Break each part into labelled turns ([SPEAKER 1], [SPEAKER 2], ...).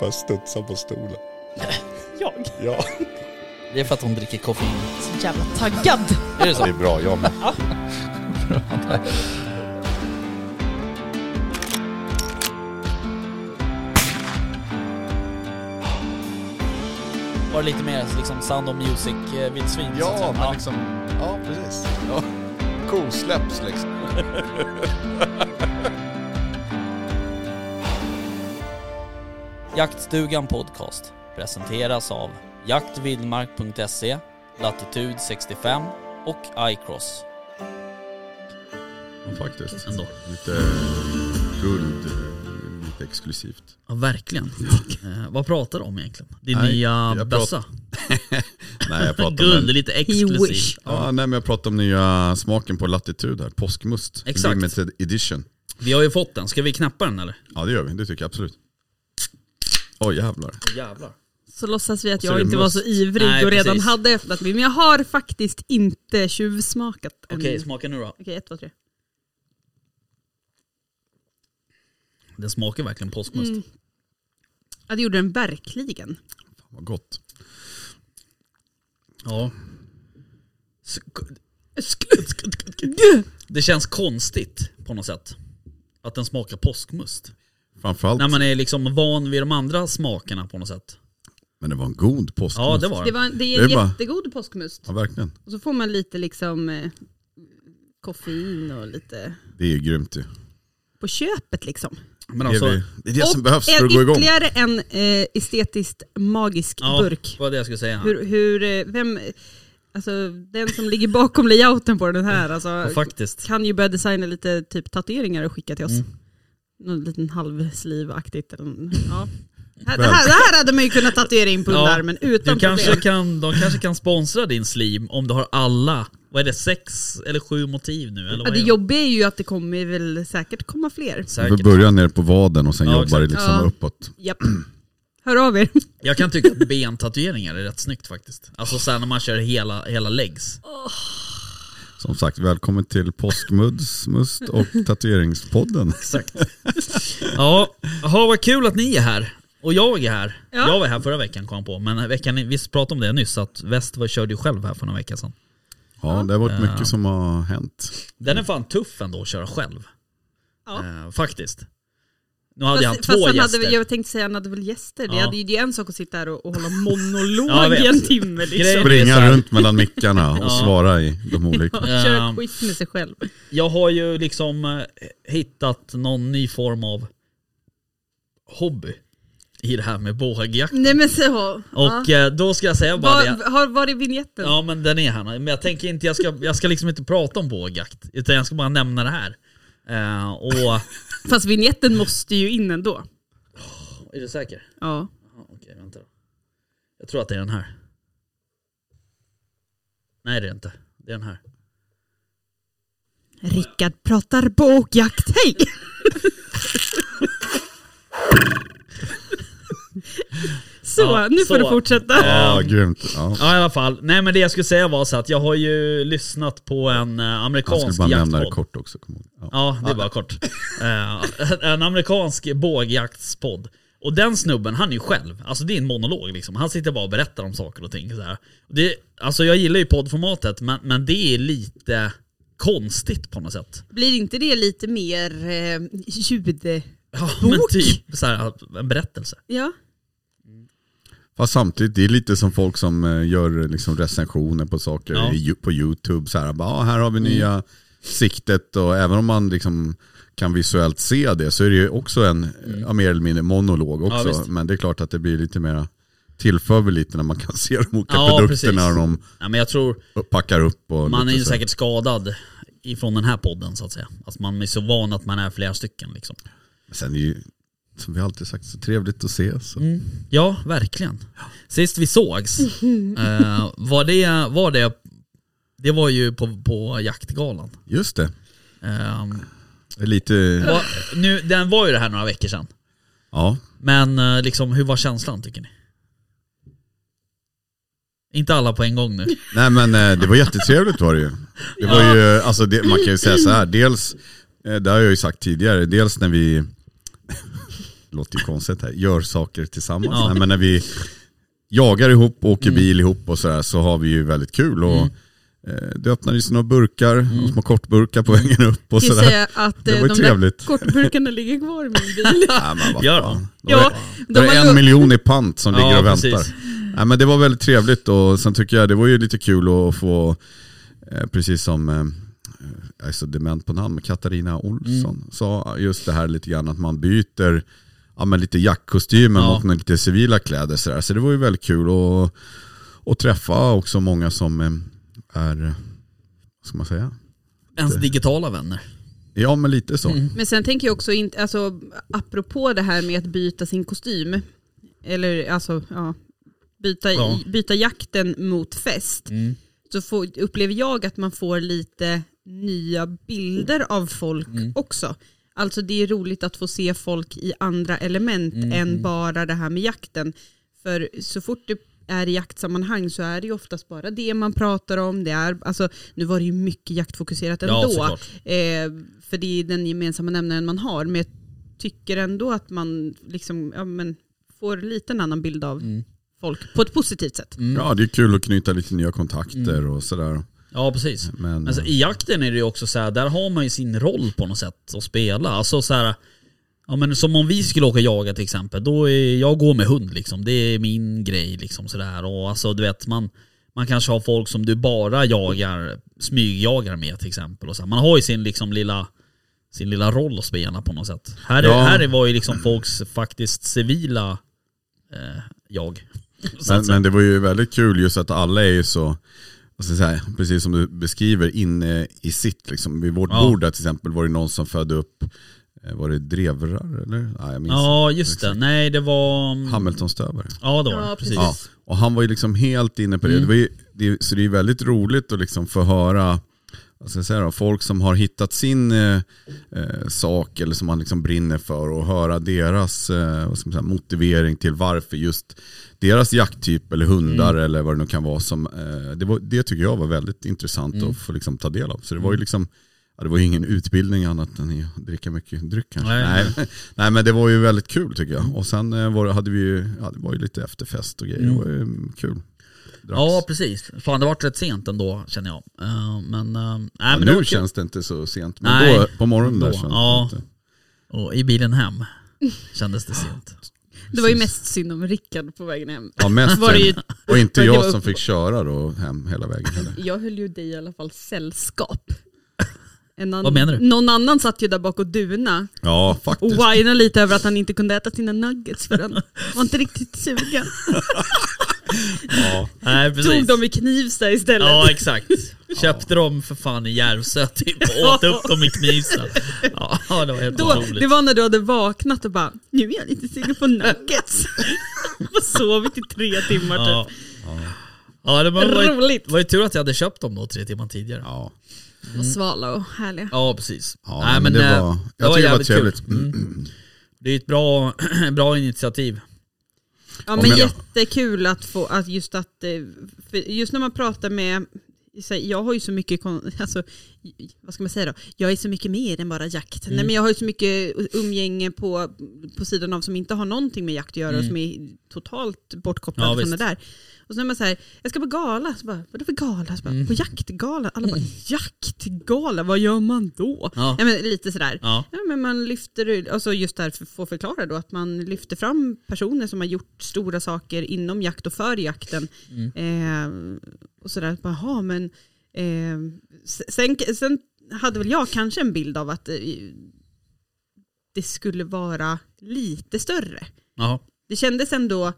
[SPEAKER 1] Bara studsa på stolen.
[SPEAKER 2] Jag?
[SPEAKER 1] Ja.
[SPEAKER 3] Det är för att hon dricker koffein.
[SPEAKER 2] Så jävla taggad.
[SPEAKER 3] Är det så?
[SPEAKER 1] Det är bra, jag med.
[SPEAKER 3] Var det lite mer liksom Sound of eh, Music-vildsvin?
[SPEAKER 1] Ja, men liksom... Ja, precis. Ja. Kosläpps liksom.
[SPEAKER 3] Jaktstugan Podcast presenteras av jaktvildmark.se, Latitud 65 och iCross.
[SPEAKER 4] Ja, faktiskt. Ändå. Lite guld, eh, lite exklusivt.
[SPEAKER 5] Ja, verkligen. Eh, vad pratar du om egentligen? Din
[SPEAKER 4] Nej,
[SPEAKER 5] nya
[SPEAKER 4] jag
[SPEAKER 5] bössa?
[SPEAKER 4] Nej, jag pratar om
[SPEAKER 5] Guld,
[SPEAKER 4] den.
[SPEAKER 5] lite exklusiv.
[SPEAKER 2] wish.
[SPEAKER 4] Ja, nej, men jag pratar om nya smaken på Latitud här, påskmust.
[SPEAKER 5] Exakt.
[SPEAKER 4] Limited edition.
[SPEAKER 5] Vi har ju fått den, ska vi knäppa den eller?
[SPEAKER 4] Ja det gör vi, det tycker jag absolut. Oj jävlar.
[SPEAKER 5] Jävlar.
[SPEAKER 6] Så låtsas vi att
[SPEAKER 4] Så
[SPEAKER 6] jag
[SPEAKER 4] är det
[SPEAKER 6] inte var
[SPEAKER 4] must.
[SPEAKER 6] så ivrig
[SPEAKER 5] Nej,
[SPEAKER 6] och redan
[SPEAKER 5] precis.
[SPEAKER 6] hade öppnat min. Men jag har faktiskt inte tjuvsmakat än.
[SPEAKER 5] Okej, smaka nu då.
[SPEAKER 6] Okej, ett, två, tre.
[SPEAKER 5] Den smakar verkligen påskmust.
[SPEAKER 6] Mm. Ja, det gjorde den verkligen.
[SPEAKER 4] Fan, vad gott.
[SPEAKER 5] Ja. Sk-
[SPEAKER 6] Mm.
[SPEAKER 5] Det känns konstigt på något sätt. Att den smakar påskmust.
[SPEAKER 4] Framförallt,
[SPEAKER 5] När man är liksom van vid de andra smakerna på något sätt.
[SPEAKER 4] men det var en god påskmust.
[SPEAKER 5] Ja, det var
[SPEAKER 6] Det,
[SPEAKER 5] den.
[SPEAKER 6] var, det
[SPEAKER 4] Det
[SPEAKER 6] är
[SPEAKER 4] är
[SPEAKER 6] en
[SPEAKER 4] bara-
[SPEAKER 6] jättegod påskmust.
[SPEAKER 4] Ja, verkligen.
[SPEAKER 6] Och så får man lite liksom eh, koffein och lite
[SPEAKER 4] Det är ju grymt ju.
[SPEAKER 6] på köpet liksom.
[SPEAKER 5] Men
[SPEAKER 4] Det är,
[SPEAKER 5] alltså,
[SPEAKER 4] vi- det, är det som
[SPEAKER 6] och
[SPEAKER 4] behövs för
[SPEAKER 6] en,
[SPEAKER 4] att gå igång.
[SPEAKER 6] ytterligare en eh, estetiskt magisk
[SPEAKER 5] ja,
[SPEAKER 6] burk.
[SPEAKER 5] vad var det jag skulle säga.
[SPEAKER 6] Hur, hur, eh, vem, alltså den som ligger bakom layouten på den här
[SPEAKER 5] Ja,
[SPEAKER 6] alltså,
[SPEAKER 5] faktiskt.
[SPEAKER 6] kan ju börja designa lite typ tatueringar och skicka till oss.
[SPEAKER 5] Mm.
[SPEAKER 6] Någon liten halvslivaktigt. eller n- Ja. Här- Det, här, det här hade man ju kunnat tatuera in på
[SPEAKER 5] Mm. Ja,
[SPEAKER 6] underarmen utan
[SPEAKER 5] Du kanske
[SPEAKER 6] problem.
[SPEAKER 5] kan, de kanske kan sponsra din slim om du har alla, vad är det, sex eller sju motiv nu? Eller
[SPEAKER 6] Ja,
[SPEAKER 5] vad
[SPEAKER 6] det
[SPEAKER 5] är
[SPEAKER 6] jobbiga är ju att det kommer väl säkert komma fler.
[SPEAKER 4] Vi
[SPEAKER 5] Säkert.
[SPEAKER 4] börjar ner på vaden och sen
[SPEAKER 5] Ja,
[SPEAKER 4] jobbar det
[SPEAKER 5] exakt.
[SPEAKER 4] liksom
[SPEAKER 6] Ja.
[SPEAKER 4] uppåt.
[SPEAKER 6] Japp. Hör av
[SPEAKER 5] Eh,
[SPEAKER 6] er.
[SPEAKER 5] Jag kan tycka att bentatueringar är rätt snyggt faktiskt. Alltså såhär när man kör hela, hela legs.
[SPEAKER 4] Som sagt, välkommen till påskmust must och tatueringspodden.
[SPEAKER 5] Exakt. Ja, jaha vad kul att ni är här. Och jag är här.
[SPEAKER 6] Ja.
[SPEAKER 5] Jag var här förra veckan kom jag på, men veckan, vi pratade om det nyss att West var, körde ju själv här för några veckor sedan.
[SPEAKER 4] Ja, det har varit mycket som har hänt.
[SPEAKER 5] Den är fan tuff ändå att köra själv.
[SPEAKER 6] Ja.
[SPEAKER 5] Eh, faktiskt. Nu hade
[SPEAKER 6] Fast-
[SPEAKER 5] han
[SPEAKER 6] fast
[SPEAKER 5] två
[SPEAKER 6] han
[SPEAKER 5] gäster.
[SPEAKER 6] hade, jag tänkte säga han hade väl gäster. Det,
[SPEAKER 5] Ja.
[SPEAKER 6] hade, ju- det är en sak att sitta här och, och hålla
[SPEAKER 5] Ja, jag
[SPEAKER 6] monolog
[SPEAKER 5] vet.
[SPEAKER 6] i en timme. Liksom.
[SPEAKER 5] Grejen- Det är så
[SPEAKER 4] Springa
[SPEAKER 5] här-
[SPEAKER 4] runt mellan mickarna och
[SPEAKER 5] Ja.
[SPEAKER 4] svara i de olika.
[SPEAKER 5] Ja.
[SPEAKER 6] Köra quiz med sig själv.
[SPEAKER 5] Jag har ju liksom eh, hittat någon ny form av hobby i det här med bågjakt.
[SPEAKER 6] Nej men så.
[SPEAKER 5] Och eh, då ska jag säga bara
[SPEAKER 6] Var,
[SPEAKER 5] det.
[SPEAKER 6] har, var är vinjetten?
[SPEAKER 5] Ja men den är här. Men jag tänker inte, jag ska, jag ska liksom inte prata om bågjakt. Utan jag ska bara nämna det här. Eh, och...
[SPEAKER 6] Fast vinjetten måste ju in ändå.
[SPEAKER 5] Är du säker?
[SPEAKER 6] Ja.
[SPEAKER 5] Ja, Okej, vänta då. Jag tror att det är den här. Nej det är det inte. Det är den här.
[SPEAKER 6] Rickard pratar bågjakt, hej! så,
[SPEAKER 5] Ja,
[SPEAKER 6] nu får
[SPEAKER 5] så.
[SPEAKER 6] du fortsätta.
[SPEAKER 4] Ja, grymt. Ja.
[SPEAKER 5] Ja i alla fall. Nej men det jag skulle säga var så att jag har ju lyssnat på en eh,
[SPEAKER 4] Jag
[SPEAKER 5] amerikansk
[SPEAKER 4] skulle bara nämna det
[SPEAKER 5] jaktpodd.
[SPEAKER 4] kort också. Kom ihåg. Ja.
[SPEAKER 5] Ja, det är bara kort. Eh, en amerikansk bågjaktspodd. Och den snubben, han är ju själv. Alltså det är en monolog liksom. Han sitter bara och berättar om saker och ting. Så här. Det, alltså jag gillar ju poddformatet, men, men det är lite konstigt på något sätt.
[SPEAKER 6] Blir inte det lite mer eh, ljud...
[SPEAKER 5] Ja, men typ så här, en berättelse.
[SPEAKER 6] Ja.
[SPEAKER 4] Fast samtidigt, det är lite som folk som eh, gör liksom recensioner på saker
[SPEAKER 5] Ja. Mm.
[SPEAKER 4] i- på YouTube. Så här, bara, "Ah, här har vi nya siktet och även om man liksom kan visuellt se det så är det ju också en ja, mer eller mindre monolog också.
[SPEAKER 5] Mm. visst.
[SPEAKER 4] Men det är klart att det blir lite mera tillför väl lite när man kan se de olika
[SPEAKER 5] Ja,
[SPEAKER 4] produkterna
[SPEAKER 5] precis.
[SPEAKER 4] och de
[SPEAKER 5] Ja, men jag tror,
[SPEAKER 4] packar upp. Och
[SPEAKER 5] man är
[SPEAKER 4] lite
[SPEAKER 5] ju
[SPEAKER 4] så.
[SPEAKER 5] säkert skadad ifrån den här podden så att säga. Alltså man är så van att man är flera stycken liksom.
[SPEAKER 4] Sen är det ju, som vi alltid sagt, så trevligt att ses. och-
[SPEAKER 5] Ja, verkligen. Sist vi sågs, eh, var, det, var det, det var ju på, på jaktgalan.
[SPEAKER 4] Just det.
[SPEAKER 5] Eh,
[SPEAKER 4] Det är Lite,
[SPEAKER 5] va, nu, den var ju det här några veckor sedan.
[SPEAKER 4] ja.
[SPEAKER 5] Men eh, liksom, hur var känslan tycker ni? Inte alla på en gång nu.
[SPEAKER 4] Nej men eh, det var jättetrevligt var det ju. Det var ju, alltså det, eh, man kan ju säga så här, dels, eh, det har jag ju sagt tidigare, dels när vi låter ju konstigt här, gör saker tillsammans.
[SPEAKER 5] Ja.
[SPEAKER 4] Nej, men när vi jagar ihop, åker bil ihop och sådär så har vi ju väldigt kul. Och, eh, Det öppnades några burkar, och små kortburkar på vägen upp
[SPEAKER 6] Jag
[SPEAKER 4] och
[SPEAKER 6] kan ju
[SPEAKER 4] sådär.
[SPEAKER 6] säga att
[SPEAKER 4] Det
[SPEAKER 6] eh,
[SPEAKER 4] var
[SPEAKER 6] de
[SPEAKER 4] ju trevligt.
[SPEAKER 6] där kortburkarna ligger kvar i min bil.
[SPEAKER 4] Ja, men vad
[SPEAKER 5] Gör
[SPEAKER 4] fan. Då är-
[SPEAKER 6] ja,
[SPEAKER 4] då
[SPEAKER 6] de
[SPEAKER 4] är
[SPEAKER 6] har
[SPEAKER 4] det en
[SPEAKER 6] gått-
[SPEAKER 4] miljon i pant som ligger och väntar.
[SPEAKER 5] precis.
[SPEAKER 4] Nej, men det var väldigt trevligt och sen tycker jag det var ju lite kul att få, eh, precis som eh, jag är så dement på namn, men Katarina Olsson
[SPEAKER 5] Mm.
[SPEAKER 4] sa just det här lite grann att man byter ja, men lite jackkostymen
[SPEAKER 5] Ja.
[SPEAKER 4] mot några lite civila kläder så, där. så det var ju väldigt kul och, och träffa också många som eh, är, eh, vad ska man säga?
[SPEAKER 5] Ens digitala vänner.
[SPEAKER 4] Ja men lite så.
[SPEAKER 5] Mm,
[SPEAKER 6] Men sen tänker jag också, inte, alltså, apropå det här med att byta sin kostym, eller alltså, ja, byta,
[SPEAKER 5] Ja.
[SPEAKER 6] byta jakten mot fest,
[SPEAKER 5] Mm.
[SPEAKER 6] så får, upplever jag att man får lite nya bilder av folk
[SPEAKER 5] Mm.
[SPEAKER 6] också. Alltså det är roligt att få se folk i andra element
[SPEAKER 5] Mm,
[SPEAKER 6] än bara det här med jakten. För så fort det är i jaktsammanhang så är det ju oftast bara det man pratar om. Det är, alltså, nu var det ju mycket jaktfokuserat
[SPEAKER 5] Ja,
[SPEAKER 6] ändå.
[SPEAKER 5] såklart.
[SPEAKER 6] Eh, för det är den gemensamma nämnaren man har. Men jag tycker ändå att man liksom, ja, men, får lite en annan bild av
[SPEAKER 5] Mm.
[SPEAKER 6] folk på ett positivt sätt.
[SPEAKER 4] Ja det är kul att knyta lite nya kontakter och sådär.
[SPEAKER 5] Ja, precis.
[SPEAKER 4] Men,
[SPEAKER 5] Mm. Alltså, I jakten är det ju också så här, där har man ju sin roll på något sätt att spela. Alltså så här, ja, men som om vi skulle åka och jaga till exempel, då är jag går med hund liksom. Det är min grej liksom sådär. Och alltså du vet, man, man kanske har folk som du bara jagar, smygjagar med till exempel. Och så här. Man har ju sin liksom lilla sin lilla roll att spela på något sätt. Här, är,
[SPEAKER 4] Ja.
[SPEAKER 5] här var ju liksom folks faktiskt civila eh, jag. Så
[SPEAKER 4] Men,
[SPEAKER 5] att säga.
[SPEAKER 4] men det var ju väldigt kul just att alla är ju så, alltså så här, precis som du beskriver, inne i sitt. Liksom. Vid vårt
[SPEAKER 5] Ja.
[SPEAKER 4] bord där till exempel var det någon som födde upp, eh, var det drevrar eller? Nej, jag minns
[SPEAKER 5] ja, just det. Nej, det var...
[SPEAKER 4] inte. Hamiltonstövare.
[SPEAKER 5] Ja, det var
[SPEAKER 6] Ja,
[SPEAKER 5] det. Precis.
[SPEAKER 4] Ja, och han var ju liksom helt inne på det. det, var ju, det så det är ju väldigt roligt att liksom få höra vad ska jag säga då, folk som har hittat sin eh, eh, sak eller som man liksom brinner för och höra deras eh, vad ska man säga, motivering till varför just deras jakttyp eller hundar
[SPEAKER 5] Mm.
[SPEAKER 4] eller vad det nu kan vara. Som, eh, det, var, det tycker jag var väldigt intressant
[SPEAKER 5] Mm.
[SPEAKER 4] att få liksom ta del av. Så det var ju liksom Ja, det var ju ingen utbildning annat än att dricka mycket dryck kanske.
[SPEAKER 5] Nej,
[SPEAKER 4] Nej, nej. men det var ju väldigt kul tycker jag. Och sen eh, var, det- hade vi ju, ja, det var ju lite efterfest och grejer. Det var ju mm, kul. Dracks.
[SPEAKER 5] Ja, precis. Fan, det vart rätt sent ändå känner jag. Eh, men, uh, nej,
[SPEAKER 4] Ja,
[SPEAKER 5] men det var
[SPEAKER 4] nu
[SPEAKER 5] kul.
[SPEAKER 4] känns det inte så sent, men
[SPEAKER 5] Nej.
[SPEAKER 4] då på morgonen där
[SPEAKER 5] Då,
[SPEAKER 4] känns
[SPEAKER 5] ja.
[SPEAKER 4] det inte.
[SPEAKER 5] Och i bilen hem kändes det sent.
[SPEAKER 6] Det var ju mest synd om Rickard på vägen hem.
[SPEAKER 4] Ja, mest
[SPEAKER 6] Var det ju,
[SPEAKER 4] Och inte
[SPEAKER 6] Men det
[SPEAKER 4] jag
[SPEAKER 6] var
[SPEAKER 4] som
[SPEAKER 6] upp-
[SPEAKER 4] fick köra då hem hela vägen heller.
[SPEAKER 6] jag höll ju dig i alla fall sällskap. En annan,
[SPEAKER 5] Vad menar du?
[SPEAKER 6] Någon annan satt ju där bak och duna
[SPEAKER 4] Ja,
[SPEAKER 6] och
[SPEAKER 4] faktiskt.
[SPEAKER 6] whinade lite över att han inte kunde äta sina nuggets för han var inte riktigt sugen.
[SPEAKER 4] Ja.
[SPEAKER 5] Nej,
[SPEAKER 6] Tog dem i Knivsta istället.
[SPEAKER 5] Ja, exakt. Köpte dem för fan i Järvsö typ och åt upp dem i Knivsta. Ja, det var helt
[SPEAKER 6] Då,
[SPEAKER 5] otroligt.
[SPEAKER 6] det var när du hade vaknat och bara, nu är jag lite sugen på nuggets. och sovit i tre timmar
[SPEAKER 5] ja.
[SPEAKER 6] typ.
[SPEAKER 5] ja, det var, var, ju,
[SPEAKER 6] Roligt.
[SPEAKER 5] var ju tur att jag hade köpt dem då tre timmar tidigare. Ja,
[SPEAKER 4] Ja.
[SPEAKER 6] Och svala och härliga.
[SPEAKER 5] precis.
[SPEAKER 4] Ja, men det
[SPEAKER 5] eh,
[SPEAKER 4] var- jag tycker det var
[SPEAKER 5] jävligt kul.
[SPEAKER 4] trevligt.
[SPEAKER 5] Mm. Det är ett bra, bra initiativ.
[SPEAKER 6] Ja
[SPEAKER 4] Om
[SPEAKER 6] men
[SPEAKER 4] jag-
[SPEAKER 6] jättekul att få, att just att, eh, för just när man pratar med, så här, jag har ju så mycket, kon- alltså, i- vad ska man säga då, jag är så mycket mer än bara jakt.
[SPEAKER 5] Mm.
[SPEAKER 6] Nej men jag har ju så mycket umgänge på, på sidan av som inte har någonting med jakt att göra och som är totalt bortkopplade
[SPEAKER 5] Mm. Ja,
[SPEAKER 6] från det
[SPEAKER 5] visst.
[SPEAKER 6] där. Och sen är man så här, jag ska på gala, så bara, vadå för gala? Så bara,
[SPEAKER 5] Mm.
[SPEAKER 6] På jaktgala? Alla bara, jaktgala, vad gör man då?
[SPEAKER 5] Ja.
[SPEAKER 6] Nej, men lite sådär.
[SPEAKER 5] Ja.
[SPEAKER 6] Ja, men man lyfter, alltså just därför får förklara då, att man lyfter fram personer som har gjort stora saker inom jakt och för jakten.
[SPEAKER 5] Mm.
[SPEAKER 6] Eh, och sådär, bara, "Jaha, men eh, s- sen, sen hade väl jag kanske en bild av att eh, det skulle vara lite större.
[SPEAKER 5] Ja.
[SPEAKER 6] Det kändes ändå,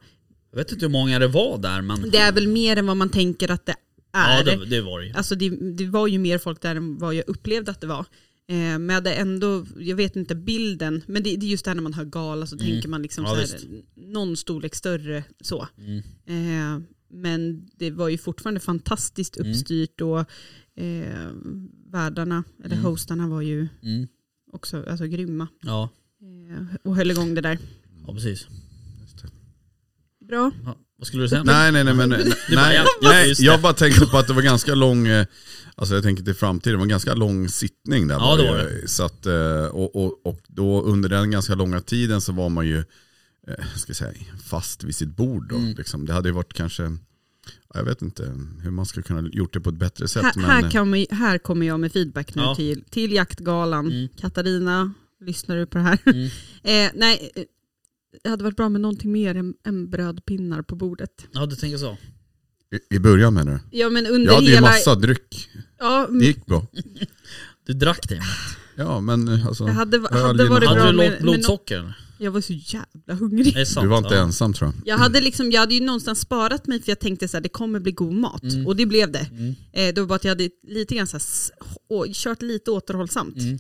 [SPEAKER 5] Jag vet inte hur många det var där men...
[SPEAKER 6] det är väl mer än vad man tänker att det är.
[SPEAKER 5] ja, det, det var det ju.
[SPEAKER 6] Alltså det, det var ju mer folk där än vad jag upplevde att det var. Eh, men jag hade ändå, jag vet inte bilden, men det, det är just det här när man hör gala så tänker man liksom
[SPEAKER 5] Mm. Ja,
[SPEAKER 6] så här,
[SPEAKER 5] visst.
[SPEAKER 6] någon storlek större så.
[SPEAKER 5] Mm.
[SPEAKER 6] Eh, men det var ju fortfarande fantastiskt
[SPEAKER 5] Mm.
[SPEAKER 6] uppstyrt och eh, värdarna, eller
[SPEAKER 5] Mm.
[SPEAKER 6] hostarna var ju
[SPEAKER 5] Mm.
[SPEAKER 6] också alltså, grymma
[SPEAKER 5] Ja,
[SPEAKER 6] eh, och höll igång det där.
[SPEAKER 5] ja, precis.
[SPEAKER 6] Bra.
[SPEAKER 5] Ja. Vad skulle du säga?
[SPEAKER 4] Nej, nej, nej. Men, nej,
[SPEAKER 5] bara, ja,
[SPEAKER 4] nej,
[SPEAKER 5] ja, just det.
[SPEAKER 4] jag bara tänkte på att det var ganska lång, eh, alltså jag tänker till framtiden, det var en ganska lång sittning där.
[SPEAKER 5] Ja, det var
[SPEAKER 4] ju. Så att, eh, och, och, och då under den ganska långa tiden så var man ju eh, ska jag säga, fast vid sitt bord. Då,
[SPEAKER 5] Mm.
[SPEAKER 4] liksom. Det hade ju varit kanske, ja, jag vet inte hur man skulle kunna gjort det på ett bättre sätt.
[SPEAKER 6] Här,
[SPEAKER 4] men,
[SPEAKER 6] här, kan vi, här kommer jag med feedback nu
[SPEAKER 5] Ja.
[SPEAKER 6] till, till jaktgalan.
[SPEAKER 5] Mm.
[SPEAKER 6] Katarina, lyssnar du på det här?
[SPEAKER 5] Mm.
[SPEAKER 6] eh, nej, eh, det hade varit bra med någonting mer än, än brödpinnar på bordet.
[SPEAKER 5] Ja, du tänker så.
[SPEAKER 4] eh, i, I början menar du?
[SPEAKER 6] Ja men under
[SPEAKER 4] Jag hade ju
[SPEAKER 6] hela...
[SPEAKER 4] massa dryck,
[SPEAKER 6] Ja,
[SPEAKER 4] det gick bra.
[SPEAKER 5] Du drack det.
[SPEAKER 4] Ja men eh, alltså,
[SPEAKER 6] det hade,
[SPEAKER 4] Öl,
[SPEAKER 6] hade
[SPEAKER 4] gin och-
[SPEAKER 6] varit
[SPEAKER 5] Hade
[SPEAKER 6] bra
[SPEAKER 5] du
[SPEAKER 6] med,
[SPEAKER 5] lågt
[SPEAKER 6] med nå-
[SPEAKER 5] blodsocker? eller?
[SPEAKER 6] Jag var så jävla hungrig.
[SPEAKER 5] Det är sant,
[SPEAKER 4] du var inte
[SPEAKER 5] ja.
[SPEAKER 4] ensam tror jag.
[SPEAKER 6] Jag hade, liksom, jag hade ju någonstans sparat mig för jag tänkte så här, det kommer bli god mat.
[SPEAKER 5] Mm.
[SPEAKER 6] Och det blev det. Eh, det var bara att jag hade lite grann så här, s- å- kört lite återhållsamt.
[SPEAKER 5] Mm.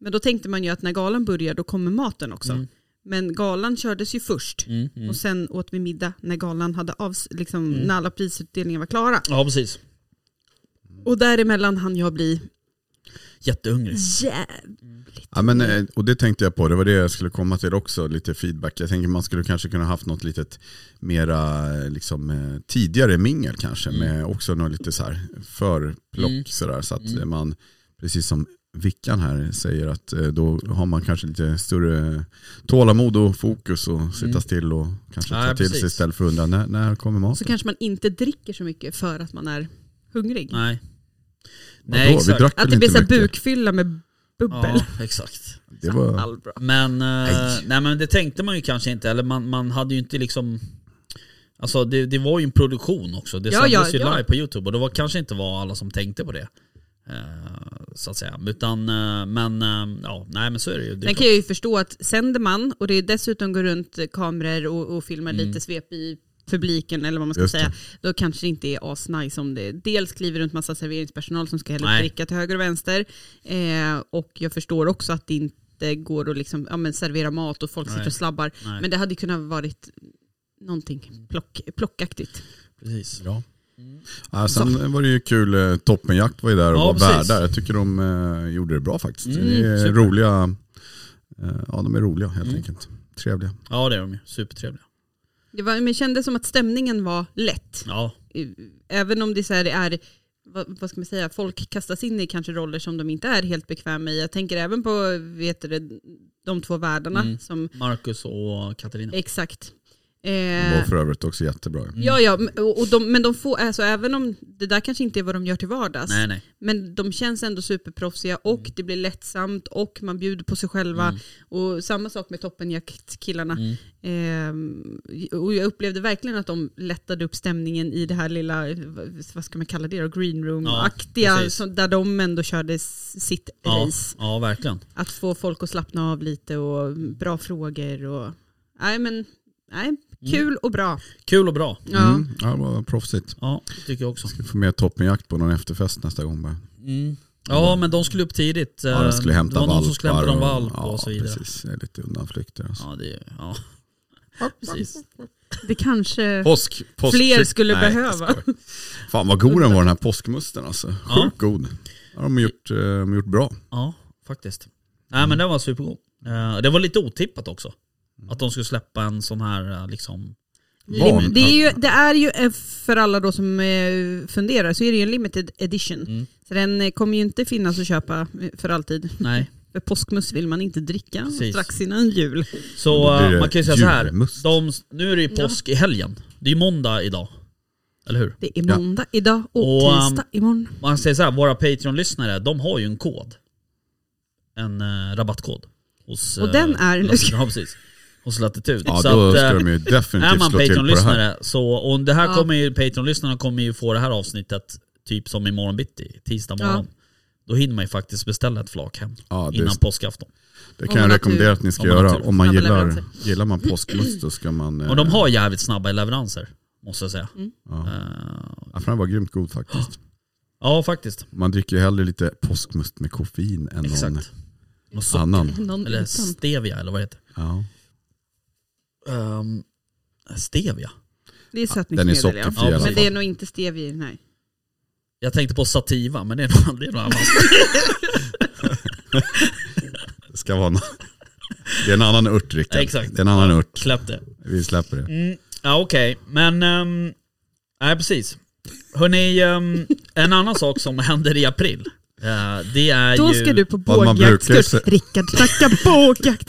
[SPEAKER 6] Men då tänkte man ju att när galan börjar då kommer maten också.
[SPEAKER 5] Mm.
[SPEAKER 6] Men galan kördes ju först. Och sen åt vi middag när galan hade avs- liksom, när alla prisutdelningar var klara.
[SPEAKER 5] Ja, precis.
[SPEAKER 6] Och däremellan hann jag bli
[SPEAKER 5] Jättehungrig.
[SPEAKER 6] jävligt.
[SPEAKER 4] Ja, men, eh, och det tänkte jag på, det var det jag skulle komma till också, lite feedback. Jag tänker man skulle kanske kunna haft något litet mera eh, liksom, eh, tidigare mingel kanske, med också något lite så här förplock sådär, så att eh, man, precis som Vickan här säger, att eh, då har man kanske lite större tålamod och fokus och sitta still och kanske
[SPEAKER 5] Ja,
[SPEAKER 4] ta till
[SPEAKER 5] precis.
[SPEAKER 4] sig istället för att undra när, när kommer
[SPEAKER 6] Så
[SPEAKER 4] maten?
[SPEAKER 6] kanske man inte dricker så mycket för att man är hungrig.
[SPEAKER 5] Nej.
[SPEAKER 4] Vadå?
[SPEAKER 5] Nej,
[SPEAKER 4] Vi
[SPEAKER 5] exakt.
[SPEAKER 4] drack
[SPEAKER 6] Att
[SPEAKER 4] väl
[SPEAKER 6] det blir
[SPEAKER 4] inte
[SPEAKER 6] så här
[SPEAKER 4] mycket?
[SPEAKER 6] bukfylla med bubbel.
[SPEAKER 5] Ja, exakt.
[SPEAKER 4] Det var,
[SPEAKER 6] Allbra.
[SPEAKER 5] Men, eh,
[SPEAKER 4] Nej.
[SPEAKER 5] nej men det tänkte man ju kanske inte, eller man, man hade ju inte liksom Alltså det, det var ju en produktion också, det
[SPEAKER 6] Ja,
[SPEAKER 5] sändes
[SPEAKER 6] ja,
[SPEAKER 5] ju
[SPEAKER 6] ja.
[SPEAKER 5] live på youtube och det var kanske inte var alla som tänkte på det. eh, så att säga. Utan, eh, men eh, ja, nej men så är det ju. Det är
[SPEAKER 6] Sen
[SPEAKER 5] klart.
[SPEAKER 6] kan jag ju förstå att sänder man och det dessutom går runt kameror och, och filmar
[SPEAKER 5] Mm.
[SPEAKER 6] lite svep i publiken eller vad man ska
[SPEAKER 4] Just det.
[SPEAKER 6] säga, då kanske det inte är asnice om det dels kliver runt massa serveringspersonal som ska hälla upp
[SPEAKER 5] Nej.
[SPEAKER 6] dricka till höger och vänster. Eh, och jag förstår också att det inte går att liksom, ja, men servera mat och folk sitter
[SPEAKER 5] Nej.
[SPEAKER 6] och slabbar.
[SPEAKER 5] Nej.
[SPEAKER 6] Men det hade kunnat varit någonting plock, plockaktigt.
[SPEAKER 5] Precis.
[SPEAKER 4] Ja. Ja, sen var det ju kul, eh, Toppenjakt var ju där och
[SPEAKER 5] Ja,
[SPEAKER 4] var
[SPEAKER 5] precis.
[SPEAKER 4] värdar. Jag tycker de eh, gjorde det bra faktiskt.
[SPEAKER 5] Mm,
[SPEAKER 4] det är
[SPEAKER 5] super. Mm.
[SPEAKER 4] roliga, eh, ja de är roliga helt enkelt. Trevliga.
[SPEAKER 5] Ja det är de ju, supertrevliga.
[SPEAKER 6] Det var, men det kändes som att stämningen var lätt.
[SPEAKER 5] Ja,
[SPEAKER 6] eh, även om det så här är, vad, vad ska man säga, folk kastas in i kanske roller som de inte är helt bekväma i. Jag tänker även på, vet du, det, de två världarna
[SPEAKER 5] Mm.
[SPEAKER 6] som,
[SPEAKER 5] Marcus och Katarina.
[SPEAKER 6] exakt.
[SPEAKER 4] De var mm.
[SPEAKER 6] Eh,
[SPEAKER 4] för övrigt också jättebra.
[SPEAKER 6] ja, ja, m- och och de, men de får, alltså även om det där kanske inte är vad de gör till vardags,
[SPEAKER 5] Nej nej.
[SPEAKER 6] men de känns ändå superproffsiga och
[SPEAKER 5] Mm.
[SPEAKER 6] det blir lättsamt och man bjuder på sig själva. Och samma sak med toppenjaktkillarna.
[SPEAKER 5] Mm.
[SPEAKER 6] Ehm, och jag upplevde verkligen att de lättade upp stämningen i det här lilla, eh, vad ska man kalla det då,
[SPEAKER 5] Ja,
[SPEAKER 6] greenroom-aktiga,
[SPEAKER 5] precis.
[SPEAKER 6] som- där de ändå körde s- sitt
[SPEAKER 5] Ja,
[SPEAKER 6] race.
[SPEAKER 5] ja verkligen.
[SPEAKER 6] Att få folk att slappna av lite och bra frågor och, nej men, nej,
[SPEAKER 5] Mm.
[SPEAKER 6] kul och bra.
[SPEAKER 5] Kul och bra.
[SPEAKER 6] Ja.
[SPEAKER 4] Mm. Ja, det var proffsigt.
[SPEAKER 5] Ja, det tycker jag också.
[SPEAKER 4] Vi får med Toppenjakt på någon efterfest nästa gång bara.
[SPEAKER 5] Mm. Ja men de skulle upp tidigt.
[SPEAKER 4] Ja, de skulle
[SPEAKER 5] eh,
[SPEAKER 4] hämta
[SPEAKER 5] det var någon
[SPEAKER 4] valpar.
[SPEAKER 5] som skulle hämta en valp
[SPEAKER 4] ja,
[SPEAKER 5] och så vidare.
[SPEAKER 4] precis. Det är lite undanflykter. Alltså.
[SPEAKER 5] Ja, det, är- ja. precis.
[SPEAKER 6] Det kanske
[SPEAKER 4] Påsk, påsk,
[SPEAKER 6] fler skulle
[SPEAKER 4] Nej, jag
[SPEAKER 6] behöva.
[SPEAKER 4] skojar. Fan vad god den var den här påskmusten alltså. Sjukt
[SPEAKER 5] Ja.
[SPEAKER 4] god. Ja, de har gjort, eh, de har gjort bra.
[SPEAKER 5] Ja, faktiskt. Nej men den var supergod. Eh, det var lite otippat också.
[SPEAKER 4] Mm.
[SPEAKER 5] Att de skulle släppa en sån här eh, liksom...
[SPEAKER 4] Van-
[SPEAKER 6] Lim- det, är ju, det är ju, eh, för alla då som eh, funderar, så är det ju en limited edition. Så den eh, kommer ju inte finnas att köpa eh, för alltid.
[SPEAKER 5] Nej.
[SPEAKER 6] För påskmust vill man inte dricka
[SPEAKER 5] Precis.
[SPEAKER 6] strax innan jul.
[SPEAKER 5] Så
[SPEAKER 4] Då blir
[SPEAKER 5] eh,
[SPEAKER 4] det
[SPEAKER 5] man kan ju säga så här.
[SPEAKER 4] julmust.
[SPEAKER 5] De, nu är det ju påsk i helgen. Det är ju måndag idag. Eller hur?
[SPEAKER 6] Det är
[SPEAKER 4] Ja.
[SPEAKER 6] måndag idag och,
[SPEAKER 5] Och, ehm,
[SPEAKER 6] tisdag imorgon.
[SPEAKER 5] Man säger så här, våra Patreon-lyssnare, de har ju en kod. En eh, rabattkod. Hos,
[SPEAKER 6] Och den är-
[SPEAKER 5] Latitude, ja, precis. Hos Latitud.
[SPEAKER 4] Ja,
[SPEAKER 5] Så
[SPEAKER 4] då
[SPEAKER 5] att, eh,
[SPEAKER 4] ska de ju
[SPEAKER 5] Är
[SPEAKER 4] definitivt
[SPEAKER 5] man
[SPEAKER 4] slå till på det här.
[SPEAKER 5] Patreon-lyssnare så, och det här
[SPEAKER 6] Ja.
[SPEAKER 5] kommer ju, Patreon-lyssnarna kommer ju få det här avsnittet typ som imorgon bitti, tisdag morgon. Då hinner man ju faktiskt beställa ett flak hem
[SPEAKER 4] Ja, det är
[SPEAKER 5] innan påskafton.
[SPEAKER 4] Det
[SPEAKER 6] Om
[SPEAKER 4] kan
[SPEAKER 6] man
[SPEAKER 4] jag
[SPEAKER 6] har tur.
[SPEAKER 4] rekommendera att ni ska
[SPEAKER 5] Om man har
[SPEAKER 4] göra.
[SPEAKER 5] tur.
[SPEAKER 4] Om man
[SPEAKER 6] Snabba
[SPEAKER 4] gillar,
[SPEAKER 6] leveranser.
[SPEAKER 4] gillar man påskmust då ska man... eh,
[SPEAKER 5] Och de har jävligt snabba leveranser, måste jag säga.
[SPEAKER 4] Ja.
[SPEAKER 5] Eh,
[SPEAKER 4] Affären var grymt god faktiskt.
[SPEAKER 5] ja, faktiskt.
[SPEAKER 4] Man dricker ju hellre lite påskmust med koffein än någon
[SPEAKER 5] Exakt. Någon socker.
[SPEAKER 4] annan.
[SPEAKER 6] Någon
[SPEAKER 5] Eller
[SPEAKER 6] utan.
[SPEAKER 5] stevia, eller vad heter
[SPEAKER 4] Ja.
[SPEAKER 5] det? Ehm, stevia?
[SPEAKER 6] Det är
[SPEAKER 4] Den är
[SPEAKER 6] sötningsmedel ja.
[SPEAKER 4] sockerfri
[SPEAKER 5] Ja,
[SPEAKER 4] i alla
[SPEAKER 6] Men
[SPEAKER 4] fall.
[SPEAKER 6] det är nog inte stevia i den här.
[SPEAKER 5] Jag tänkte på sativa, men det är nog, det är nog annat.
[SPEAKER 4] Det ska vara en, det är en annan ört Rickard.
[SPEAKER 5] Exakt.
[SPEAKER 4] Det är en annan ört.
[SPEAKER 5] Släpp det.
[SPEAKER 4] Vi släpper det.
[SPEAKER 5] Mm. Ja okej, men... ehm, nej precis. Hörrni, ehm, en annan sak som händer i april. eh, det är ju...
[SPEAKER 6] Då ska du på
[SPEAKER 4] Vad man brukar
[SPEAKER 6] bågjaktskurs.
[SPEAKER 4] se-
[SPEAKER 6] Rickard snackar bågjakt.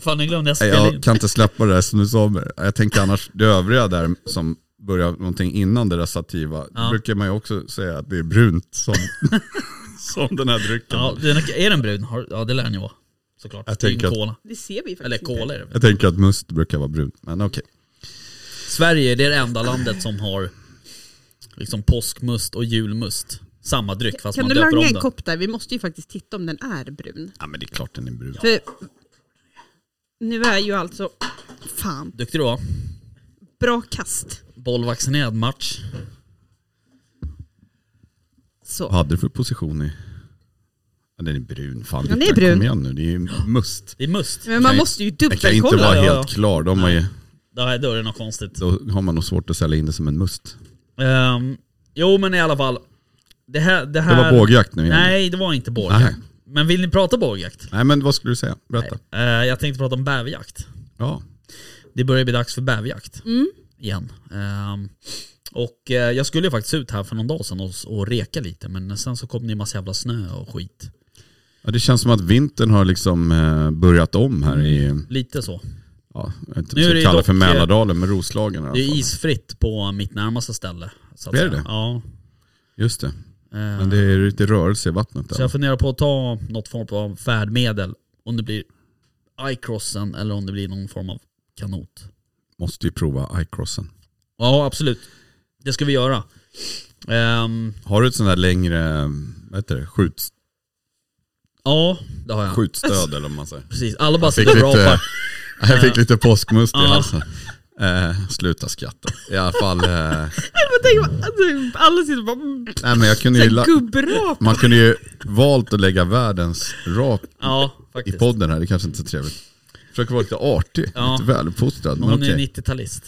[SPEAKER 5] Fan nu glömde jag
[SPEAKER 4] Nej,
[SPEAKER 5] spela in.
[SPEAKER 4] jag kan inte släppa det där som du sa. Jag tänker annars det övriga där som börjar någonting innan det där sativa.
[SPEAKER 5] Ja.
[SPEAKER 4] brukar man ju också säga att det är brunt som, som den här drycken.
[SPEAKER 5] Ja, den är, är den brun? Har- Ja det lär den ju vara. Såklart.
[SPEAKER 4] Jag
[SPEAKER 5] Det är ju
[SPEAKER 4] tänker att-
[SPEAKER 5] cola.
[SPEAKER 6] Det ser vi faktiskt
[SPEAKER 5] Eller
[SPEAKER 6] inte.
[SPEAKER 5] cola är det väl?
[SPEAKER 4] Jag tänker att must brukar vara brunt, men okej.
[SPEAKER 5] Sverige det är det enda landet som har liksom påskmust och julmust. Samma dryck fast
[SPEAKER 6] Kan
[SPEAKER 5] man
[SPEAKER 6] du
[SPEAKER 5] döper
[SPEAKER 6] langa
[SPEAKER 5] om
[SPEAKER 6] en
[SPEAKER 5] den.
[SPEAKER 6] kopp där? Vi måste ju faktiskt titta om den är brun.
[SPEAKER 4] Ja men det är klart den är brun.
[SPEAKER 6] För nu är ju alltså, fan,
[SPEAKER 5] Duktig du var.
[SPEAKER 6] bra kast.
[SPEAKER 5] Bollvaccinerad match.
[SPEAKER 6] Så.
[SPEAKER 4] Vad hade du för position i? Ja, den är brun, fan.
[SPEAKER 6] Den är
[SPEAKER 4] Rickard,
[SPEAKER 6] brun.
[SPEAKER 4] Kom igen nu, det är ju must.
[SPEAKER 5] Det är must.
[SPEAKER 6] Men man
[SPEAKER 4] ju-
[SPEAKER 6] måste ju
[SPEAKER 4] Den kan ju inte vara
[SPEAKER 6] dubbelkolla.
[SPEAKER 5] ja,
[SPEAKER 4] helt klar, De har ju,
[SPEAKER 5] Nej, då är det något konstigt.
[SPEAKER 4] då har man nog svårt att sälja in det som en must.
[SPEAKER 5] Ehm, jo men i alla fall. Det här... Det,
[SPEAKER 4] Det
[SPEAKER 5] här,
[SPEAKER 4] var bågjakt nu igen.
[SPEAKER 5] Nej det var inte bågjakt.
[SPEAKER 4] Mm. Nej.
[SPEAKER 5] Men vill ni prata bågjakt?
[SPEAKER 4] Nej men vad skulle du säga? Berätta.
[SPEAKER 5] Eh, jag tänkte prata om bäverjakt.
[SPEAKER 4] Ja.
[SPEAKER 5] Det börjar bli dags för bäverjakt. Igen. Ehm, och eh, jag skulle ju faktiskt ut här för någon dag sedan och, och reka lite men sen så kom det ju massa jävla snö och skit.
[SPEAKER 4] ja, det känns som att vintern har liksom eh, börjat om här i,
[SPEAKER 5] Lite så.
[SPEAKER 4] ja, jag vet inte
[SPEAKER 5] Mm. Nu
[SPEAKER 4] vad
[SPEAKER 5] är det
[SPEAKER 4] jag kalla det för
[SPEAKER 5] dock- eh,
[SPEAKER 4] Mälardalen, men Roslagen i alla
[SPEAKER 5] Det är
[SPEAKER 4] fall.
[SPEAKER 5] isfritt på mitt närmaste ställe. Så att
[SPEAKER 4] Är
[SPEAKER 5] säga.
[SPEAKER 4] det?
[SPEAKER 5] Ja.
[SPEAKER 4] Just det.
[SPEAKER 5] Ehm,
[SPEAKER 4] Men det är lite rörelse i vattnet
[SPEAKER 5] Så
[SPEAKER 4] där.
[SPEAKER 5] jag funderar på att ta något form av färdmedel. Om det blir iCrossen eller om det blir någon form av kanot.
[SPEAKER 4] Måste ju prova iCrossen.
[SPEAKER 5] Ja, absolut. Det ska vi göra. Ehm,
[SPEAKER 4] Har du ett sånt där längre, eh, vad heter det, skjuts,
[SPEAKER 5] ja, det har jag.
[SPEAKER 4] skjutstöd eller vad man säger?
[SPEAKER 5] Precis. Alla bara
[SPEAKER 4] fick
[SPEAKER 5] sitter och
[SPEAKER 4] lite-
[SPEAKER 5] rapar.
[SPEAKER 4] Jag fick lite påskmust i
[SPEAKER 5] Ja.
[SPEAKER 4] halsen. Eh, sluta skratta. I alla fall, eh,
[SPEAKER 6] Alla sitter bara mm,
[SPEAKER 4] nej men jag kunde ju, la-
[SPEAKER 6] gubbrap.
[SPEAKER 4] man kunde ju valt att lägga världens rap
[SPEAKER 5] Ja,
[SPEAKER 4] i
[SPEAKER 5] faktiskt.
[SPEAKER 4] podden här, det kanske inte är så trevligt. Försöker vara lite artig,
[SPEAKER 5] Ja.
[SPEAKER 4] lite väluppfostrad,
[SPEAKER 5] Men
[SPEAKER 4] men
[SPEAKER 5] hon är
[SPEAKER 4] okej.
[SPEAKER 5] ju 90-talist.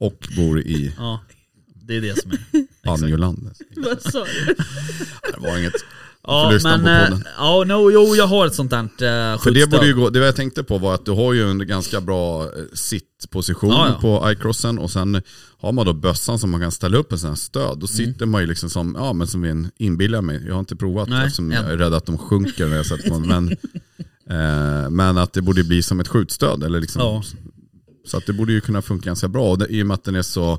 [SPEAKER 4] Och bor i
[SPEAKER 5] Ja, det är det som är.
[SPEAKER 4] Banjolandet.
[SPEAKER 6] Vad sa du?
[SPEAKER 4] Det var inget. får
[SPEAKER 5] Ja,
[SPEAKER 4] lyssna
[SPEAKER 5] men...
[SPEAKER 4] på
[SPEAKER 5] eh,
[SPEAKER 4] podden.
[SPEAKER 5] Ja, no, jo, jag har ett sånt där uh,
[SPEAKER 4] För det, borde ju gå, det jag tänkte på var att du har ju en ganska bra eh, sittposition
[SPEAKER 5] Ja, ja.
[SPEAKER 4] på iCrossen och sen har man då bössan som man kan ställa upp en sån här
[SPEAKER 5] Mm.
[SPEAKER 4] stöd. Då sitter man ju liksom som, ja men som en inbillar mig, jag har inte provat
[SPEAKER 5] Nej,
[SPEAKER 4] eftersom jag
[SPEAKER 5] än.
[SPEAKER 4] är rädd att de sjunker när jag sätter dem. Men, eh, men att det borde bli som ett skjutstöd eller liksom,
[SPEAKER 5] Ja.
[SPEAKER 4] så att det borde ju kunna funka ganska bra. Och det, I och med att den är så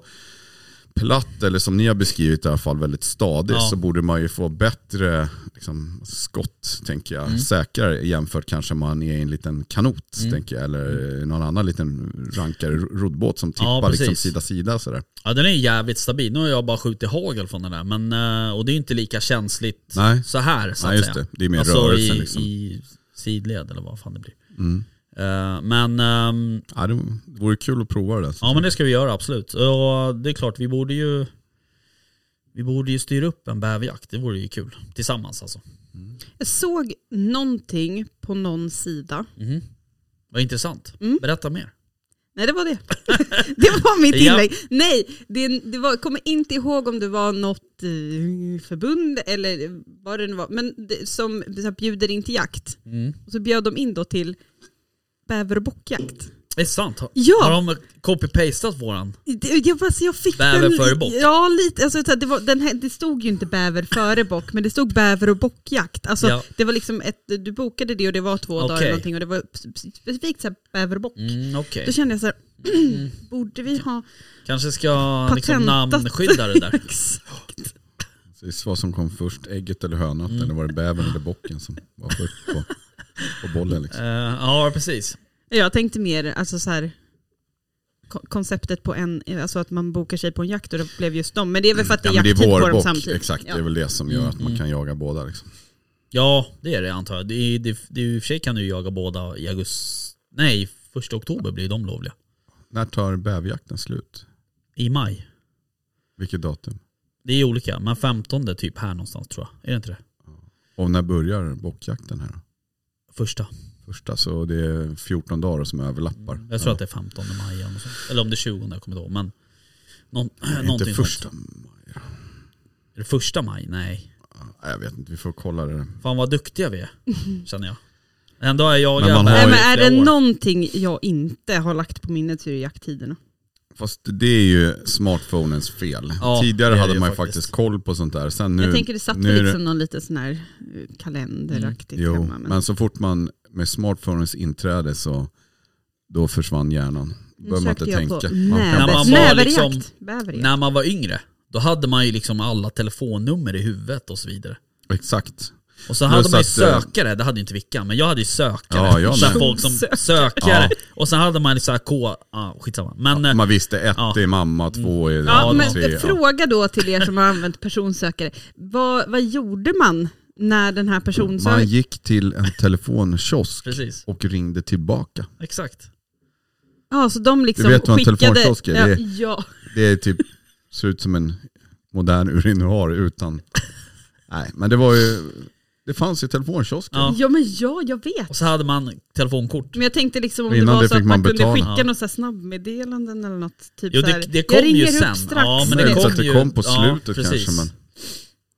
[SPEAKER 4] platt, eller som ni har beskrivit i alla fall, väldigt stadig,
[SPEAKER 5] Ja.
[SPEAKER 4] så borde man ju få bättre liksom, skott, tänker jag.
[SPEAKER 6] Mm.
[SPEAKER 4] Säkrare jämfört kanske man är i en liten kanot, tänker jag, eller eh, någon annan liten rankare roddbåt som tippar liksom
[SPEAKER 5] precis.
[SPEAKER 4] sida sida sådär.
[SPEAKER 5] Ja den är jävligt stabil. Nu har jag bara skjutit hagel från den där. Men, eh, och det är inte lika känsligt
[SPEAKER 4] Nej.
[SPEAKER 5] så här så att
[SPEAKER 4] Nej, just
[SPEAKER 5] säga. Alltså,
[SPEAKER 4] det. Det är mer rörelsen,
[SPEAKER 5] i,
[SPEAKER 4] liksom. Mm.
[SPEAKER 5] i sidled eller vad fan det blir. Eh, men, ehm,
[SPEAKER 4] Ja, det vore kul att prova det. där.
[SPEAKER 5] ja men det ska vi göra absolut. Och det är klart vi borde ju vi borde ju styra upp en bäverjakt. Det vore ju kul. Tillsammans alltså.
[SPEAKER 6] Jag såg någonting på någon sida.
[SPEAKER 5] Vad intressant.
[SPEAKER 6] Mm.
[SPEAKER 5] Berätta mer.
[SPEAKER 6] Nej det var det. det var mitt
[SPEAKER 5] Ja.
[SPEAKER 6] inlägg. Nej, det, det var, jag kommer inte ihåg om det var något eh, förbund eller vad det nu var. Men det, som så här, bjuder in till jakt. Och så bjöd de in då till bäver och bockjakt.
[SPEAKER 5] Det är sant. Har,
[SPEAKER 6] Ja.
[SPEAKER 5] har de copy-pastat våran?
[SPEAKER 6] Det, jag, alltså, jag fick
[SPEAKER 5] Bäver
[SPEAKER 6] den,
[SPEAKER 5] före bock.
[SPEAKER 6] Ja, lite. Alltså, så här, det, var, den här, det stod ju inte bäver före bock, men det stod bäver och bockjakt. Alltså,
[SPEAKER 5] Ja.
[SPEAKER 6] det var liksom ett, du bokade det och det var två dagar
[SPEAKER 5] Okej.
[SPEAKER 6] eller någonting och det var specifikt så här, bäver och bock.
[SPEAKER 5] Mm, Okej.
[SPEAKER 6] Då kände jag så här, borde vi ha
[SPEAKER 5] Kanske ska liksom
[SPEAKER 6] Patentat.
[SPEAKER 5] namnskydda det där.
[SPEAKER 4] Precis vad som kom först, ägget eller hönan,
[SPEAKER 6] Mm.
[SPEAKER 4] eller var det bävern eller bocken som var först på, på bollen liksom.
[SPEAKER 5] Eh, ja precis.
[SPEAKER 6] Jag tänkte mer alltså så här, ko- konceptet på en, alltså att man bokar sig på en jakt och det blev just dem. Men det är väl för att det är
[SPEAKER 4] Mm. men det är
[SPEAKER 6] jakttid på dem
[SPEAKER 4] vårbock,
[SPEAKER 6] samtidigt.
[SPEAKER 4] exakt.
[SPEAKER 6] Ja. Mm,
[SPEAKER 4] Det är väl det som gör att man kan jaga båda liksom.
[SPEAKER 5] Ja, det är det antar jag. Det, är- det, det, I och för sig kan du jaga båda i augusti. Nej, första oktober blir de lovliga.
[SPEAKER 4] När tar bävjakten slut?
[SPEAKER 5] I maj.
[SPEAKER 4] Vilket datum?
[SPEAKER 5] Det är olika, men 15 typ här någonstans tror jag. Är det inte det?
[SPEAKER 4] Och när börjar bockjakten här då?
[SPEAKER 5] Första.
[SPEAKER 4] Första, så det är 14 dagar som överlappar.
[SPEAKER 5] Jag tror att det är 15 maj eller något sånt. Eller om det är 20 jag kommer inte ihåg. Men någon,
[SPEAKER 4] Inte
[SPEAKER 5] någonting
[SPEAKER 4] första
[SPEAKER 5] Sånt.
[SPEAKER 4] maj. då.
[SPEAKER 5] Är det första maj? Nej.
[SPEAKER 4] Nej, ah, Jag vet inte, vi får kolla det. där.
[SPEAKER 5] Fan vad duktiga vi är, känner jag. Ändå har jag
[SPEAKER 4] Men man
[SPEAKER 5] jagat
[SPEAKER 6] Nej,
[SPEAKER 4] har
[SPEAKER 5] bär
[SPEAKER 4] ju
[SPEAKER 5] i
[SPEAKER 6] men är
[SPEAKER 5] flera
[SPEAKER 6] det
[SPEAKER 5] år.
[SPEAKER 6] någonting jag inte har lagt på minnet så är det jakttiderna.
[SPEAKER 4] Fast det är ju smartphonens fel.
[SPEAKER 5] Ja,
[SPEAKER 4] Tidigare
[SPEAKER 5] det är det
[SPEAKER 4] hade
[SPEAKER 5] ju
[SPEAKER 4] man ju
[SPEAKER 5] faktiskt.
[SPEAKER 4] faktiskt. koll på sånt där. Sen nu,
[SPEAKER 6] jag tänker det satt
[SPEAKER 4] nu är
[SPEAKER 6] väl
[SPEAKER 4] det- Mm,
[SPEAKER 6] liksom någon liten sån här eh, kalenderaktigt
[SPEAKER 4] Jo,
[SPEAKER 6] hemma.
[SPEAKER 4] men... så fort man med smartphonens inträde så då försvann hjärnan.
[SPEAKER 6] Nu
[SPEAKER 4] Behöver man
[SPEAKER 6] sökte
[SPEAKER 4] inte
[SPEAKER 6] jag på
[SPEAKER 4] tänka.
[SPEAKER 5] När
[SPEAKER 6] näver,
[SPEAKER 5] man var
[SPEAKER 6] näverjakt.
[SPEAKER 5] liksom-
[SPEAKER 6] Bäverjakt.
[SPEAKER 5] När man var yngre, då hade man ju liksom alla telefonnummer i huvudet och så vidare.
[SPEAKER 4] Exakt.
[SPEAKER 5] Och så hade
[SPEAKER 4] Plus
[SPEAKER 5] man ju
[SPEAKER 4] att, eh,
[SPEAKER 5] sökare, det hade ju inte Vickan, men jag hade ju sökare.
[SPEAKER 4] Ja, jag
[SPEAKER 5] så här
[SPEAKER 4] med.
[SPEAKER 5] folk som sökare. Och sen hade man ju så här K, ah, skitsamma. Men, eh,
[SPEAKER 4] Man visste ett
[SPEAKER 5] Ja.
[SPEAKER 4] är mamma, två är
[SPEAKER 6] Mm. Ja, men
[SPEAKER 4] tre. ja.
[SPEAKER 6] fråga då till er som har använt personsökare. Vad, vad gjorde man när den här
[SPEAKER 4] Man
[SPEAKER 6] personsökaren...
[SPEAKER 4] gick till en telefonkiosk
[SPEAKER 5] eh, precis,
[SPEAKER 4] och ringde tillbaka.
[SPEAKER 5] exakt.
[SPEAKER 6] Ja, så de liksom
[SPEAKER 4] Du vet vad en
[SPEAKER 6] skickade...
[SPEAKER 4] telefonkiosk är,
[SPEAKER 6] ja,
[SPEAKER 4] det är-
[SPEAKER 6] ja.
[SPEAKER 4] Det är typ, ser ut som en modern urinuar utan... Nej, men det var ju... Det fanns ju telefonkiosker.
[SPEAKER 5] Ja.
[SPEAKER 6] ja, men ja, jag vet.
[SPEAKER 5] Och så hade man telefonkort.
[SPEAKER 6] Men jag tänkte liksom om
[SPEAKER 4] Innan
[SPEAKER 6] det var
[SPEAKER 4] det
[SPEAKER 6] så
[SPEAKER 4] fick
[SPEAKER 6] att man,
[SPEAKER 4] man
[SPEAKER 6] kunde
[SPEAKER 4] betala.
[SPEAKER 6] skicka
[SPEAKER 5] Ja.
[SPEAKER 6] något så här snabbmeddelanden eller något. Typ
[SPEAKER 5] Jo,
[SPEAKER 6] så
[SPEAKER 5] det-
[SPEAKER 6] här,
[SPEAKER 5] det kom
[SPEAKER 6] jag ringer
[SPEAKER 5] ju
[SPEAKER 6] upp
[SPEAKER 5] sen.
[SPEAKER 6] strax.
[SPEAKER 5] Ja, men
[SPEAKER 4] Men det
[SPEAKER 5] kom
[SPEAKER 4] så att det
[SPEAKER 5] ju-
[SPEAKER 4] kom på
[SPEAKER 5] ja,
[SPEAKER 4] slutet
[SPEAKER 5] precis.
[SPEAKER 4] kanske.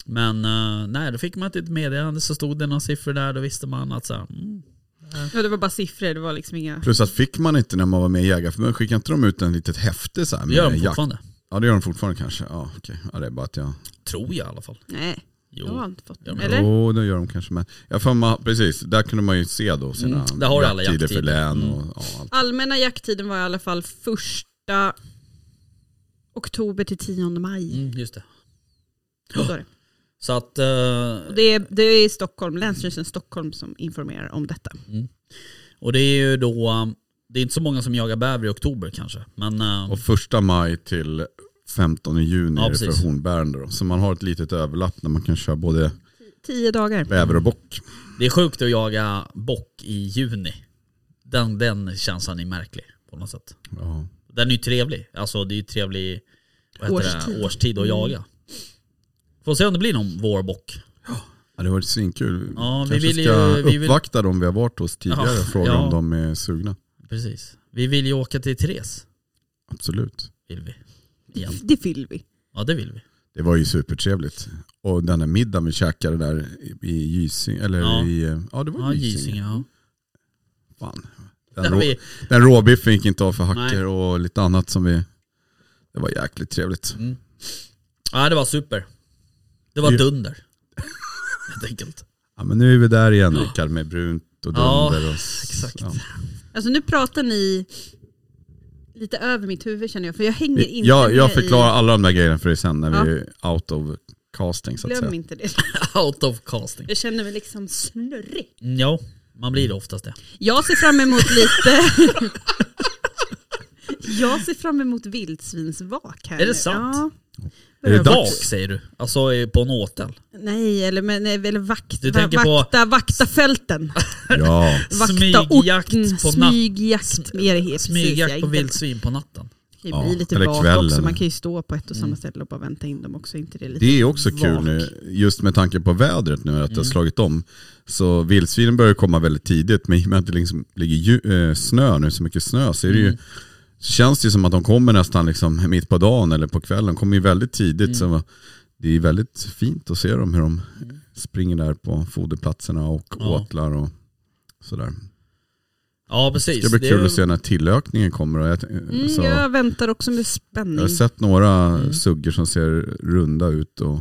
[SPEAKER 4] Men,
[SPEAKER 5] Men eh, nej, då fick man inte ett meddelande så stod det några siffror där, då visste man att så här, mm,
[SPEAKER 6] Ja, det var bara siffror, det var liksom inga...
[SPEAKER 4] plus att fick man inte när man var med i Jägarförbundet, skickade inte de ut en litet häfte så här
[SPEAKER 5] det
[SPEAKER 4] med
[SPEAKER 5] gör de
[SPEAKER 4] Eh, jakt?
[SPEAKER 5] fortfarande.
[SPEAKER 4] Ja det gör de fortfarande kanske. Ja, okej. ja, det är bara att jag...
[SPEAKER 5] Tror jag i alla fall.
[SPEAKER 6] Nej,
[SPEAKER 5] Jo.
[SPEAKER 6] jag har inte fått
[SPEAKER 5] Ja,
[SPEAKER 6] dem.
[SPEAKER 5] men-
[SPEAKER 6] Eller?
[SPEAKER 4] Jo det gör de kanske. Men jag får man, precis, där kunde man ju se då sina
[SPEAKER 5] Mm, där har du alla
[SPEAKER 4] jakttider för
[SPEAKER 5] jakttider.
[SPEAKER 4] län
[SPEAKER 5] Mm.
[SPEAKER 4] och ja, allt.
[SPEAKER 6] Allmänna jakttiden var i alla fall första oktober till 10 maj.
[SPEAKER 5] Mm, just det.
[SPEAKER 4] Mm.
[SPEAKER 6] Så står det.
[SPEAKER 5] Så att, eh,
[SPEAKER 6] Och det, är, det är Stockholm, Länsstyrelsen Stockholm som informerar om detta.
[SPEAKER 5] och det är ju då, eh, det är inte så många som jagar bäver i oktober kanske. Men eh,
[SPEAKER 4] Och första maj till 15 juni
[SPEAKER 5] Ja,
[SPEAKER 4] är det
[SPEAKER 5] precis.
[SPEAKER 4] för hornbärande då. Så man har ett litet överlapp när man kan köra både
[SPEAKER 6] Tio dagar.
[SPEAKER 4] bäver och bock.
[SPEAKER 5] det är sjukt att jaga bock i juni. Den, den känslan är märklig på något sätt.
[SPEAKER 4] Ja.
[SPEAKER 5] Den är ju trevlig. Alltså det är ju trevlig vad heter
[SPEAKER 6] Årstid.
[SPEAKER 5] Det? årstid att jaga. Får se om det blir någon vårbock.
[SPEAKER 4] Ja, det var svinkul.
[SPEAKER 5] Ja, vi
[SPEAKER 4] Kanske
[SPEAKER 5] vill ju-
[SPEAKER 4] ska
[SPEAKER 5] vi vill-
[SPEAKER 4] uppvakta dem vi har varit hos tidigare
[SPEAKER 5] Ja,
[SPEAKER 4] och fråga
[SPEAKER 5] ja.
[SPEAKER 4] om de är sugna.
[SPEAKER 5] Precis. Vi vill ju åka till Therese.
[SPEAKER 4] Absolut.
[SPEAKER 5] Vill vi.
[SPEAKER 6] Det,
[SPEAKER 5] Igen.
[SPEAKER 6] det fyller vi.
[SPEAKER 5] Ja det vill vi.
[SPEAKER 4] Det var ju supertrevligt. Och den där middagen vi käkade där i- i Gysinge, eller
[SPEAKER 5] Ja.
[SPEAKER 4] i, eh, ja det var
[SPEAKER 5] Ja
[SPEAKER 4] Gysinge.
[SPEAKER 5] Gysinge ja.
[SPEAKER 4] Fan.
[SPEAKER 5] Där
[SPEAKER 4] Den, rå,
[SPEAKER 5] vi,
[SPEAKER 4] den råbiffen gick inte av för
[SPEAKER 5] Nej.
[SPEAKER 4] hacker och lite annat som vi, det var jäkligt trevligt.
[SPEAKER 5] ja det var super. Det var
[SPEAKER 4] Ja.
[SPEAKER 5] dunder. Helt enkelt.
[SPEAKER 4] Ja men nu är vi där igen Rickard med brunt och
[SPEAKER 5] Ja,
[SPEAKER 4] dunder och s-
[SPEAKER 5] exakt.
[SPEAKER 4] Ja.
[SPEAKER 6] Alltså nu pratar ni lite över mitt huvud känner jag, för jag hänger inte
[SPEAKER 4] Jag, jag
[SPEAKER 6] med
[SPEAKER 4] förklarar
[SPEAKER 6] i...
[SPEAKER 4] alla de där grejerna för dig sen när vi är out of casting så att
[SPEAKER 6] Glöm
[SPEAKER 4] säga.
[SPEAKER 6] inte det.
[SPEAKER 5] Out of casting.
[SPEAKER 6] Jag känner mig liksom snurrig.
[SPEAKER 5] Mm, Ja, man blir det oftast det.
[SPEAKER 6] Jag ser fram emot lite... jag ser fram emot vildsvinsvak här
[SPEAKER 5] Är det
[SPEAKER 6] nu.
[SPEAKER 5] sant?
[SPEAKER 6] Ja.
[SPEAKER 4] Är det
[SPEAKER 5] Vak
[SPEAKER 4] dags?
[SPEAKER 5] säger du. Alltså eh, på en åtel.
[SPEAKER 6] Nej, eller, men, nej, eller vakt,
[SPEAKER 5] Du
[SPEAKER 6] va,
[SPEAKER 5] tänker på-
[SPEAKER 6] vakta, vakta fälten.
[SPEAKER 4] Ja,
[SPEAKER 6] Vakta
[SPEAKER 5] Smygjakt
[SPEAKER 6] orten,
[SPEAKER 5] på natt-
[SPEAKER 6] Smygjakt med det heter. precis, jag
[SPEAKER 5] Smygjakt på
[SPEAKER 6] inte-
[SPEAKER 5] vildsvin på natten.
[SPEAKER 6] Det kan
[SPEAKER 4] Ja,
[SPEAKER 6] ju bli lite
[SPEAKER 4] eller
[SPEAKER 6] vak
[SPEAKER 4] kvällen.
[SPEAKER 6] också, man kan ju stå på ett och samma
[SPEAKER 5] Mm.
[SPEAKER 6] ställe och bara vänta in dem också. Inte det är lite...
[SPEAKER 4] det är också kul
[SPEAKER 6] Vak.
[SPEAKER 4] nu, just med tanke på vädret nu, att
[SPEAKER 5] Mm.
[SPEAKER 4] det har slagit om. Så vildsvinen börjar komma väldigt tidigt, men i och med att det liksom ligger ju, eh, snö nu, så mycket snö, så är det
[SPEAKER 5] Mm.
[SPEAKER 4] ju, så känns det ju som att de kommer nästan liksom mitt på dagen eller på kvällen. De kommer ju väldigt
[SPEAKER 5] Mm.
[SPEAKER 4] tidigt, så det är väldigt fint att se dem hur de springer där på foderplatserna och
[SPEAKER 5] Ja.
[SPEAKER 4] åtlar och sådär.
[SPEAKER 5] Ja
[SPEAKER 4] Det
[SPEAKER 5] precis.
[SPEAKER 4] ska bli
[SPEAKER 5] är
[SPEAKER 4] kul
[SPEAKER 5] ju-
[SPEAKER 4] att se när tillökningen kommer. och Jag,
[SPEAKER 6] Mm,
[SPEAKER 4] så,
[SPEAKER 6] Jag väntar också med
[SPEAKER 4] alltså- jag
[SPEAKER 6] spänning.
[SPEAKER 4] har sett några suggor som ser runda ut och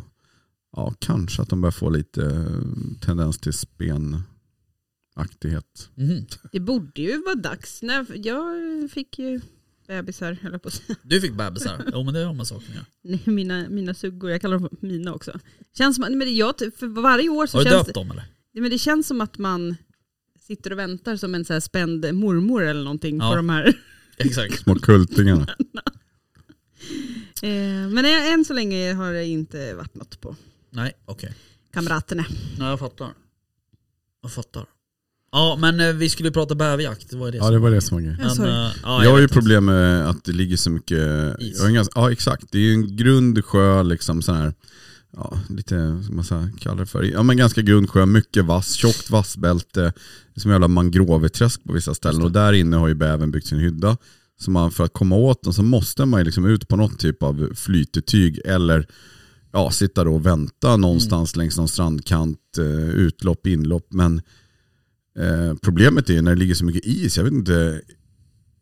[SPEAKER 4] ja, kanske att de börjar få lite eh, tendens till spenaktighet.
[SPEAKER 5] Mhm.
[SPEAKER 6] Det borde ju vara dags. När jag fick ju bebisar, höll jag på att säga.
[SPEAKER 5] Du fick bebisar. Jo men det har man saker att göra.
[SPEAKER 6] Nej, mina, mina suggor, jag kallar dem för mina också. Känns som, att- men det- jag, för varje år så
[SPEAKER 5] Har du
[SPEAKER 6] känns
[SPEAKER 5] döpt
[SPEAKER 6] det,
[SPEAKER 5] dem eller?
[SPEAKER 6] Nej, men det känns som att man sitter och väntar som en så här spänd mormor eller någonting
[SPEAKER 5] Ja.
[SPEAKER 6] på de här.
[SPEAKER 5] Exakt.
[SPEAKER 4] Små kultingarna.
[SPEAKER 6] Eh, men ä- än så länge har det inte varit något på
[SPEAKER 5] Nej okej.
[SPEAKER 6] kamraterna.
[SPEAKER 5] Nej jag fattar. Jag fattar. Ja men eh, vi skulle ju prata bäverjakt, det var ju det
[SPEAKER 4] Ja det var det som var grejen.
[SPEAKER 6] Ja, sorry.
[SPEAKER 5] eh, ja,
[SPEAKER 4] Jag har
[SPEAKER 5] vet
[SPEAKER 4] ju
[SPEAKER 5] inte.
[SPEAKER 4] problem med att det ligger så mycket
[SPEAKER 5] Is.
[SPEAKER 4] Jag har inga, ja exakt, det är ju en grund sjö liksom sån här, ja lite, vad ska man säga, kallar det för, ja men ganska grund sjö, mycket vass, tjockt vassbälte, det är som jävla mangroveträsk på vissa ställen och där inne har ju bävern byggt sin hydda. Så man, för att komma åt den så måste man ju liksom ut på något typ av flytetyg eller ja, sitta då och vänta någonstans
[SPEAKER 5] Mm.
[SPEAKER 4] längs någon strandkant, eh, utlopp, inlopp. Men eh, problemet är ju när det ligger så mycket is, jag vet inte,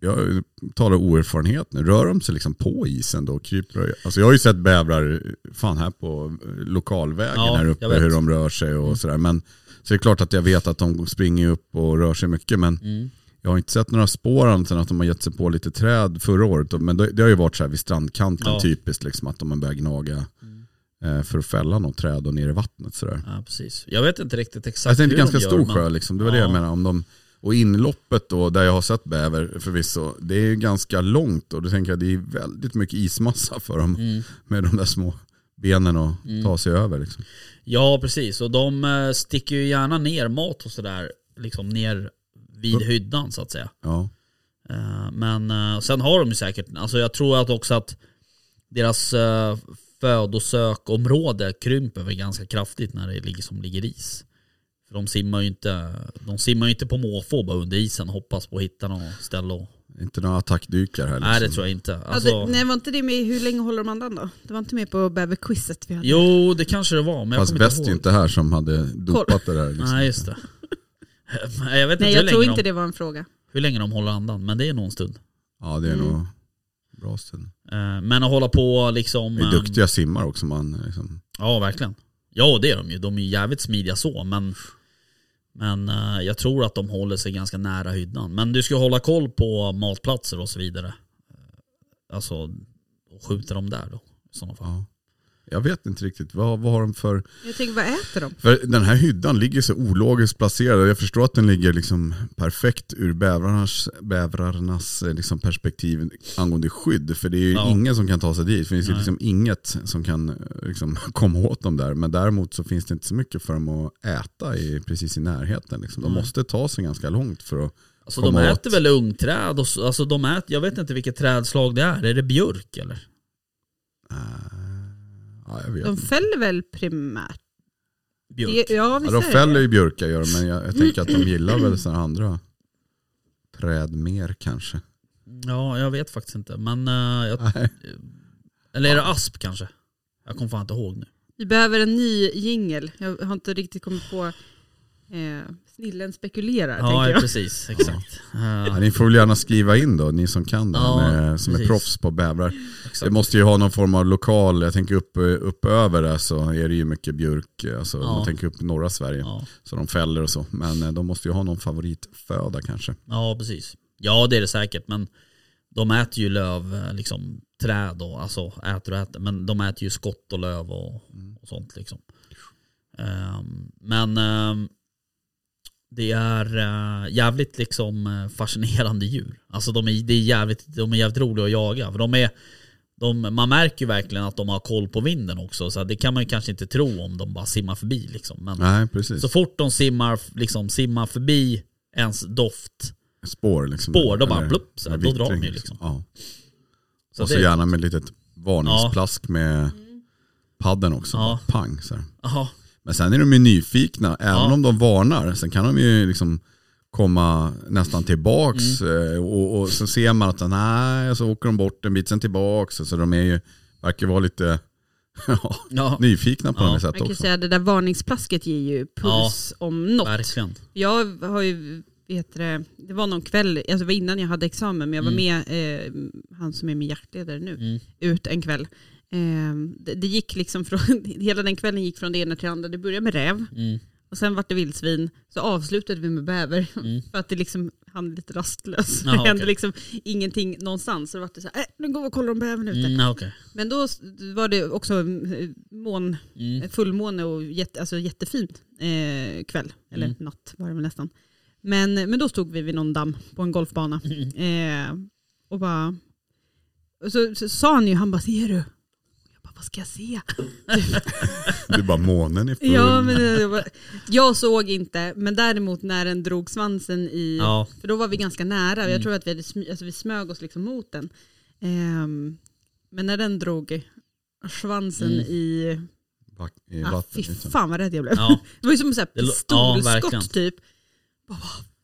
[SPEAKER 4] jag talar oerfarenhet nu, rör de sig liksom på isen då? Kryper, alltså jag har ju sett bävrar, fan här på eh, lokalvägen
[SPEAKER 5] Ja,
[SPEAKER 4] här uppe,
[SPEAKER 5] jag vet. Mm.
[SPEAKER 4] hur de rör sig och sådär. Men, så det är klart att jag vet att de springer upp och rör sig mycket, men
[SPEAKER 5] Mm.
[SPEAKER 4] jag har inte sett några spår annat än att de har gett sig på lite träd förra året. Men det, det har ju varit så här vid strandkanten
[SPEAKER 5] Ja. Mm.
[SPEAKER 4] typiskt, liksom, att de har börjat gnaga eh, för att fälla något träd och ner i vattnet. Sådär.
[SPEAKER 5] Ja, precis. Jag vet inte riktigt exakt
[SPEAKER 4] Jag tänkte
[SPEAKER 5] hur de
[SPEAKER 4] ganska
[SPEAKER 5] gör,
[SPEAKER 4] stor
[SPEAKER 5] men-
[SPEAKER 4] sjö liksom, det var det jag
[SPEAKER 5] Ja.
[SPEAKER 4] menade. Om de, och inloppet då, där jag har sett bäver förvisso, det är ju ganska långt och då tänker jag det är väldigt mycket ismassa för dem
[SPEAKER 5] Mm.
[SPEAKER 4] med de där små benen och ta sig över. Liksom.
[SPEAKER 5] Ja, precis. Och de eh, sticker ju gärna ner mat och sådär, liksom ner vid
[SPEAKER 4] Mm.
[SPEAKER 5] hyddan så att säga.
[SPEAKER 4] Ja.
[SPEAKER 5] Eh, Men eh, sen har de ju säkert, alltså jag tror att också att deras eh, födosökområde krymper väl ganska kraftigt när det ligger som ligger is. För de simmar ju inte, de simmar ju inte på måfå bara under isen och hoppas på att hitta något ställe och,
[SPEAKER 4] Inte några attackdykar här. Liksom.
[SPEAKER 5] Nej det tror jag inte. Alltså,
[SPEAKER 6] ja, det, nej, var inte det med hur länge håller de andan då? Det var inte med på bäverquizet vi hade.
[SPEAKER 5] Jo det kanske det var men jag
[SPEAKER 4] Fast
[SPEAKER 5] kommer
[SPEAKER 4] väst
[SPEAKER 5] inte ihåg.
[SPEAKER 4] är ju inte här som hade dopat det där. Liksom.
[SPEAKER 5] Nej just det. Nej, jag vet
[SPEAKER 6] nej,
[SPEAKER 5] inte, hur,
[SPEAKER 6] jag tror
[SPEAKER 5] länge
[SPEAKER 6] inte
[SPEAKER 5] de,
[SPEAKER 6] det var en fråga.
[SPEAKER 5] hur länge de håller andan men det är någon stund.
[SPEAKER 4] Ja det är
[SPEAKER 6] Mm.
[SPEAKER 4] nog bra stund.
[SPEAKER 5] Eh, Men att hålla på liksom...
[SPEAKER 4] Det är
[SPEAKER 5] ehm,
[SPEAKER 4] duktiga simmar också. Man, liksom.
[SPEAKER 5] Ja, verkligen. Ja, det är de ju. De är ju jävligt smidiga så, men, men eh, jag tror att de håller sig ganska nära hyddan. Men du ska hålla koll på matplatser och så vidare. Eh, Alltså, och skjuta dem där då. I sådana fall.
[SPEAKER 4] ja. Jag vet inte riktigt, vad, vad har de för...
[SPEAKER 6] Jag tänker, vad äter de?
[SPEAKER 4] För den här hyddan ligger så ologiskt placerad. Jag förstår att den ligger liksom perfekt ur bävrarnas, bävrarnas eh, liksom perspektiv angående skydd. För det är ju
[SPEAKER 5] Ja.
[SPEAKER 4] ingen som kan ta sig dit. För det finns ju
[SPEAKER 5] Nej.
[SPEAKER 4] liksom inget som kan eh, liksom, komma åt dem där. Men däremot så finns det inte så mycket för dem att äta i, precis i närheten. Liksom. De
[SPEAKER 5] Nej.
[SPEAKER 4] måste ta sig ganska långt för att...
[SPEAKER 5] Alltså de
[SPEAKER 4] Komma åt.
[SPEAKER 5] äter väl ungträd och så, alltså de äter, jag vet inte vilket trädslag det är. Är det björk eller?
[SPEAKER 4] Äh, ja, jag vet
[SPEAKER 6] De
[SPEAKER 4] inte.
[SPEAKER 6] fäller väl primärt?
[SPEAKER 5] Björk.
[SPEAKER 6] Det, ja,
[SPEAKER 4] Ja,
[SPEAKER 6] visst
[SPEAKER 4] de
[SPEAKER 6] är det
[SPEAKER 4] fäller
[SPEAKER 6] det.
[SPEAKER 4] ju björkar gör de, men jag, jag tänker att de gillar väl sådana andra träd mer kanske.
[SPEAKER 5] Ja, jag vet faktiskt inte. Men, eh, jag,
[SPEAKER 4] Nej.
[SPEAKER 5] eller är det asp kanske? Jag kommer fan inte ihåg nu.
[SPEAKER 6] Vi behöver en ny jingel. Jag har inte riktigt kommit på. Eh, snillen spekulerar,
[SPEAKER 5] Ja,
[SPEAKER 6] tänker jag.
[SPEAKER 5] precis. Exakt. Eh,
[SPEAKER 4] Ja, ni får väl gärna skriva in då, ni som kan det, här
[SPEAKER 5] Ja,
[SPEAKER 4] med, som är
[SPEAKER 5] precis.
[SPEAKER 4] proffs på bävrar. Det
[SPEAKER 5] exakt.
[SPEAKER 4] måste ju ha någon form av lokal, jag tänker upp, upp över där så är det ju mycket björk, alltså, om
[SPEAKER 5] Ja.
[SPEAKER 4] man tänker upp norra Sverige,
[SPEAKER 5] Ja.
[SPEAKER 4] så de fäller och så. Men eh, de måste ju ha någon favoritföda kanske.
[SPEAKER 5] Ja, precis. Ja, det är det säkert, men de äter ju löv, eh, liksom träd och alltså äter och äter, men de äter ju skott och löv och, och sånt liksom. Ehm, men ehm, det är eh, jävligt liksom eh, fascinerande djur. Alltså de är, det är jävligt, de är jävligt roliga att jaga. För de är, de, man märker ju verkligen att de har koll på vinden också. Så det kan man ju kanske inte tro om de bara simmar förbi liksom. Men
[SPEAKER 4] Nej, precis.
[SPEAKER 5] så fort de simmar, liksom, simmar förbi ens doft
[SPEAKER 4] Spår liksom.
[SPEAKER 5] Spår, då bara
[SPEAKER 4] Eller-
[SPEAKER 5] plupp, så här,
[SPEAKER 4] eller
[SPEAKER 5] då drar de
[SPEAKER 4] vittring,
[SPEAKER 5] ju liksom.
[SPEAKER 4] Ja.
[SPEAKER 5] Så
[SPEAKER 4] och så
[SPEAKER 5] det-
[SPEAKER 4] gärna med litet varningsplask med padden också.
[SPEAKER 5] Ja.
[SPEAKER 4] Pang så här.
[SPEAKER 5] Ja,
[SPEAKER 4] Men sen är de ju nyfikna, även
[SPEAKER 5] Ja.
[SPEAKER 4] om de varnar. Sen kan de ju liksom komma nästan tillbaks
[SPEAKER 5] Mm.
[SPEAKER 4] eh, och, och så ser man att nej, så åker de bort en bit, sen tillbaks. Så de är ju, verkar vara lite ja,
[SPEAKER 5] ja
[SPEAKER 4] nyfikna på
[SPEAKER 5] Ja.
[SPEAKER 4] något
[SPEAKER 6] Man
[SPEAKER 4] sätt
[SPEAKER 6] kan ju
[SPEAKER 4] också.
[SPEAKER 6] säga att det där varningsplasket ger ju puls om något.
[SPEAKER 5] verkligen.
[SPEAKER 6] Jag har ju, vet det, det var någon kväll, alltså det var innan jag hade examen, men jag var med eh, han som är min jaktledare nu,
[SPEAKER 5] Mm.
[SPEAKER 6] ut en kväll. Eh, det, det gick liksom från, hela den kvällen gick från det ena till det andra. Det började med räv
[SPEAKER 5] Mm.
[SPEAKER 6] och sen vart det vildsvin. Så avslutade vi med bäver för att det liksom, han är lite rastlös.
[SPEAKER 5] Jaha,
[SPEAKER 6] det hände
[SPEAKER 5] Mm. okej.
[SPEAKER 6] liksom ingenting någonstans. Så det vart det så här, äh, nu går vi och kollar om bävern är ute.
[SPEAKER 5] Mm, okej.
[SPEAKER 6] Men då s- var det också eh, mån, eh,
[SPEAKER 5] Mm.
[SPEAKER 6] fullmåne och jätte, alltså jättefint eh, kväll, eller
[SPEAKER 5] Mm.
[SPEAKER 6] natt var det väl nästan. Men, men då stod vi vid någon damm på en golfbana eh, och bara, och så, så sa han ju, han bara ser du? Jag bara vad ska jag se?
[SPEAKER 4] Du bara månen är
[SPEAKER 5] Mm.
[SPEAKER 4] full.
[SPEAKER 6] Ja, men, jag, bara, jag såg inte, men däremot när den drog svansen i,
[SPEAKER 5] Ja. Mm.
[SPEAKER 6] för då var vi ganska nära, jag tror att vi, hade smy, alltså, vi smög oss liksom mot den. Ehm, men när den drog svansen
[SPEAKER 5] Mm.
[SPEAKER 6] i
[SPEAKER 4] Back, I
[SPEAKER 6] Ah, fy
[SPEAKER 4] vatten, liksom.
[SPEAKER 6] fan vad rädd jag blev.
[SPEAKER 5] Ja,
[SPEAKER 6] Det var ju som så här
[SPEAKER 5] Det lo- ja,
[SPEAKER 6] pistolskott
[SPEAKER 5] verkligen.
[SPEAKER 6] typ. Bara,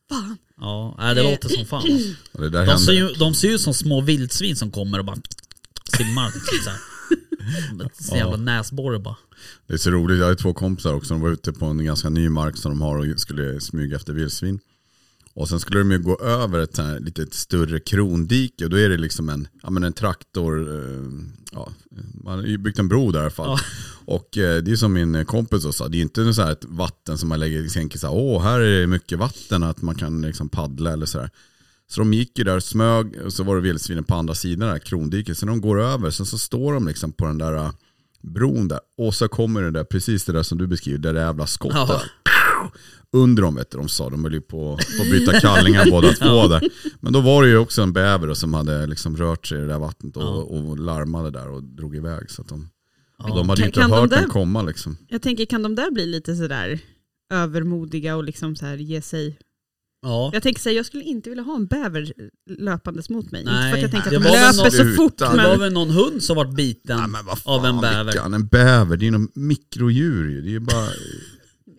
[SPEAKER 6] vad fan.
[SPEAKER 5] ja. Nej, det låter som fan. alltså.
[SPEAKER 4] Och det där
[SPEAKER 5] De ser,
[SPEAKER 4] händer.
[SPEAKER 5] ju, de ser ju ut som små vildsvin som kommer och bara simmar. Liksom, så här. Med sin jävla näsborre bara.
[SPEAKER 4] Det är så roligt, jag hade två kompisar också, de var ute på en ganska ny mark som de har och skulle smyga efter vildsvin. Och sen skulle de ju gå över ett så här lite större krondike och då är det liksom en, ja, men en traktor, eh, ja, man har ju byggt en bro där i alla fall. Och eh, det är som min kompis då sa, det är ju inte så här ett vatten som man lägger i tänker så här, åh här är det mycket vatten att man kan liksom paddla eller så här. Så de gick ju där och smög och så var det vildsvinen på andra sidan där krondiket. Så de går över, sen så står de liksom på den där eh, bron där och så kommer det där, precis det där som du beskriver, det där jävla skottet.
[SPEAKER 5] Ja.
[SPEAKER 4] Under dem vet du, de sa, de höll ju på att få byta kallingar båda två där. Men då var det ju också en bäver då som hade liksom rört sig i det där vattnet och, och larmade där och drog iväg. Så att de, och de hade ju
[SPEAKER 6] Kan-
[SPEAKER 4] inte
[SPEAKER 6] kan de
[SPEAKER 4] hört
[SPEAKER 6] där-
[SPEAKER 4] den komma liksom.
[SPEAKER 6] Jag tänker, kan de där bli lite sådär övermodiga och liksom så här ge sig?
[SPEAKER 5] Ja.
[SPEAKER 6] Jag tänker säga, jag skulle inte vilja ha en bäver löpandes mot mig.
[SPEAKER 5] Nej,
[SPEAKER 6] inte för att jag tänker
[SPEAKER 5] det
[SPEAKER 6] att de
[SPEAKER 5] var väl
[SPEAKER 6] löper
[SPEAKER 5] något-
[SPEAKER 6] så fort.
[SPEAKER 4] Utan-
[SPEAKER 5] Det var
[SPEAKER 6] Men,
[SPEAKER 5] väl någon hund som vart biten
[SPEAKER 4] Nej, men vad fan,
[SPEAKER 5] av en bäver.
[SPEAKER 4] Vickan, en bäver, det är ju något mikrodjur ju. Det är ju bara...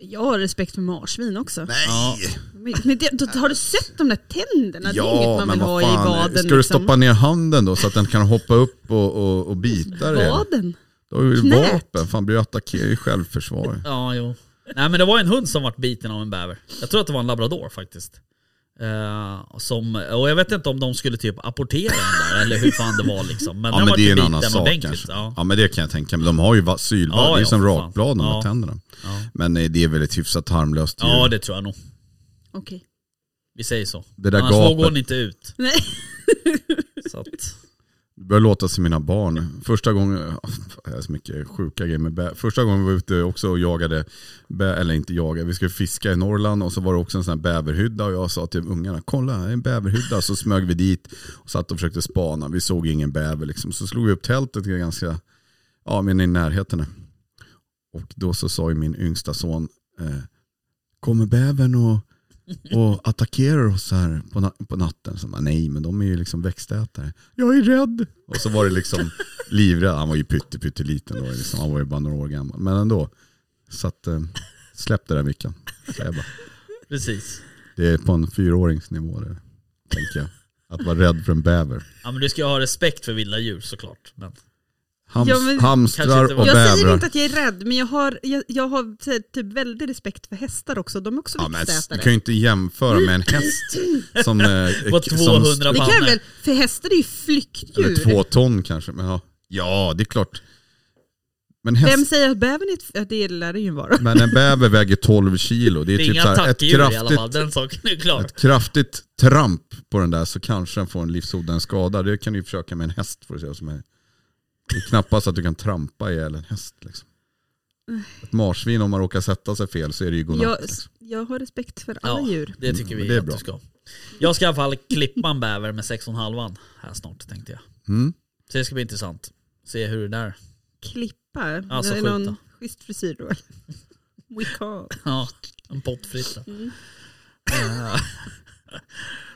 [SPEAKER 6] jag har respekt för marsvin också.
[SPEAKER 5] Ja.
[SPEAKER 6] Men, men det, då, har du sett de där tänderna? det är inget
[SPEAKER 4] Ja,
[SPEAKER 6] man
[SPEAKER 4] men
[SPEAKER 6] vill ha
[SPEAKER 4] vad
[SPEAKER 6] i
[SPEAKER 4] fan.
[SPEAKER 6] vaden. liksom.
[SPEAKER 4] Ska du stoppa ner handen då så att den kan hoppa upp och, och, och bita dig?
[SPEAKER 6] vaden?
[SPEAKER 4] Då har du ju
[SPEAKER 6] Knät.
[SPEAKER 4] vapen, fan blir du attackerad i självförsvar.
[SPEAKER 5] Ja, jo. Nej men det var en hund som vart biten av en bäver. Jag tror att det var en labrador faktiskt. Eh, som, och jag vet inte om de skulle typ apportera den där eller hur fan det var liksom. Men
[SPEAKER 4] Ja
[SPEAKER 5] den
[SPEAKER 4] men
[SPEAKER 5] vart
[SPEAKER 4] det är
[SPEAKER 5] ju
[SPEAKER 4] en
[SPEAKER 5] biten
[SPEAKER 4] annan sak
[SPEAKER 5] ordentligt.
[SPEAKER 4] kanske. Ja.
[SPEAKER 5] liksom. Ja.
[SPEAKER 4] men det kan jag tänka mig. De har ju va- sylvadd,
[SPEAKER 5] Ja,
[SPEAKER 4] det är
[SPEAKER 5] ja,
[SPEAKER 4] som
[SPEAKER 5] för fan.
[SPEAKER 4] rakbladen
[SPEAKER 5] Ja.
[SPEAKER 4] med tänderna.
[SPEAKER 5] Ja.
[SPEAKER 4] Men eh, det är väl ett hyfsat harmlöst djur.
[SPEAKER 5] ja det tror jag nog.
[SPEAKER 6] Okej.
[SPEAKER 5] Vi säger så.
[SPEAKER 4] Det där
[SPEAKER 5] Annars
[SPEAKER 4] gapet.
[SPEAKER 5] vågar hon inte ut.
[SPEAKER 6] Nej.
[SPEAKER 5] Så att,
[SPEAKER 4] Det börjar låta som mina barn. Första gången, det är så mycket sjuka grejer med bä. Första gången vi var ute också och jagade, bä, eller inte jagade, vi skulle fiska i Norrland och så var det också en sån här bäverhydda och jag sa till ungarna, kolla här är en bäverhydda. Så smög vi dit och satt och försökte spana, vi såg ingen bäver liksom. Så slog vi upp tältet ganska, ja men i närheten. Och då så sa ju min yngsta son, eh, kommer bävern och och attackerar oss här på, na- på natten. Så man, nej, men de är ju liksom växtätare. Jag är rädd. Och så var det liksom livrädd. Han var ju pytte, pytteliten då. Liksom. Han var ju bara några år gammal. Men ändå. Så att, eh, släpp det där Vickan. säger jag bara.
[SPEAKER 5] precis.
[SPEAKER 4] Det är på en fyraåringsnivå det, tänker jag. Att vara rädd för en bäver.
[SPEAKER 5] Ja men du ska ju ha respekt för vilda djur såklart. Men,
[SPEAKER 4] Hams,
[SPEAKER 6] Ja, men-
[SPEAKER 4] hamstrar
[SPEAKER 5] Kanske inte
[SPEAKER 4] och
[SPEAKER 5] var-
[SPEAKER 6] Jag säger
[SPEAKER 4] bävrar.
[SPEAKER 6] inte att jag är rädd, men jag har, jag, jag har så här, typ väldigt respekt för hästar också. De är också
[SPEAKER 4] Ja, men, s- du
[SPEAKER 6] växtätare.
[SPEAKER 4] kan ju inte jämföra med en häst som... Eh,
[SPEAKER 5] På
[SPEAKER 4] k-
[SPEAKER 5] 200
[SPEAKER 6] det kan jag
[SPEAKER 5] pannor.
[SPEAKER 6] väl, för hästar är ju
[SPEAKER 4] Eller
[SPEAKER 6] flyktdjur.
[SPEAKER 4] två ton kanske. Men, ja. ja, det är klart. Men häst,
[SPEAKER 6] Vem säger att bävern är ett, ja, det lär det ju vara.
[SPEAKER 4] Men en bäver väger 12 kilo. Det är,
[SPEAKER 5] Det är
[SPEAKER 4] typ
[SPEAKER 5] inga
[SPEAKER 4] så här ett,
[SPEAKER 5] attackdjur i alla fall,
[SPEAKER 4] kraftigt,
[SPEAKER 5] den saken är klar.
[SPEAKER 4] ett kraftigt tramp på den där så kanske den får en livshotande skada. Det kan du ju försöka med en häst för att se vad som är. Det är knappast att du kan trampa ihjäl en häst. Liksom. Ett marsvin om man råkar sätta sig fel så är det ju godnatt.
[SPEAKER 6] Jag,
[SPEAKER 4] liksom.
[SPEAKER 6] jag har respekt för alla
[SPEAKER 5] Ja,
[SPEAKER 6] djur.
[SPEAKER 5] det tycker
[SPEAKER 4] Mm,
[SPEAKER 5] vi
[SPEAKER 4] det är
[SPEAKER 5] att
[SPEAKER 4] bra.
[SPEAKER 5] du ska. Jag ska i alla fall klippa en bäver med 6,5 här snart tänkte jag.
[SPEAKER 4] Mm.
[SPEAKER 5] Så det ska bli intressant. Se hur det där...
[SPEAKER 6] Klippa,
[SPEAKER 5] Alltså,
[SPEAKER 6] det är
[SPEAKER 5] skjuta.
[SPEAKER 6] någon schysst frisyr då. We call.
[SPEAKER 5] Ja, en pottfritta.
[SPEAKER 6] Mm.
[SPEAKER 5] Eh,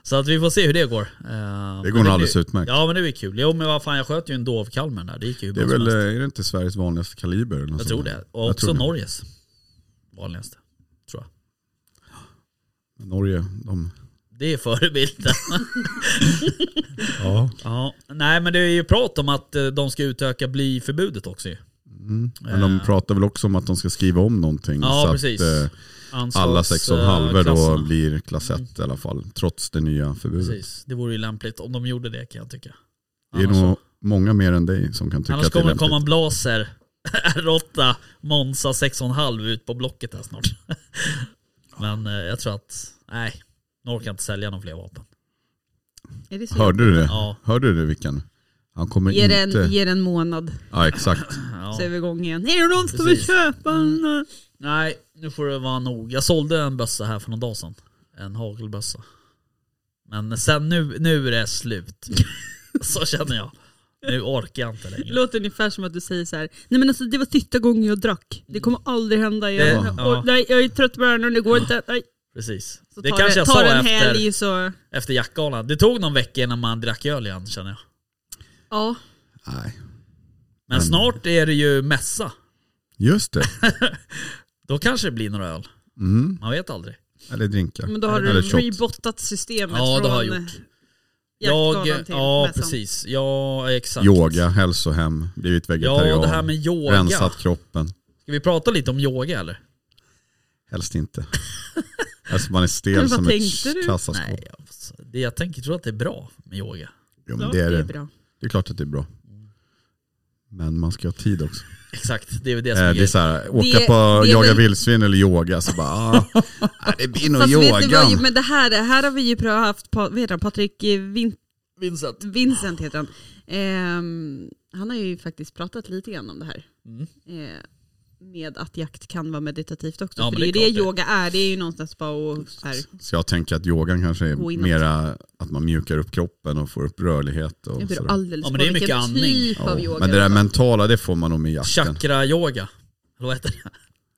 [SPEAKER 5] Så att vi får se hur det går. Eh, men
[SPEAKER 4] Det går nog
[SPEAKER 5] blir-
[SPEAKER 4] alldeles utmärkt.
[SPEAKER 5] Ja men det blir kul. Jo men vad fan jag sköt ju en dovkalv med den där. Det gick ju hur
[SPEAKER 4] det är
[SPEAKER 5] bra som
[SPEAKER 4] väl, eh,
[SPEAKER 5] helst.
[SPEAKER 4] är det inte Sveriges vanligaste kaliber? Eller något
[SPEAKER 5] Jag tror
[SPEAKER 4] sånt där?
[SPEAKER 5] det. Och också
[SPEAKER 4] tror det.
[SPEAKER 5] Norges vanligaste. Tror jag.
[SPEAKER 4] Norge, de...
[SPEAKER 5] Det är förebilden.
[SPEAKER 4] Ja.
[SPEAKER 5] ja. Nej men det är ju prat om att eh, de ska utöka blyförbudet också ju.
[SPEAKER 4] Mm. Men de
[SPEAKER 5] Eh.
[SPEAKER 4] pratar väl också om att de ska skriva om någonting
[SPEAKER 5] Ja,
[SPEAKER 4] så
[SPEAKER 5] precis.
[SPEAKER 4] att eh, alla
[SPEAKER 5] Anslags,
[SPEAKER 4] 6,5
[SPEAKER 5] eh,
[SPEAKER 4] då
[SPEAKER 5] klasserna.
[SPEAKER 4] blir klass 1 i alla fall. Trots det nya förbudet.
[SPEAKER 5] Precis. Det vore ju lämpligt om de gjorde det kan jag tycka.
[SPEAKER 4] Det är
[SPEAKER 5] Annars-
[SPEAKER 4] nog många mer än dig som kan tycka
[SPEAKER 5] Annars
[SPEAKER 4] att det är
[SPEAKER 5] kommer det
[SPEAKER 4] lämpligt.
[SPEAKER 5] komma en blaser R8 Monza 6,5 ut på blocket här snart. Men eh, jag tror att, nej, de orkar inte sälja några fler vapen.
[SPEAKER 6] Är det så?
[SPEAKER 4] Hörde du det?
[SPEAKER 5] Ja.
[SPEAKER 4] Hörde du det Vickan? Han kommer
[SPEAKER 6] Ge
[SPEAKER 4] inte...
[SPEAKER 6] den, ge den en månad
[SPEAKER 4] Ja exakt.
[SPEAKER 5] Ja.
[SPEAKER 6] så är vi igång igen. Är det någon som vill
[SPEAKER 5] Precis. Mm.
[SPEAKER 6] köpa en? eh?
[SPEAKER 5] Nej, nu får det vara nog. Jag sålde en bössa här för någon dag sedan. En hagelbössa. Men sen nu, nu är det slut. Så känner jag. Nu orkar jag inte
[SPEAKER 6] Det
[SPEAKER 5] längre.
[SPEAKER 6] låter ungefär som att du säger så här. nej men alltså det var sista gången jag drack. Det kommer aldrig hända igen.
[SPEAKER 5] Det- ja.
[SPEAKER 6] Och, nej, jag är trött på öronen, det går inte. Nej.
[SPEAKER 5] Precis.
[SPEAKER 6] Så
[SPEAKER 5] det
[SPEAKER 6] tar
[SPEAKER 5] kanske jag
[SPEAKER 6] tar
[SPEAKER 5] sa
[SPEAKER 6] en
[SPEAKER 5] efter,
[SPEAKER 6] helg så,
[SPEAKER 5] efter jackgalan. Det tog någon vecka innan man drack öl igen känner jag.
[SPEAKER 6] ja.
[SPEAKER 4] Nej.
[SPEAKER 5] Men
[SPEAKER 4] Men-
[SPEAKER 5] snart är det ju mässa.
[SPEAKER 4] Just det.
[SPEAKER 5] Då kanske det blir några öl.
[SPEAKER 4] Mm.
[SPEAKER 5] Man vet aldrig.
[SPEAKER 4] Eller drinkar.
[SPEAKER 6] Men då har
[SPEAKER 4] Eller
[SPEAKER 6] du
[SPEAKER 4] shot.
[SPEAKER 6] rebottat systemet
[SPEAKER 5] Ja,
[SPEAKER 6] från
[SPEAKER 5] det har jag gjort.
[SPEAKER 6] jaktgalan
[SPEAKER 5] Jag,
[SPEAKER 6] till
[SPEAKER 5] ja,
[SPEAKER 6] mässan.
[SPEAKER 5] precis. Ja, exakt.
[SPEAKER 4] Yoga, hälsohem, blivit vegetarian.
[SPEAKER 5] Ja, det här med yoga.
[SPEAKER 4] Rensat kroppen.
[SPEAKER 5] Ska vi prata lite om yoga eller?
[SPEAKER 4] Helst inte. Alltså man är stel
[SPEAKER 6] Vad
[SPEAKER 4] som
[SPEAKER 6] tänkte du?
[SPEAKER 4] ett kassaskåp.
[SPEAKER 5] Nej, jag, det, jag tänker, tror att det är bra med yoga.
[SPEAKER 4] Jo,
[SPEAKER 6] Ja,
[SPEAKER 4] men det, är det.
[SPEAKER 6] bra.
[SPEAKER 4] det är klart att det är bra. Men man ska ha tid också.
[SPEAKER 5] Exakt, det är väl det
[SPEAKER 4] Eh,
[SPEAKER 5] som är
[SPEAKER 4] det är
[SPEAKER 5] grejen.
[SPEAKER 4] så här,
[SPEAKER 6] Det
[SPEAKER 4] åka
[SPEAKER 6] är-
[SPEAKER 4] på
[SPEAKER 6] det är
[SPEAKER 4] jaga
[SPEAKER 6] väl-
[SPEAKER 4] vildsvin eller yoga så bara, ah, nej, det blir nog
[SPEAKER 6] Fast vet ni vad,
[SPEAKER 4] yogan.
[SPEAKER 6] men det här, det här har vi ju prövat, haft, Pa- vad heter han, Patrik eh, Vin,
[SPEAKER 5] Vincent.
[SPEAKER 6] Vincent heter han. Ehm, han har ju faktiskt pratat lite grann om det här.
[SPEAKER 5] Mm.
[SPEAKER 6] Eh, med att jakt kan vara meditativt också.
[SPEAKER 5] Ja,
[SPEAKER 6] för
[SPEAKER 5] men
[SPEAKER 6] det är ju
[SPEAKER 5] det
[SPEAKER 6] det
[SPEAKER 5] är klart det.
[SPEAKER 6] yoga är, det är ju någonstans bara att så här,
[SPEAKER 4] Så jag tänker att yogan kanske
[SPEAKER 6] Gå
[SPEAKER 4] är
[SPEAKER 6] inåt.
[SPEAKER 4] mera att man mjukar upp kroppen och får upp rörlighet. Och
[SPEAKER 6] det
[SPEAKER 4] sådär.
[SPEAKER 6] beror alldeles
[SPEAKER 5] Ja, men
[SPEAKER 6] på
[SPEAKER 5] det är mycket
[SPEAKER 6] vilken
[SPEAKER 5] andning.
[SPEAKER 6] typ
[SPEAKER 4] Ja,
[SPEAKER 6] av yoga.
[SPEAKER 4] Men det där mentala det får man nog med jakten.
[SPEAKER 5] Chakra-yoga. Eller vad heter det?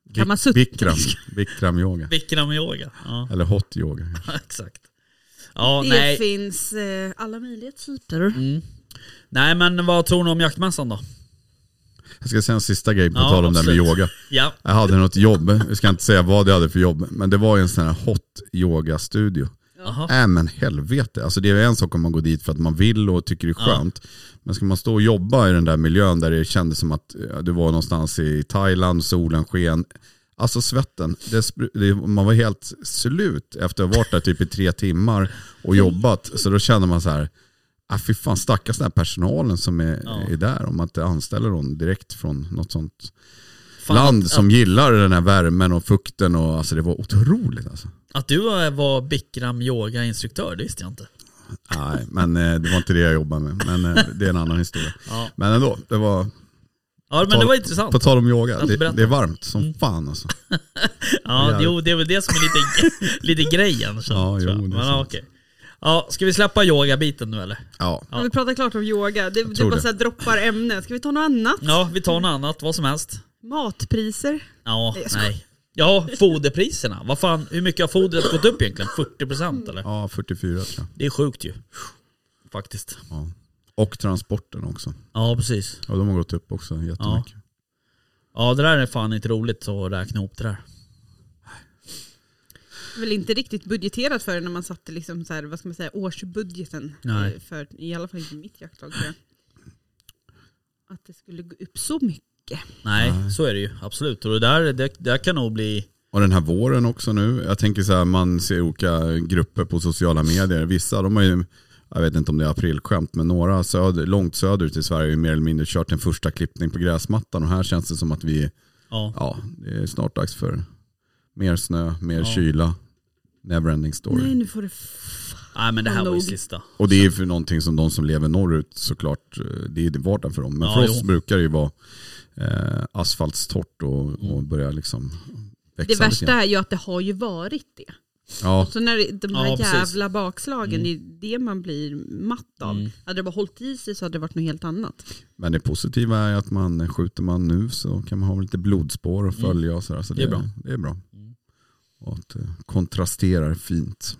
[SPEAKER 4] Vik-
[SPEAKER 6] Kan man sutta?
[SPEAKER 4] Vikram, Vikram yoga.
[SPEAKER 5] Vikram-yoga. Ja,
[SPEAKER 4] Eller hot yoga.
[SPEAKER 5] exakt. Ja,
[SPEAKER 6] det
[SPEAKER 5] nej.
[SPEAKER 6] finns eh, alla möjliga typer.
[SPEAKER 5] Mm. Nej men vad tror ni om jaktmässan då?
[SPEAKER 4] Jag ska säga en sista grej på
[SPEAKER 5] Ja,
[SPEAKER 4] tal om det här med
[SPEAKER 5] absolut.
[SPEAKER 4] yoga.
[SPEAKER 5] Ja,
[SPEAKER 4] Jag hade något jobb, jag ska inte säga vad jag hade för jobb, men det var ju en sån här hot yoga studio.
[SPEAKER 5] aha.
[SPEAKER 4] Nej Äh, men helvete, alltså det är en sak om man går dit för att man vill och tycker det är
[SPEAKER 5] Ja.
[SPEAKER 4] skönt. Men ska man stå och jobba i den där miljön där det kändes som att eh, du var någonstans i Thailand, solen sken. Alltså svetten, det, spr- det, man var helt slut efter att ha varit där typ i tre timmar och jobbat. Så då kände man så här, ah, fy fan stackars den här personalen som är,
[SPEAKER 5] Ja.
[SPEAKER 4] är där om man inte anställer någon direkt från något sånt
[SPEAKER 5] Fan,
[SPEAKER 4] land
[SPEAKER 5] att-
[SPEAKER 4] som gillar den här värmen och fukten. Och, alltså det var otroligt alltså.
[SPEAKER 5] Att du var Bikram yoga-instruktör, det visste jag inte.
[SPEAKER 4] Nej, men eh, det var inte det jag jobbade med. Men eh, det är en annan historia.
[SPEAKER 5] Ja,
[SPEAKER 4] Men ändå, det var,
[SPEAKER 5] ja men det var intressant.
[SPEAKER 4] på tal om yoga,
[SPEAKER 5] Att
[SPEAKER 4] det,
[SPEAKER 5] berätta. Mm.
[SPEAKER 4] det är varmt som fan alltså.
[SPEAKER 5] Ja,
[SPEAKER 4] jävligt.
[SPEAKER 5] jo, det är väl det som är lite, lite grejen. Så,
[SPEAKER 4] Ja,
[SPEAKER 5] tror jag.
[SPEAKER 4] jo, det är
[SPEAKER 5] men, ja,
[SPEAKER 4] sant.
[SPEAKER 5] okej. ja, ska vi släppa yoga-biten nu eller?
[SPEAKER 4] Ja,
[SPEAKER 5] Ja.
[SPEAKER 6] Har vi pratat klart om yoga? Det, det
[SPEAKER 4] tror
[SPEAKER 6] bara
[SPEAKER 4] det.
[SPEAKER 6] så här droppar ämnen. Ska vi ta något annat?
[SPEAKER 5] Ja, vi tar något annat, vad som helst.
[SPEAKER 6] Matpriser?
[SPEAKER 5] Ja,
[SPEAKER 6] jag skojar.
[SPEAKER 5] nej. Ja, foderpriserna. Vad fan, hur mycket har fodret gått upp egentligen? 40% eller?
[SPEAKER 4] ja 44 tror jag.
[SPEAKER 5] Det är sjukt ju. Faktiskt.
[SPEAKER 4] Ja. Och transporten också.
[SPEAKER 5] Ja, precis.
[SPEAKER 4] Ja, de har gått upp också jättemycket.
[SPEAKER 5] Ja, det där är fan inte roligt att räkna ihop det där.
[SPEAKER 6] Väl inte riktigt budgeterat för det när man satte liksom så här, vad ska man säga, årsbudgeten.
[SPEAKER 5] Nej.
[SPEAKER 6] eh, För, I alla fall inte mitt jaktlag tror jag. Att det skulle gå upp så mycket.
[SPEAKER 5] Nej, så är det ju. Absolut. Och det där, det, det där kan nog bli...
[SPEAKER 4] Och den här våren också nu. Jag tänker så här, man ser olika grupper på sociala medier. Vissa, de har ju, jag vet inte om det är aprilskämt, men några söder, långt söderut i Sverige har ju mer eller mindre kört en första klippning på gräsmattan. Och här känns det som att vi
[SPEAKER 5] Ja.
[SPEAKER 4] ja, det är snart dags för mer snö, mer
[SPEAKER 5] Ja.
[SPEAKER 4] kyla. Neverending story.
[SPEAKER 6] Nej nu får det
[SPEAKER 5] Nej, men det här
[SPEAKER 6] Ja,
[SPEAKER 5] var ju
[SPEAKER 6] nog.
[SPEAKER 5] sista.
[SPEAKER 4] Och det är ju för någonting som de som lever norrut såklart, eh, det är det vardagen för dem. Men
[SPEAKER 5] Ja,
[SPEAKER 4] för oss
[SPEAKER 5] jo.
[SPEAKER 4] brukar det ju vara eh, asfaltstort och,
[SPEAKER 5] Mm.
[SPEAKER 4] och börja liksom växa
[SPEAKER 6] Det
[SPEAKER 4] lite
[SPEAKER 6] värsta
[SPEAKER 4] grann.
[SPEAKER 6] är ju att det har ju varit det.
[SPEAKER 4] Ja,
[SPEAKER 6] Så när det- de här
[SPEAKER 5] Ja, precis. Mm.
[SPEAKER 6] jävla bakslagen, det är det man blir matt av. Hade det bara hållit i sig så hade det varit något helt annat.
[SPEAKER 4] men det positiva är att man skjuter man nu så kan man ha lite blodspår och följa och sådär. Så det,
[SPEAKER 5] Mm. Det är bra. Mm.
[SPEAKER 4] Det är bra. Och att eh, kontrasterar fint.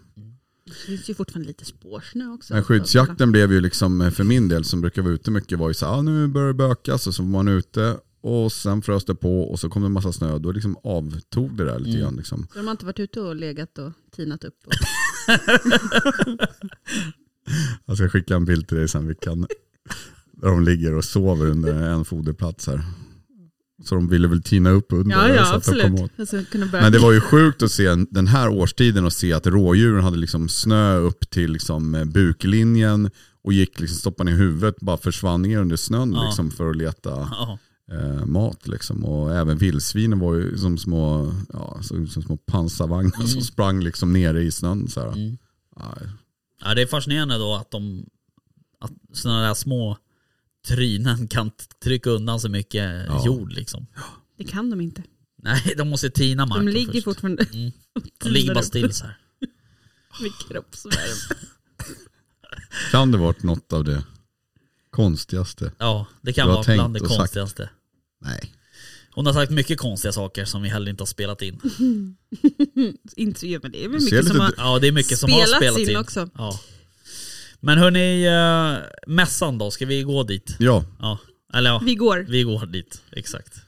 [SPEAKER 6] Det finns ju fortfarande lite spårsnö också.
[SPEAKER 4] Men skyddsjakten blev ju liksom, eh, för min del som brukar vara ute mycket, var ju så här, ah, nu börjar det bökas och så var man ute och sen frös det på och så kom det en massa snö. Då liksom avtog det där lite grann. Liksom.
[SPEAKER 6] Så de har inte varit ute och legat och tinat upp. Och...
[SPEAKER 4] Jag ska skicka en bild till dig sen. Vi kan, där de ligger och sover under en foderplats här. Så de ville väl tina upp under.
[SPEAKER 6] Ja,
[SPEAKER 4] där
[SPEAKER 6] ja
[SPEAKER 4] så att de kom åt.
[SPEAKER 6] absolut. Alltså, kunna börja...
[SPEAKER 4] Men det var ju sjukt att se den här årstiden och se att rådjuren hade liksom snö upp till liksom eh, buklinjen och gick liksom stoppade ner huvudet bara försvann ner under snön
[SPEAKER 5] Ja.
[SPEAKER 4] liksom för att leta
[SPEAKER 5] Ja.
[SPEAKER 4] eh, mat. Liksom. Och även vildsvinen var ju som små, ja, som, som små pansarvagnar som sprang liksom nere i snön. Så här.
[SPEAKER 5] Mm.
[SPEAKER 4] Ja,
[SPEAKER 5] ja, det är fascinerande då att de... Att sådana där små trynen kan t- trycka undan så mycket
[SPEAKER 4] Ja.
[SPEAKER 5] jord liksom.
[SPEAKER 6] Det kan de inte.
[SPEAKER 5] Nej, de måste tina
[SPEAKER 6] De
[SPEAKER 5] marken
[SPEAKER 6] ligger
[SPEAKER 5] först.
[SPEAKER 6] fortfarande
[SPEAKER 5] Mm. De
[SPEAKER 6] tinar
[SPEAKER 5] ligger bara
[SPEAKER 6] upp
[SPEAKER 5] still så här.
[SPEAKER 6] med kroppsvärme.
[SPEAKER 4] Kan det varit något av det konstigaste?
[SPEAKER 5] Ja, det kan
[SPEAKER 4] Du har
[SPEAKER 5] vara bland det
[SPEAKER 4] tänkt och sagt.
[SPEAKER 5] konstigaste.
[SPEAKER 4] Nej.
[SPEAKER 5] Hon har sagt mycket konstiga saker som vi heller inte har spelat in.
[SPEAKER 6] inte gör men det är väl
[SPEAKER 4] Du ser
[SPEAKER 6] mycket som
[SPEAKER 4] lite
[SPEAKER 6] har
[SPEAKER 5] Ja, det är mycket som har
[SPEAKER 6] spelats
[SPEAKER 5] spelat
[SPEAKER 6] in
[SPEAKER 5] in.
[SPEAKER 6] också.
[SPEAKER 5] Ja. Men hörni, eh, mässan då, ska vi gå dit?
[SPEAKER 4] Ja,
[SPEAKER 5] Ja, eller ja,
[SPEAKER 6] Vi går.
[SPEAKER 5] vi går dit, exakt.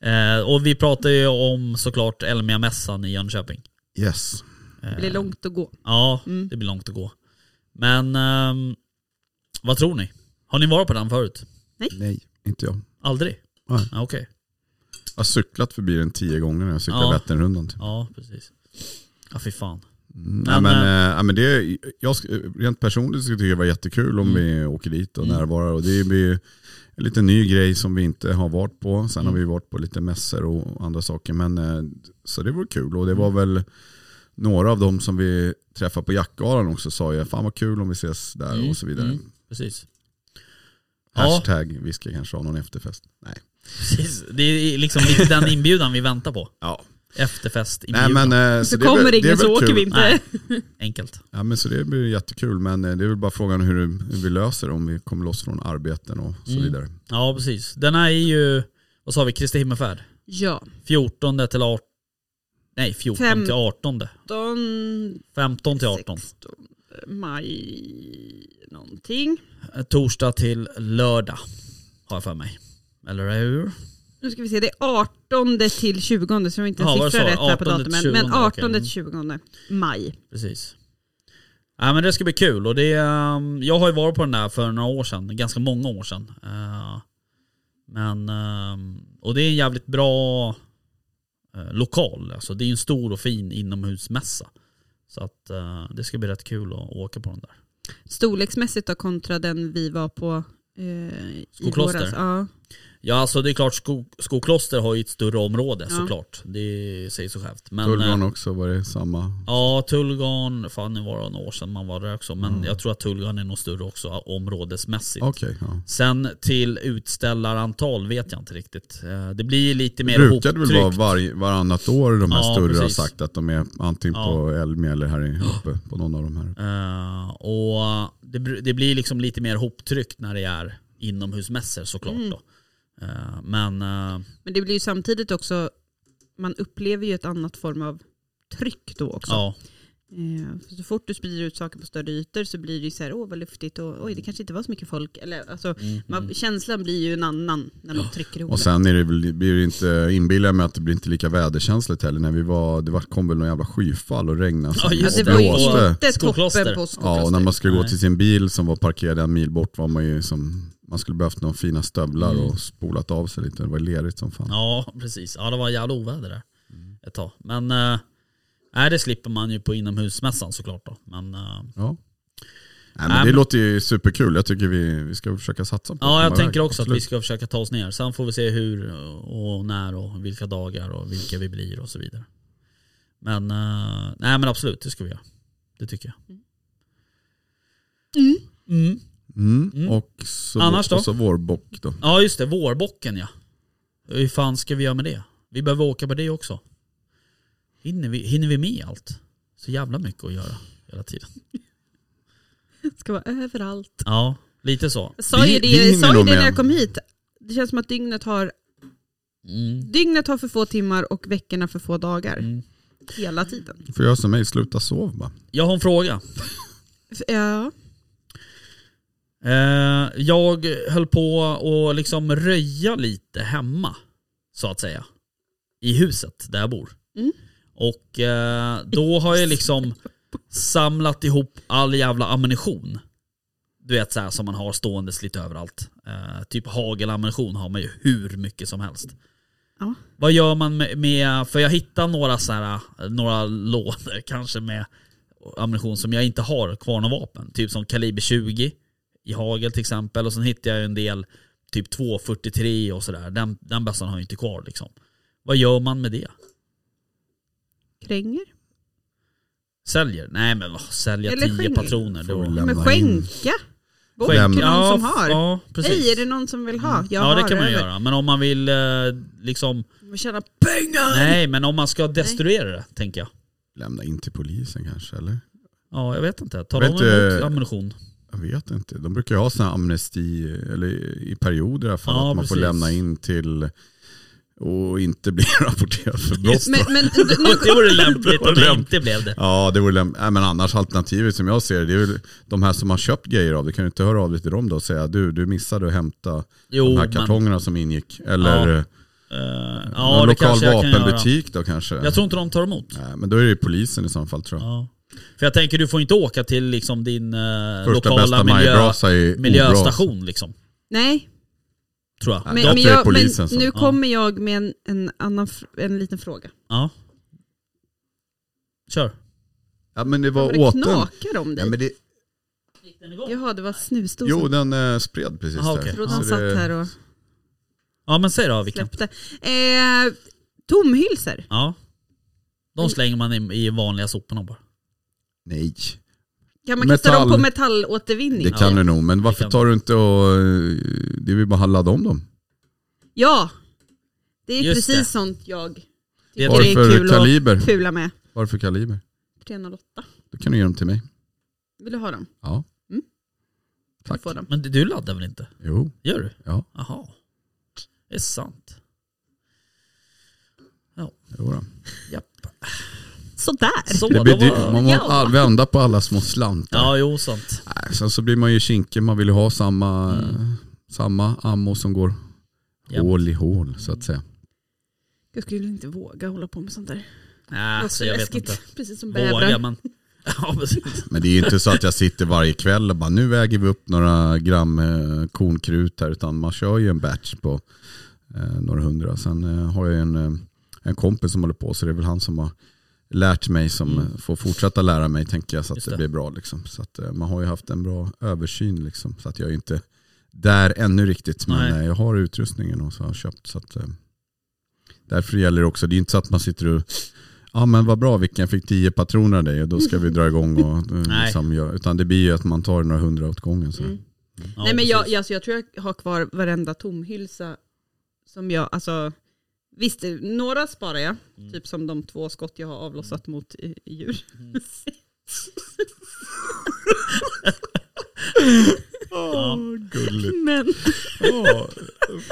[SPEAKER 5] Eh, och vi pratar ju om såklart Elmia-mässan i Jönköping. Eh,
[SPEAKER 4] yes.
[SPEAKER 6] Det blir långt att
[SPEAKER 4] Alltså,
[SPEAKER 6] gå.
[SPEAKER 5] Ja, det blir långt att gå. Men ehm, vad tror ni? Har ni varit på den förut?
[SPEAKER 4] Nej, inte jag.
[SPEAKER 5] Aldrig?
[SPEAKER 4] Nej.
[SPEAKER 5] Ja, Okej.
[SPEAKER 4] Jag har cyklat förbi den tio gånger när jag cyklade
[SPEAKER 5] Ja.
[SPEAKER 4] Vätternrundan. Typ.
[SPEAKER 5] Ja, precis. Ja fy fan.
[SPEAKER 4] Nej, men, eh, nej, men det, jag, sk- rent personligt skulle jag tycka det var jättekul om vi åker dit och närvarar. Och det blir ju en liten ny grej som vi inte har varit på. Sen har vi varit på lite mässor och andra saker. Men, eh, så det var kul. Och det var väl några av dem som vi träffade på jackgalan också sa ju fan vad kul om vi ses där och så vidare.
[SPEAKER 3] Mm, precis. Ja,
[SPEAKER 4] Hashtag vi ska kanske ha någon efterfest. Nej.
[SPEAKER 5] precis. Det är liksom lite den inbjudan vi väntar på.
[SPEAKER 4] Ja. Nej,
[SPEAKER 5] Efterfestinbjudan.
[SPEAKER 4] men, eh, så
[SPEAKER 6] Så
[SPEAKER 4] det är väl-
[SPEAKER 6] kommer
[SPEAKER 4] det är
[SPEAKER 6] ingen
[SPEAKER 4] väl
[SPEAKER 6] så åker
[SPEAKER 4] kul.
[SPEAKER 6] vi inte.
[SPEAKER 5] Nej. Enkelt.
[SPEAKER 4] Ja, men så det blir jättekul, men eh, det är väl bara frågan hur, hur vi löser det, om vi kommer loss från arbeten och så vidare.
[SPEAKER 5] Ja precis. Den här är ju, vad sa vi, Kristi himmelsfärd?
[SPEAKER 6] Ja.
[SPEAKER 5] 14 till 18. Nej 14
[SPEAKER 6] Fem-
[SPEAKER 5] till 18.
[SPEAKER 6] 18,
[SPEAKER 5] 15 till 18.
[SPEAKER 6] 16 maj någonting.
[SPEAKER 5] Torsdag till lördag. Har jag för mig. Eller hur?
[SPEAKER 6] Nu ska vi se, det är 18 till 20 så jag har inte en
[SPEAKER 5] Ja, var det
[SPEAKER 6] siffra
[SPEAKER 5] så?
[SPEAKER 6] rätt här på
[SPEAKER 5] 18 till
[SPEAKER 6] datumen.
[SPEAKER 5] 20,
[SPEAKER 6] Men 18
[SPEAKER 5] okej.
[SPEAKER 6] till 20 maj.
[SPEAKER 5] Precis. Ja, men det ska bli kul. Och det, ehm, jag har ju varit på den där för några år sedan, ganska många år sedan. Eh, Men, ehm, och det är en jävligt bra eh, lokal. Alltså, det är en stor och fin inomhusmässa. Så att, eh, det ska bli rätt kul att åka på den där.
[SPEAKER 6] Storleksmässigt då kontra den vi var på eh, i
[SPEAKER 5] Skokloster.
[SPEAKER 6] våras. Ja.
[SPEAKER 5] Ja alltså det är klart sko, Skokloster har ju ett större område
[SPEAKER 6] Ja.
[SPEAKER 5] såklart. Det säger sig självt. Men,
[SPEAKER 4] Tullgarn
[SPEAKER 5] eh, typ
[SPEAKER 4] också, var det samma?
[SPEAKER 5] Ja, Tullgarn, fan nu var det några år sedan man var där också. Men jag tror att Tullgarn är nog större också områdesmässigt.
[SPEAKER 4] Mm. Okej, ja.
[SPEAKER 5] Sen till utställarantal vet jag inte riktigt. Eh, Det blir lite
[SPEAKER 4] Det
[SPEAKER 5] mer
[SPEAKER 4] brukar det väl vara
[SPEAKER 5] ihoptryckt.
[SPEAKER 4] var, varannat år de här
[SPEAKER 5] Ja,
[SPEAKER 4] större har
[SPEAKER 5] precis.
[SPEAKER 4] sagt att de är antingen på Elmia eller här uppe på någon av de här.
[SPEAKER 5] Eh, och det, br- det blir liksom lite mer ihoptryckt när det är inomhusmässor såklart. Då. Eh, men eh,
[SPEAKER 6] Men det blir ju samtidigt också, man upplever ju ett annat form av tryck då också.
[SPEAKER 5] ja,
[SPEAKER 6] Eh, för så fort du sprider ut saker på större ytor så blir det ju så här, åh vad luftigt och oj det kanske inte var så mycket folk. Eller, alltså,
[SPEAKER 4] Mm.
[SPEAKER 6] man, känslan blir ju en annan när man trycker ihop
[SPEAKER 4] Och sen är det, väl- blir det inte, inbillar jag mig att det blir inte lika väderkänsligt heller. När vi var, det var, kom väl någon jävla skyfall och regnade
[SPEAKER 5] Ja, just
[SPEAKER 6] det.
[SPEAKER 4] och
[SPEAKER 6] Det var ju
[SPEAKER 4] blåste.
[SPEAKER 6] inte
[SPEAKER 5] Skokloster.
[SPEAKER 6] toppen på
[SPEAKER 4] Ja,
[SPEAKER 6] skokloster.
[SPEAKER 4] och när man skulle gå
[SPEAKER 5] Nej.
[SPEAKER 4] till sin bil som var parkerad en mil bort var man ju som, man skulle behövt några fina stövlar
[SPEAKER 5] Mm.
[SPEAKER 4] och spolat av sig lite. Det var lerigt som fan.
[SPEAKER 5] ja, precis. Ja, det var jävla oväder där
[SPEAKER 4] Mm.
[SPEAKER 5] ett tag. Men eh, nej, det slipper man ju på inomhusmässan såklart. Då. Men, eh,
[SPEAKER 4] Ja. Nej, men
[SPEAKER 5] Nej,
[SPEAKER 4] det
[SPEAKER 5] men-
[SPEAKER 4] låter ju superkul. Jag tycker vi, vi ska försöka satsa på att
[SPEAKER 5] ja, jag
[SPEAKER 4] komma
[SPEAKER 5] tänker
[SPEAKER 4] iväg.
[SPEAKER 5] också att vi
[SPEAKER 4] Absolut.
[SPEAKER 5] ska försöka ta oss ner. Sen får vi se hur och när och vilka dagar och vilka vi blir och så vidare. Men, eh, nej, men absolut, det ska vi göra. Det tycker jag. Mm.
[SPEAKER 4] Mm. Och så,
[SPEAKER 5] Annars då?
[SPEAKER 4] Och så vår bock då.
[SPEAKER 5] Ja just det, vårbocken ja. Hur fan ska vi göra med det? Vi behöver åka på det också. Hinner vi, hinner vi med allt? Så jävla mycket att göra hela tiden.
[SPEAKER 6] ska vara överallt.
[SPEAKER 5] Ja, lite så.
[SPEAKER 6] Jag sa
[SPEAKER 4] Vi-
[SPEAKER 6] ju det,
[SPEAKER 4] vi hinner
[SPEAKER 6] jag sa ju
[SPEAKER 4] nog
[SPEAKER 6] det när
[SPEAKER 4] med.
[SPEAKER 6] jag kom hit. Det känns som att dygnet har,
[SPEAKER 5] Mm.
[SPEAKER 6] dygnet har för få timmar och veckorna för få dagar.
[SPEAKER 5] Mm.
[SPEAKER 6] Hela tiden.
[SPEAKER 4] Du får göra som mig, sluta sov bara.
[SPEAKER 5] Jag har en fråga.
[SPEAKER 6] F- Ja.
[SPEAKER 5] Eh, jag höll på att liksom röja lite hemma, så att säga. I huset där jag bor.
[SPEAKER 6] Mm.
[SPEAKER 5] Och eh, då har jag liksom samlat ihop all jävla ammunition. Du vet så här som man har ståendes lite överallt. Eh, typ hagelammunition har man ju hur mycket som helst.
[SPEAKER 6] Ja.
[SPEAKER 5] Vad gör man med, med för jag hittar några så här, några lådor kanske med ammunition som jag inte har kvar några vapen. Typ som kaliber 20 i hagel till exempel. Och sen hittar jag ju en del typ 243 och sådär. Den, den bössan har jag inte kvar liksom. Vad gör man med det?
[SPEAKER 6] Kränger.
[SPEAKER 5] Säljer? Nej men vad, sälja
[SPEAKER 6] Eller
[SPEAKER 5] 10
[SPEAKER 6] skänker.
[SPEAKER 5] patroner. Det
[SPEAKER 4] Får
[SPEAKER 5] var...
[SPEAKER 4] lämna
[SPEAKER 6] Men
[SPEAKER 4] in.
[SPEAKER 6] skänka bort till någon
[SPEAKER 4] Skänka.
[SPEAKER 5] ja,
[SPEAKER 6] som
[SPEAKER 5] f-
[SPEAKER 6] har.
[SPEAKER 5] Ja, precis. Mm.
[SPEAKER 6] Hej, är det någon som vill ha? Jag
[SPEAKER 5] ja
[SPEAKER 6] har
[SPEAKER 5] det kan man
[SPEAKER 6] över.
[SPEAKER 5] göra. Men om man vill eh, liksom...
[SPEAKER 6] Man tjänar pengar!
[SPEAKER 5] Nej men om man ska destruera det tänker jag.
[SPEAKER 4] Lämna in till polisen kanske eller?
[SPEAKER 5] Ja jag vet inte. Tar de
[SPEAKER 4] Vet du-
[SPEAKER 5] emot ammunition?
[SPEAKER 4] Jag vet inte. De brukar ju ha sådana amnesti, eller i perioder i alla fall,
[SPEAKER 5] Ja,
[SPEAKER 4] att man får
[SPEAKER 5] precis.
[SPEAKER 4] lämna in till och inte bli rapporterad för brott.
[SPEAKER 6] Men,
[SPEAKER 4] då.
[SPEAKER 6] men
[SPEAKER 5] Ja, det vore lämpligt
[SPEAKER 4] Det var
[SPEAKER 5] om det
[SPEAKER 4] lämpligt.
[SPEAKER 5] inte blev det.
[SPEAKER 4] Ja, det vore läm- Nej, men annars alternativet som jag ser det, det är väl de här som har köpt grejer av, du kan ju inte höra av dig till dem då och säga du, du missade att hämta
[SPEAKER 5] Jo,
[SPEAKER 4] de
[SPEAKER 5] men,
[SPEAKER 4] här kartongerna som ingick. Eller
[SPEAKER 5] Ja,
[SPEAKER 4] eh,
[SPEAKER 5] eh, ja,
[SPEAKER 4] någon
[SPEAKER 5] det
[SPEAKER 4] lokal
[SPEAKER 5] kanske jag kan göra.
[SPEAKER 4] vapenbutik då kanske.
[SPEAKER 5] Jag tror inte de tar emot.
[SPEAKER 4] Nej, men då är det ju polisen i så fall tror jag.
[SPEAKER 5] Ja. För jag tänker du får inte åka till liksom din eh,
[SPEAKER 4] Första
[SPEAKER 5] lokala
[SPEAKER 4] bästa
[SPEAKER 5] miljö,
[SPEAKER 4] majbrasa är obras.
[SPEAKER 5] miljöstation liksom.
[SPEAKER 6] Nej,
[SPEAKER 5] Tror jag.
[SPEAKER 4] Nej,
[SPEAKER 6] men,
[SPEAKER 4] då
[SPEAKER 6] men,
[SPEAKER 4] tror jag
[SPEAKER 6] jag,
[SPEAKER 4] polisen
[SPEAKER 6] men
[SPEAKER 4] som-
[SPEAKER 6] nu
[SPEAKER 5] ja.
[SPEAKER 6] kommer jag med en, en, annan, fr- en liten fråga.
[SPEAKER 5] Ja. Kör.
[SPEAKER 4] Ja men det var
[SPEAKER 6] Var det
[SPEAKER 4] åten.
[SPEAKER 6] knakar om
[SPEAKER 4] Ja,
[SPEAKER 6] dig?
[SPEAKER 4] men det,
[SPEAKER 6] Jaha, det var snusdosan.
[SPEAKER 4] jo den eh, spred precis
[SPEAKER 5] Aha,
[SPEAKER 4] där.
[SPEAKER 5] okej.
[SPEAKER 6] Jag trodde han
[SPEAKER 4] Så
[SPEAKER 6] satt
[SPEAKER 4] det-
[SPEAKER 6] här och
[SPEAKER 5] Ja men säg då vilken.
[SPEAKER 6] släppte. Eh, tomhylsor.
[SPEAKER 5] Ja. De slänger man i, i vanliga soporna bara.
[SPEAKER 4] Nej,
[SPEAKER 6] Kan man kasta
[SPEAKER 4] Metall.
[SPEAKER 6] dem på metallåtervinning?
[SPEAKER 4] det kan
[SPEAKER 5] Ja.
[SPEAKER 4] du nog. Men varför
[SPEAKER 5] kan
[SPEAKER 4] tar du inte och... eh, Det är väl bara att ladda om dem.
[SPEAKER 6] Ja, det är
[SPEAKER 5] Just
[SPEAKER 6] precis
[SPEAKER 5] det.
[SPEAKER 6] sånt jag
[SPEAKER 5] Det är
[SPEAKER 6] tycker det är
[SPEAKER 4] Varför
[SPEAKER 6] kul
[SPEAKER 4] kaliber?
[SPEAKER 6] att fula med.
[SPEAKER 4] Varför kaliber?
[SPEAKER 6] 308.
[SPEAKER 4] Då kan du ge dem till mig.
[SPEAKER 6] Vill du ha dem?
[SPEAKER 4] Ja.
[SPEAKER 6] Mm. Kan
[SPEAKER 4] Tack.
[SPEAKER 6] du Få dem.
[SPEAKER 5] Men du laddar väl inte?
[SPEAKER 4] Jo,
[SPEAKER 5] Gör du?
[SPEAKER 4] Ja.
[SPEAKER 5] Jaha. Det är sant.
[SPEAKER 4] jo då.
[SPEAKER 5] Japp.
[SPEAKER 6] Sådär.
[SPEAKER 5] Så,
[SPEAKER 4] Det
[SPEAKER 5] då
[SPEAKER 4] blir dyrt.
[SPEAKER 5] var...
[SPEAKER 4] Man måste
[SPEAKER 6] Ja.
[SPEAKER 4] all- vända på alla små slantar.
[SPEAKER 5] Ja, jo sant.
[SPEAKER 4] Nej, Sen så blir man ju kinkig, man vill ju ha samma,
[SPEAKER 5] Mm.
[SPEAKER 4] samma ammo som går
[SPEAKER 5] Japp.
[SPEAKER 4] hål i hål så att säga.
[SPEAKER 6] Jag skulle inte våga hålla på med sånt där.
[SPEAKER 5] Nej, så Äh, alltså, jag vet inte.
[SPEAKER 6] Precis som
[SPEAKER 5] Vågar
[SPEAKER 6] bävrar.
[SPEAKER 5] man? Ja, precis.
[SPEAKER 4] Men det är ju inte så att jag sitter varje kväll och bara nu väger vi upp några gram eh, kornkrut här utan man kör ju en batch på eh, några hundra. Sen eh, har jag ju en, eh, en kompis som håller på så det är väl han som har lärt mig som
[SPEAKER 5] Mm.
[SPEAKER 4] eh, får fortsätta lära mig tänker jag så att
[SPEAKER 5] Just
[SPEAKER 4] det.
[SPEAKER 5] det.
[SPEAKER 4] blir bra. Liksom. Så att, eh, man har ju haft en bra översyn liksom, så att jag är inte där ännu riktigt. Men
[SPEAKER 5] Nej.
[SPEAKER 4] eh, jag har utrustningen och så har jag köpt. Så att, eh, därför gäller det också, det är inte så att man sitter och Ja men vad bra vilken fick tio patroner av dig och då ska vi dra igång och eh,
[SPEAKER 5] Nej.
[SPEAKER 4] liksom, göra- utan det blir ju att man tar några hundra åt gången. Så.
[SPEAKER 6] Mm.
[SPEAKER 5] Ja,
[SPEAKER 6] Nej men
[SPEAKER 5] precis.
[SPEAKER 6] jag, jag, alltså, jag tror jag har kvar varenda tomhylsa som jag, alltså visst, några sparar jag,
[SPEAKER 5] Mm.
[SPEAKER 6] typ som de två skott jag har avlossat mot eh, djur.
[SPEAKER 5] Mm. Ja.
[SPEAKER 4] Gulligt.
[SPEAKER 6] men,
[SPEAKER 4] Oh,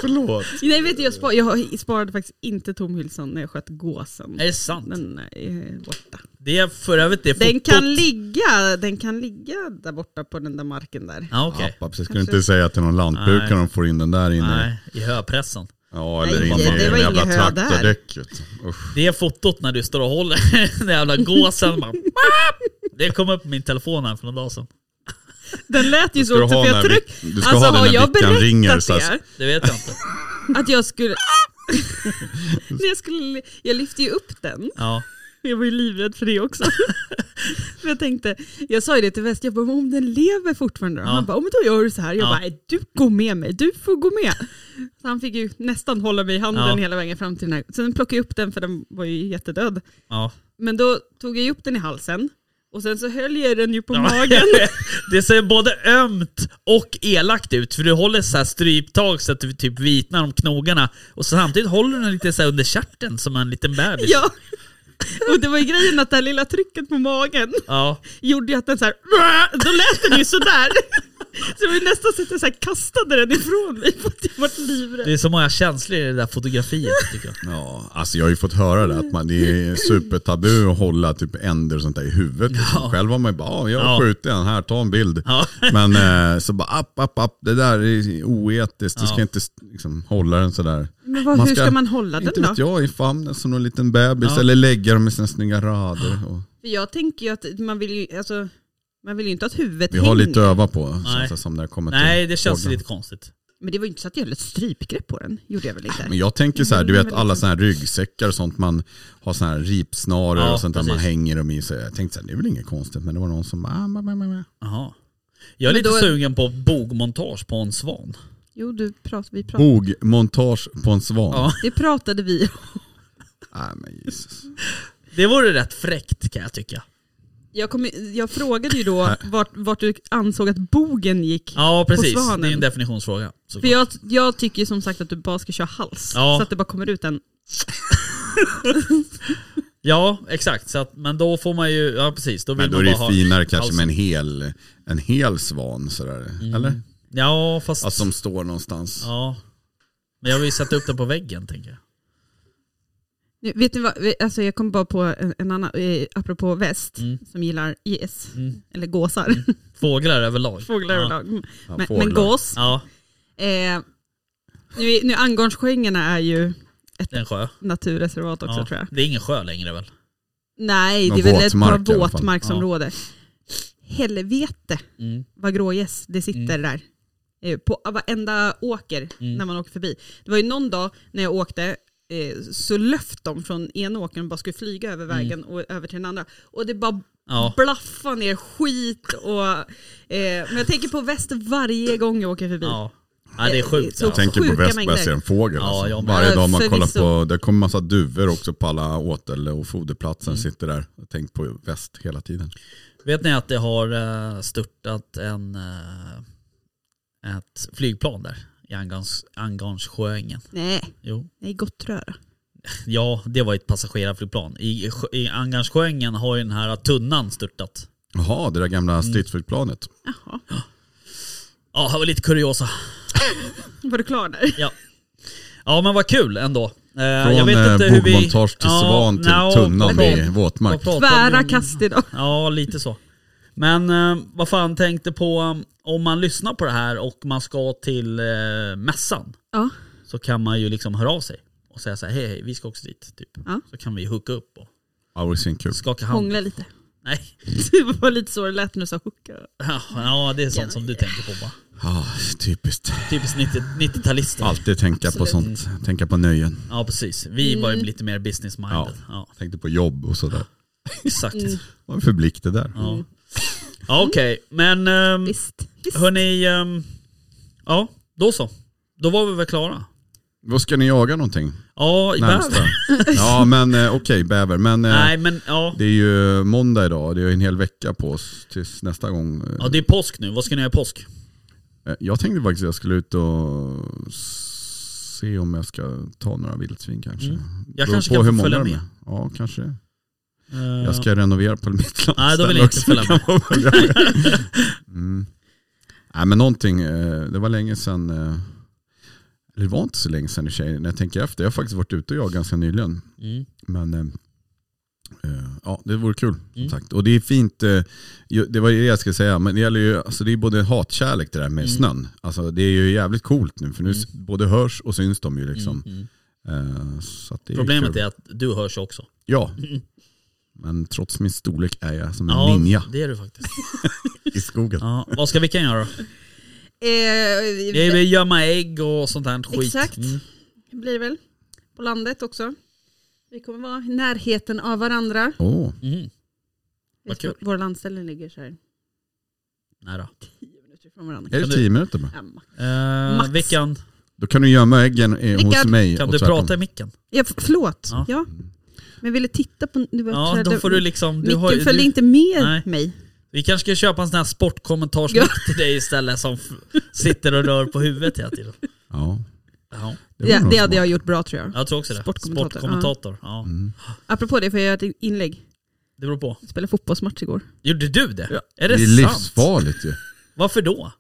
[SPEAKER 4] förlåt.
[SPEAKER 6] nej vet du, jag, spar, jag har- sparade faktiskt inte tomhylsan när jag sköt gåsen.
[SPEAKER 5] Är det sant?
[SPEAKER 6] Den är borta.
[SPEAKER 5] Det är för övrigt det
[SPEAKER 6] Den
[SPEAKER 5] fotot.
[SPEAKER 6] kan, ligga, den kan ligga där borta på den där marken där.
[SPEAKER 5] Ja, okej.
[SPEAKER 4] Ja, precis. Ska du inte säga att det är någon lantbrukare
[SPEAKER 5] Nej.
[SPEAKER 4] de får in den där inne?
[SPEAKER 5] Nej, i höpressen.
[SPEAKER 4] Ja,
[SPEAKER 6] Nej,
[SPEAKER 4] eller in
[SPEAKER 6] det-
[SPEAKER 4] i
[SPEAKER 6] det
[SPEAKER 4] en
[SPEAKER 6] var
[SPEAKER 4] jävla
[SPEAKER 6] ingen hö där.
[SPEAKER 4] traktordäck. vet du. Usch.
[SPEAKER 5] Det är fotot när du står och håller den jävla gåsen. Bara, "Bap!" det kom upp på min telefon här för några dagar sedan.
[SPEAKER 6] Den lät ju
[SPEAKER 4] Ska du
[SPEAKER 6] så också
[SPEAKER 4] ha
[SPEAKER 6] för
[SPEAKER 4] den här
[SPEAKER 6] jag tryck... Alltså,
[SPEAKER 4] vick- du ska ha den
[SPEAKER 6] har
[SPEAKER 4] när
[SPEAKER 6] jag
[SPEAKER 4] vickan
[SPEAKER 6] berättat
[SPEAKER 4] ringer. Så
[SPEAKER 6] det?
[SPEAKER 4] att,
[SPEAKER 6] här?
[SPEAKER 5] Det vet jag inte.
[SPEAKER 6] Att jag skulle... När jag, skulle, jag lyfte ju upp den.
[SPEAKER 5] Ja.
[SPEAKER 6] Jag var ju livrädd för det också. för jag tänkte, jag sa ju det till West, jag bara, men om den lever fortfarande då?
[SPEAKER 5] Ja.
[SPEAKER 6] Han bara, om då gör du så här. Jag
[SPEAKER 5] Ja.
[SPEAKER 6] bara, "Nej, du går med mig, du får gå med. Så han fick ju nästan hålla mig i handen
[SPEAKER 5] Ja.
[SPEAKER 6] hela vägen fram till den här. Sen plockade jag upp den för den var ju jättedöd.
[SPEAKER 5] ja.
[SPEAKER 6] Men då tog jag ju upp den i halsen och sen så höll jag den ju på
[SPEAKER 5] Ja.
[SPEAKER 6] magen.
[SPEAKER 5] Det ser både ömt och elakt ut, för du håller så här stryptag så att du typ vitnar om knogarna. Och så samtidigt håller du den lite så här under stjärten som en liten bebis.
[SPEAKER 6] Ja. Och det var ju grejen att det här lilla trycket på magen
[SPEAKER 5] Ja.
[SPEAKER 6] gjorde ju att den så här, då lät den ju sådär. Så det var ju nästan så att jag så här kastade den ifrån mig för att jag vart
[SPEAKER 5] Det
[SPEAKER 6] livrädd.
[SPEAKER 5] är så många känslor i det där fotografiet tycker jag.
[SPEAKER 4] ja, alltså jag har ju fått höra det, att man, det är supertabu att hålla typ änder och sånt där i huvudet. Liksom. Själv har man ju bara, ja, jag har
[SPEAKER 5] Ja.
[SPEAKER 4] skjutit den, här, ta en bild.
[SPEAKER 5] Ja.
[SPEAKER 4] Men eh, så bara, app, app, app, det där är oetiskt, du ska
[SPEAKER 5] Ja.
[SPEAKER 4] inte liksom, hålla den sådär.
[SPEAKER 6] Men vad,
[SPEAKER 4] Man
[SPEAKER 6] hur
[SPEAKER 4] ska-
[SPEAKER 6] ska man hålla den
[SPEAKER 4] Inte
[SPEAKER 6] då?
[SPEAKER 4] vet jag, i famnen som någon liten bebis,
[SPEAKER 5] Ja.
[SPEAKER 4] eller lägga dem i sina snygga rader. Och,
[SPEAKER 6] För jag tänker ju att man vill ju, alltså, man vill ju inte att huvudet
[SPEAKER 4] vi har
[SPEAKER 6] hänger.
[SPEAKER 4] lite att öva på,
[SPEAKER 5] Nej.
[SPEAKER 4] känns det som när det kommer till
[SPEAKER 5] Nej, det känns
[SPEAKER 4] fågeln.
[SPEAKER 5] lite konstigt.
[SPEAKER 6] Men det var ju inte så att jag höll ett strypgrepp på den. gjorde jag väl inte.
[SPEAKER 4] Men jag tänker så här, du
[SPEAKER 6] Mm,
[SPEAKER 4] vet
[SPEAKER 6] men
[SPEAKER 4] alla
[SPEAKER 6] liksom-
[SPEAKER 4] sådana här ryggsäckar och sånt, man har sådana här ripsnaror
[SPEAKER 5] Ja,
[SPEAKER 4] och sånt där man
[SPEAKER 5] precis.
[SPEAKER 4] hänger dem i. Så jag tänkte så här, det är väl inget konstigt, men det var någon som bara, ah, ma, ma, ma, ma.
[SPEAKER 5] Jaha. Jag är
[SPEAKER 6] Men
[SPEAKER 5] lite
[SPEAKER 6] då är-
[SPEAKER 5] sugen på bogmontage på en svan.
[SPEAKER 6] Jo, du prat, vi prat,
[SPEAKER 4] Bogmontage på en svan.
[SPEAKER 5] Ja.
[SPEAKER 6] det pratade vi om.
[SPEAKER 4] Nej, men Jesus.
[SPEAKER 5] Det vore rätt fräckt kan jag tycka.
[SPEAKER 6] jag, kom, jag frågade ju då vart, vart du ansåg att bogen gick.
[SPEAKER 5] Ja, precis.
[SPEAKER 6] svanen.
[SPEAKER 5] Det är en definitionsfråga. såklart.
[SPEAKER 6] För jag, jag tycker ju som sagt att du bara ska köra hals.
[SPEAKER 5] Ja.
[SPEAKER 6] Så att det bara kommer ut en
[SPEAKER 5] Ja, exakt. Så att, men då får man ju, ja precis. Då vill
[SPEAKER 4] Men då är
[SPEAKER 5] man
[SPEAKER 4] det
[SPEAKER 5] bara
[SPEAKER 4] ju
[SPEAKER 5] ha
[SPEAKER 4] finare kanske med
[SPEAKER 5] halsen. Mm.
[SPEAKER 4] en hel, en hel svan sådär, eller?
[SPEAKER 5] Ja, fast...
[SPEAKER 4] Alltså som står någonstans.
[SPEAKER 5] Ja. Men jag vill ju sätta upp den på väggen, tänker jag.
[SPEAKER 6] Nu, vet ni vad, vi- alltså jag kom bara på en, en annan, eh, apropå väst,
[SPEAKER 5] Mm.
[SPEAKER 6] som gillar gäss,
[SPEAKER 5] Mm.
[SPEAKER 6] eller gåsar,
[SPEAKER 5] Fåglar överlag.
[SPEAKER 6] fåglar
[SPEAKER 5] ja.
[SPEAKER 6] överlag.
[SPEAKER 4] Ja,
[SPEAKER 6] Men,
[SPEAKER 4] fåglar.
[SPEAKER 6] men gås.
[SPEAKER 5] Ja,
[SPEAKER 6] Eh, nu, är- nu Angårdsskoängarna är ju
[SPEAKER 5] det är en sjö.
[SPEAKER 6] naturreservat också
[SPEAKER 5] ja.
[SPEAKER 6] tror jag.
[SPEAKER 5] Det är ingen sjö längre väl?
[SPEAKER 6] Nej,
[SPEAKER 4] Någon
[SPEAKER 6] det är väl ett par
[SPEAKER 4] våtmark i alla fall.
[SPEAKER 6] våtmarksområde. Helvete
[SPEAKER 5] Mm.
[SPEAKER 6] vad grågäss det sitter
[SPEAKER 4] Mm.
[SPEAKER 6] där. ah, Eh, På varenda åker när man åker förbi. Det var ju någon dag när jag åkte eh, så löft de från ena åkern och bara skulle flyga
[SPEAKER 4] Mm.
[SPEAKER 6] över vägen och över till den andra. Och det bara
[SPEAKER 5] Ja.
[SPEAKER 6] blaffa ner skit och... Eh, men jag tänker på väst varje gång jag åker förbi.
[SPEAKER 5] Ja. ja, det är sjukt.
[SPEAKER 6] Så-
[SPEAKER 5] Alltså.
[SPEAKER 4] Tänker på
[SPEAKER 6] Sjuka
[SPEAKER 4] väst bara
[SPEAKER 6] mängder.
[SPEAKER 4] ser en fågel
[SPEAKER 5] Ja,
[SPEAKER 4] alltså.
[SPEAKER 5] jag med.
[SPEAKER 4] Varje
[SPEAKER 6] Ja,
[SPEAKER 4] dag man kollar
[SPEAKER 6] förvisso.
[SPEAKER 4] på, det kommer massa duvor också på alla åtel och foderplatsen
[SPEAKER 5] Mm.
[SPEAKER 4] sitter där. Jag tänker på väst hela tiden.
[SPEAKER 5] Vet ni att det har eh, störtat en, eh, ett flygplan där i Angans- Angarnsjöängen?
[SPEAKER 6] Nej,
[SPEAKER 5] Jo.
[SPEAKER 6] nej Gottröra.
[SPEAKER 5] Ja, det var ett passagerarflygplan. I, sjö- i Angarnsjöängen har ju den här tunnan störtat.
[SPEAKER 4] Jaha, det där
[SPEAKER 5] Mm.
[SPEAKER 4] gamla stridsflygplanet.
[SPEAKER 6] Jaha,
[SPEAKER 5] Ja, det var lite kuriosa.
[SPEAKER 6] var du klar där?
[SPEAKER 5] Ja. ja, men vad kul ändå. Eh,
[SPEAKER 4] Från
[SPEAKER 5] jag vet inte
[SPEAKER 4] eh,
[SPEAKER 5] hur vi-
[SPEAKER 4] bogmontage till
[SPEAKER 5] Ja,
[SPEAKER 4] svan till
[SPEAKER 5] nja,
[SPEAKER 4] tunnan
[SPEAKER 5] vad-
[SPEAKER 4] i våtmark.
[SPEAKER 5] vad pratar vi
[SPEAKER 6] Tvära
[SPEAKER 5] om?
[SPEAKER 6] kast idag.
[SPEAKER 5] Ja, lite så. Men eh, vad fan tänkte på um, om man lyssnar på det här och man ska till eh, mässan
[SPEAKER 6] Ja,
[SPEAKER 5] så kan man ju liksom höra av sig och säga så här, hej, hej vi ska också dit. Typ.
[SPEAKER 6] Ja.
[SPEAKER 5] Så kan vi hooka upp och
[SPEAKER 4] Ja, det vore svinkul.
[SPEAKER 5] skaka hand.
[SPEAKER 6] hångla lite.
[SPEAKER 5] Nej,
[SPEAKER 6] Det var lite så det lät när du sa
[SPEAKER 5] Mm.
[SPEAKER 6] hooka.
[SPEAKER 5] ja det är sånt som du tänker på bara.
[SPEAKER 4] Ja, Ah, typiskt.
[SPEAKER 5] Typiskt 90 90-talister.
[SPEAKER 4] Alltid tänka på sånt. Tänka på nöjen.
[SPEAKER 5] ja, precis. Vi var
[SPEAKER 6] Mm.
[SPEAKER 5] ju lite mer business minded. Ja.
[SPEAKER 4] Tänkte på jobb och sådär.
[SPEAKER 5] exakt.
[SPEAKER 6] Mm.
[SPEAKER 4] Vad för blick det där.
[SPEAKER 5] Ja. Ja, Okej, men um,
[SPEAKER 6] Visst. Visst.
[SPEAKER 5] hörni, ehm, ja, då så. Då var vi väl klara.
[SPEAKER 4] Vad ska ni jaga någonting?
[SPEAKER 5] Ja, i
[SPEAKER 4] Närmsta.
[SPEAKER 5] världen.
[SPEAKER 4] Ja men eh, okej, bäver. Men eh,
[SPEAKER 5] Nej men ja.
[SPEAKER 4] det är ju måndag idag. Det är ju en hel vecka på oss tills nästa gång. eh,
[SPEAKER 5] ja, det är påsk nu. Vad ska ni göra i påsk?
[SPEAKER 4] Eh, Jag tänkte faktiskt att jag skulle ut och s- se om jag ska ta några vildsvin kanske.
[SPEAKER 5] Mm. Jag
[SPEAKER 4] Beror
[SPEAKER 5] kanske
[SPEAKER 4] på
[SPEAKER 5] kan
[SPEAKER 4] hur
[SPEAKER 5] få
[SPEAKER 4] många
[SPEAKER 5] följa
[SPEAKER 4] de är.
[SPEAKER 5] med.
[SPEAKER 4] Ja, kanske.
[SPEAKER 5] Eh,
[SPEAKER 4] Jag ska renovera på mitt landställe
[SPEAKER 5] Nej, då vill jag inte
[SPEAKER 4] också.
[SPEAKER 5] följa med.
[SPEAKER 4] Kan man följa med? mm. Nej, men någonting. eh, Det var länge sedan. eh, Eller det var inte så länge sedan i och för sig, när jag tänker efter. Jag har faktiskt varit ute och jag ganska nyligen.
[SPEAKER 5] Mm.
[SPEAKER 4] Men eh, eh, ja, det vore kul.
[SPEAKER 5] Mm.
[SPEAKER 4] Som sagt. Och det är fint, eh, ju- det var ju det jag skulle säga, men det gäller ju, alltså det är både hatkärlek det där med
[SPEAKER 5] Mm.
[SPEAKER 4] snön. Alltså det är ju jävligt coolt nu för nu
[SPEAKER 5] Mm.
[SPEAKER 4] s- både hörs och syns de ju liksom.
[SPEAKER 5] Mm, mm.
[SPEAKER 4] Eh, så att det är ju
[SPEAKER 5] Problemet
[SPEAKER 4] kul.
[SPEAKER 5] är att du hörs också.
[SPEAKER 4] Ja.
[SPEAKER 5] Mm.
[SPEAKER 4] Men trots min storlek är jag som en ninja
[SPEAKER 5] det är du faktiskt.
[SPEAKER 4] i skogen.
[SPEAKER 5] Ja, vad ska veckan göra då?
[SPEAKER 6] Eh,
[SPEAKER 5] Det är väl gömma ägg och sånt här skit.
[SPEAKER 6] Exakt.
[SPEAKER 5] Mm.
[SPEAKER 6] blir det väl. På landet också. Vi kommer vara i närheten av varandra.
[SPEAKER 4] Åh,
[SPEAKER 5] Mm. Vad
[SPEAKER 6] Vet du var- Vår landställe ligger så här
[SPEAKER 5] Nära.
[SPEAKER 6] tio minuter från varandra.
[SPEAKER 5] Kan
[SPEAKER 4] är det
[SPEAKER 5] du-
[SPEAKER 4] tio minuter bara?
[SPEAKER 6] Ja, max.
[SPEAKER 5] Eh,
[SPEAKER 6] Max.
[SPEAKER 5] veckan,
[SPEAKER 4] Då kan du gömma äggen eh, hos
[SPEAKER 6] Rickard,
[SPEAKER 4] mig.
[SPEAKER 5] kan
[SPEAKER 4] och
[SPEAKER 5] du
[SPEAKER 4] tvärtom.
[SPEAKER 5] prata i micken?
[SPEAKER 6] Ja, f- förlåt.
[SPEAKER 5] Ja.
[SPEAKER 6] Ja. Men jag ville titta på... Du var
[SPEAKER 5] Ja, då får du liksom... Du
[SPEAKER 6] Micken
[SPEAKER 5] har,
[SPEAKER 6] följde
[SPEAKER 5] du,
[SPEAKER 6] inte med
[SPEAKER 5] Nej.
[SPEAKER 6] mig.
[SPEAKER 5] vi kanske ska köpa en sån här sportkommentarsmick till dig istället som f- sitter och rör på huvudet hela tiden.
[SPEAKER 4] Ja,
[SPEAKER 5] Ja,
[SPEAKER 4] det, var
[SPEAKER 6] Det,
[SPEAKER 4] nog
[SPEAKER 6] det
[SPEAKER 4] så.
[SPEAKER 6] hade jag gjort bra tror jag.
[SPEAKER 5] jag tror också det.
[SPEAKER 6] Sportkommentator.
[SPEAKER 5] Sportkommentator. Ja.
[SPEAKER 4] Mm.
[SPEAKER 6] Apropå det får jag göra ett inlägg.
[SPEAKER 5] Det beror på.
[SPEAKER 6] Jag spelade fotbollsmatch igår.
[SPEAKER 5] Gjorde du det?
[SPEAKER 4] Ja.
[SPEAKER 5] Är
[SPEAKER 4] Det
[SPEAKER 5] det,
[SPEAKER 4] är
[SPEAKER 5] sant?
[SPEAKER 4] livsfarligt ju.
[SPEAKER 5] Varför då?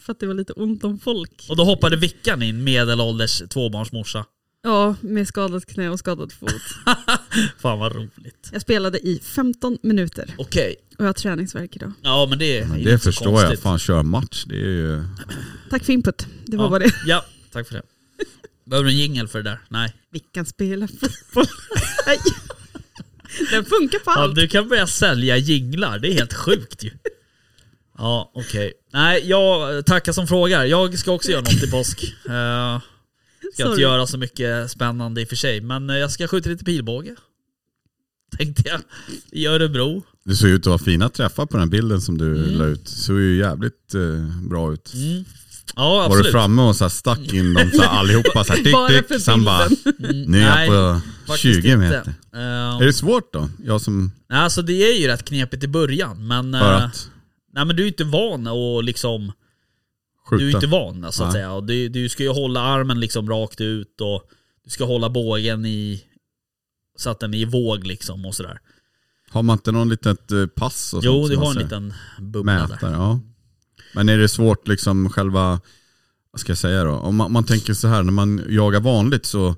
[SPEAKER 6] För att det var lite ont om folk.
[SPEAKER 5] Och då hoppade Vickan in, medelålders tvåbarnsmorsa.
[SPEAKER 6] Ja, med skadat knä och skadad fot.
[SPEAKER 5] Fan vad roligt.
[SPEAKER 6] Jag spelade i 15 minuter
[SPEAKER 5] Okej.
[SPEAKER 6] och jag har träningsvärk idag.
[SPEAKER 5] Ja men det är
[SPEAKER 4] Men
[SPEAKER 5] inte
[SPEAKER 4] det
[SPEAKER 5] så
[SPEAKER 4] förstår jag.
[SPEAKER 5] konstigt.
[SPEAKER 4] Fan, kör match. Det är ju...
[SPEAKER 6] Tack för input. Det var
[SPEAKER 5] ja.
[SPEAKER 6] bara det.
[SPEAKER 5] Ja, tack för det. Behöver du en jingel för det där? Nej.
[SPEAKER 6] Vi kan spela fotboll. Nej. Den funkar på
[SPEAKER 5] Ja,
[SPEAKER 6] allt.
[SPEAKER 5] du kan börja sälja jinglar, det är helt sjukt ju. Ja, okej. Nej, jag tackar som frågar. Jag ska också göra något i påsk. Uh, ska inte
[SPEAKER 6] Sorry.
[SPEAKER 5] göra så mycket spännande i och för sig, men eh, jag ska skjuta lite pilbåge. Tänkte jag. I Örebro.
[SPEAKER 4] Det såg ut att vara fina träffar på den bilden som du
[SPEAKER 5] Mm.
[SPEAKER 4] la ut. Det såg ju jävligt eh, bra ut.
[SPEAKER 6] Mm.
[SPEAKER 5] Ja,
[SPEAKER 4] Var
[SPEAKER 5] absolut.
[SPEAKER 4] du framme och så här stack in dem så här allihopa så här
[SPEAKER 6] Bara
[SPEAKER 4] tick
[SPEAKER 6] för
[SPEAKER 4] tick. Sen bara, nu är
[SPEAKER 5] Mm, Nej,
[SPEAKER 4] jag på 20 meter.
[SPEAKER 5] Uh,
[SPEAKER 4] Är det svårt då? Jag som,
[SPEAKER 5] alltså det är ju rätt knepigt i början, men...
[SPEAKER 4] för
[SPEAKER 5] eh,
[SPEAKER 4] att
[SPEAKER 5] Nej men du är ju inte van och liksom... Du är ju
[SPEAKER 4] skjuta.
[SPEAKER 5] inte van så att
[SPEAKER 4] Nej.
[SPEAKER 5] säga. Och du, du ska ju hålla armen liksom rakt ut och du ska hålla bågen i... Så att den är i våg liksom och sådär.
[SPEAKER 4] Har man inte någon litet eh, pass och
[SPEAKER 5] Jo,
[SPEAKER 4] sånt
[SPEAKER 5] du
[SPEAKER 4] som
[SPEAKER 5] har en
[SPEAKER 4] man ser?
[SPEAKER 5] liten bubbla där.
[SPEAKER 4] mätare. Ja. Men är det svårt liksom själva, vad ska jag säga då? Om man, man tänker så här, när man jagar vanligt så,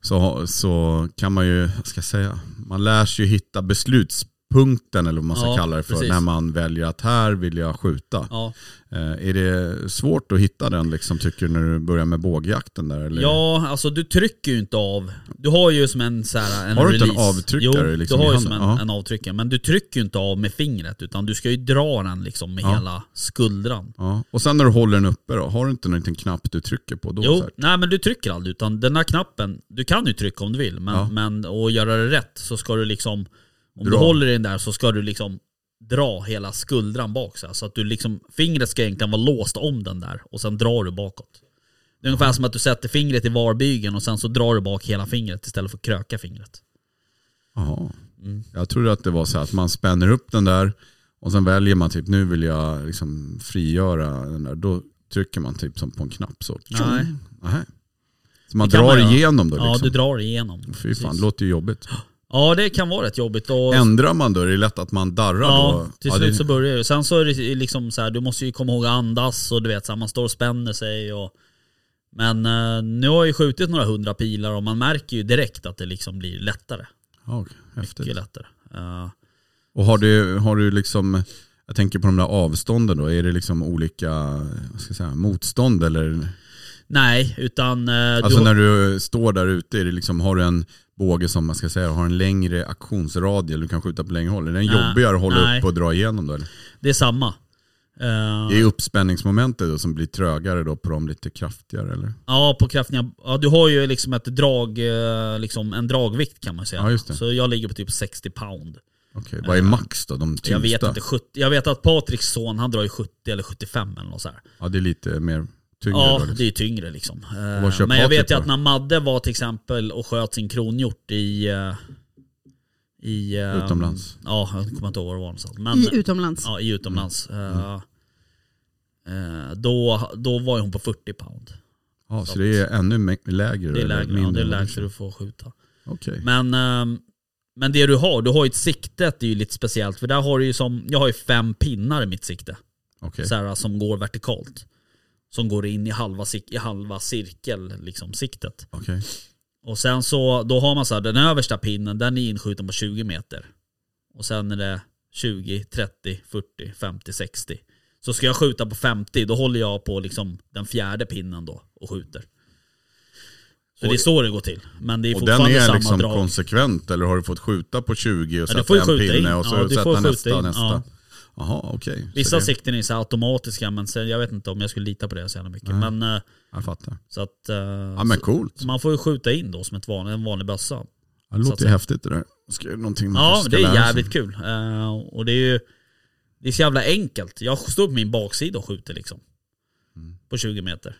[SPEAKER 4] så, så kan man ju, vad ska jag säga, man lär sig ju hitta besluts punkten eller vad man ska
[SPEAKER 5] Ja,
[SPEAKER 4] kalla det för,
[SPEAKER 5] precis.
[SPEAKER 4] när man väljer att här vill jag skjuta.
[SPEAKER 5] Ja.
[SPEAKER 4] Eh, är det svårt att hitta den liksom, tycker du, när du börjar med bågjakten där? Eller?
[SPEAKER 5] Ja, alltså du trycker ju inte av. Du har ju som en så här, en
[SPEAKER 4] Har du inte
[SPEAKER 5] release.
[SPEAKER 4] en avtryckare
[SPEAKER 5] Jo,
[SPEAKER 4] liksom
[SPEAKER 5] du
[SPEAKER 4] i
[SPEAKER 5] har ju som en,
[SPEAKER 4] handen? Ja.
[SPEAKER 5] en avtryckare. Men du trycker ju inte av med fingret utan du ska ju dra den liksom med
[SPEAKER 4] Ja.
[SPEAKER 5] hela skuldran.
[SPEAKER 4] Ja. Och sen när du håller den uppe då, har du inte någon liten knapp du trycker på då? Så
[SPEAKER 5] Jo,
[SPEAKER 4] här?
[SPEAKER 5] nej men du trycker aldrig utan den här knappen, du kan ju trycka om du vill men,
[SPEAKER 4] Ja.
[SPEAKER 5] men och göra det rätt så ska du liksom, om du
[SPEAKER 4] Dra.
[SPEAKER 5] håller i den där så ska du liksom dra hela skuldran bak så, här, så att du liksom, fingret ska egentligen vara låst om den där och sen drar du bakåt. Det är ungefär som att du sätter fingret i varbygeln och sen så drar du bak hela fingret istället för att kröka fingret.
[SPEAKER 4] Jaha.
[SPEAKER 5] Mm.
[SPEAKER 4] Jag trodde att det var så här att man spänner upp den där och sen väljer man typ nu vill jag liksom frigöra den där. Då trycker man typ som på en knapp så.
[SPEAKER 5] Nej.
[SPEAKER 4] Nähä. Så man
[SPEAKER 5] Det kan
[SPEAKER 4] drar
[SPEAKER 5] man göra.
[SPEAKER 4] igenom då liksom?
[SPEAKER 5] Ja, du drar igenom.
[SPEAKER 4] Fy fan,
[SPEAKER 5] Precis.
[SPEAKER 4] det låter ju jobbigt.
[SPEAKER 5] Ja, det kan vara rätt jobbigt. Och
[SPEAKER 4] Ändrar man då, är det lätt att man darrar
[SPEAKER 5] Ja,
[SPEAKER 4] då?
[SPEAKER 5] till
[SPEAKER 4] Ja,
[SPEAKER 5] slut
[SPEAKER 4] det-
[SPEAKER 5] så börjar det. Sen så är det liksom så här, du måste ju komma ihåg att andas och du vet så här, man står och spänner sig och men eh, nu har jag ju skjutit några hundra pilar och man märker ju direkt att det liksom blir lättare.
[SPEAKER 4] Ja, okej. häftigt.
[SPEAKER 5] Mycket lättare. Eh,
[SPEAKER 4] Och har du, har du liksom, jag tänker på de där avstånden då, är det liksom olika vad ska jag säga, motstånd eller?
[SPEAKER 5] nej, utan... eh,
[SPEAKER 4] Alltså
[SPEAKER 5] du,
[SPEAKER 4] när du står där ute, är det liksom, har du en båge som man ska säga har en längre aktionsradie eller du kan skjuta på längre håll? Är den
[SPEAKER 5] Nej,
[SPEAKER 4] jobbigare att hålla
[SPEAKER 5] nej.
[SPEAKER 4] upp och dra igenom då? Eller?
[SPEAKER 5] Det är samma. Eh,
[SPEAKER 4] Det är uppspänningsmomentet då som blir trögare då på de lite kraftigare eller?
[SPEAKER 5] Ja, på kraftningar. Ja, du har ju liksom ett drag, eh, liksom en dragvikt kan man säga.
[SPEAKER 4] Ja, just det.
[SPEAKER 5] Så jag ligger på typ 60 pound.
[SPEAKER 4] Okej, vad är max då? De tyngsta?
[SPEAKER 5] Eh, Jag vet, inte, 70, jag vet att Patriks son han drar ju 70 eller 75 eller något så här.
[SPEAKER 4] Ja det är lite mer tyngre
[SPEAKER 5] ja,
[SPEAKER 4] då. Liksom.
[SPEAKER 5] det är ju tyngre liksom. Eh,
[SPEAKER 4] vad kör
[SPEAKER 5] Men jag
[SPEAKER 4] Patrik
[SPEAKER 5] vet ju
[SPEAKER 4] då?
[SPEAKER 5] att när Madde var till exempel och sköt sin kronhjort i... eh, i eh,
[SPEAKER 4] Utomlands.
[SPEAKER 5] Ja, jag kommer inte ihåg var det var någonstans. Men,
[SPEAKER 6] I utomlands.
[SPEAKER 5] ja, i utomlands.
[SPEAKER 4] Mm.
[SPEAKER 5] Eh, eh, Då, då var ju hon på 40 pound.
[SPEAKER 4] Ja, så det är ännu mä- lägre?
[SPEAKER 5] Det är
[SPEAKER 4] eller
[SPEAKER 5] lägre, ja,
[SPEAKER 4] mindre
[SPEAKER 5] det är
[SPEAKER 4] då,
[SPEAKER 5] lägre
[SPEAKER 4] liksom.
[SPEAKER 5] du får skjuta.
[SPEAKER 4] Okej.
[SPEAKER 5] Men, ehm, men det du har, du har ju ett sikte, det är ju lite speciellt. För där har du ju som, jag har ju fem pinnar i mitt sikte.
[SPEAKER 4] okej.
[SPEAKER 5] så här, som går vertikalt. Som går in i halva, cir- i halva cirkel, liksom siktet.
[SPEAKER 4] Okej.
[SPEAKER 5] Och sen så, då har man så här, den översta pinnen, den är inskjuten på 20 meter. Och sen är det 20, 30, 40, 50, 60. Så ska jag skjuta på 50, då håller jag på liksom den fjärde pinnen då och skjuter. Så det är så det går till. Men det är
[SPEAKER 4] Och den
[SPEAKER 5] fortfarande
[SPEAKER 4] är
[SPEAKER 5] samma
[SPEAKER 4] liksom
[SPEAKER 5] drag.
[SPEAKER 4] konsekvent eller har du fått skjuta på 20 och
[SPEAKER 5] Ja, du
[SPEAKER 4] sätta
[SPEAKER 5] får ju
[SPEAKER 4] en
[SPEAKER 5] skjuta
[SPEAKER 4] pinne
[SPEAKER 5] in.
[SPEAKER 4] och så
[SPEAKER 5] Ja, du får
[SPEAKER 4] sätta
[SPEAKER 5] skjuta
[SPEAKER 4] nästa
[SPEAKER 5] in.
[SPEAKER 4] nästa?
[SPEAKER 5] Ja.
[SPEAKER 4] Jaha okej. Så
[SPEAKER 5] Vissa
[SPEAKER 4] det-
[SPEAKER 5] sikten är så här automatiska men sen, jag vet inte om jag skulle lita på det så jävla mycket. Men eh,
[SPEAKER 4] Jag fattar.
[SPEAKER 5] så att... eh,
[SPEAKER 4] Ja men
[SPEAKER 5] så-
[SPEAKER 4] coolt.
[SPEAKER 5] Så man får ju skjuta in då som ett vanlig, en vanlig bössa.
[SPEAKER 4] Det
[SPEAKER 5] så
[SPEAKER 4] låter
[SPEAKER 5] att
[SPEAKER 4] ju
[SPEAKER 5] säga.
[SPEAKER 4] häftigt det där. Ska, någonting man
[SPEAKER 5] Ja, men
[SPEAKER 4] kanske ska
[SPEAKER 5] det är
[SPEAKER 4] lära sig.
[SPEAKER 5] jävligt kul. Eh, och det är ju det är så jävla enkelt. Jag står på min baksida och skjuter liksom.
[SPEAKER 4] Mm.
[SPEAKER 5] På 20 meter.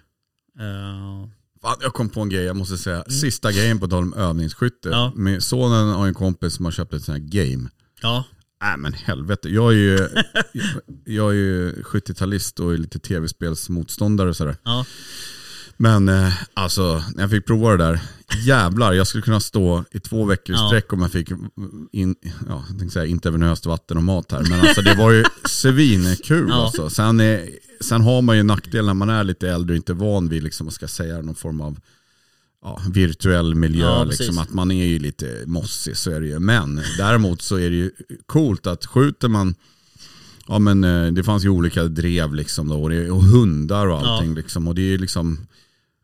[SPEAKER 5] Eh,
[SPEAKER 4] Fan, jag kom på en grej jag måste säga. Sista grejen på tal om övningsskytte.
[SPEAKER 5] Mm. Ja.
[SPEAKER 4] Min sonen har en kompis som har köpt ett sånt här game.
[SPEAKER 5] ja,
[SPEAKER 4] Nej men helvete. Jag är ju, jag är ju 70-talist och är lite tv-spelsmotståndare och sådär.
[SPEAKER 5] ja.
[SPEAKER 4] Men eh, alltså, när jag fick prova det där, jävlar, jag skulle kunna stå i två veckor i
[SPEAKER 5] Ja.
[SPEAKER 4] sträck om jag fick, in, ja, jag tänkte säga intravenöst vatten och mat här. Men alltså det var ju svinkul
[SPEAKER 5] Ja.
[SPEAKER 4] alltså. Sen, är, sen har man ju en nackdel när man är lite äldre och inte van vid, liksom, vad ska jag säga, någon form av ja, virtuell miljö.
[SPEAKER 5] Ja, precis.
[SPEAKER 4] liksom, att man är ju lite mossig, så är det ju. Men däremot så är det ju coolt att skjuter man Ja men eh, det fanns ju olika drev liksom då och, det, och hundar och allting liksom. Och det är ju liksom,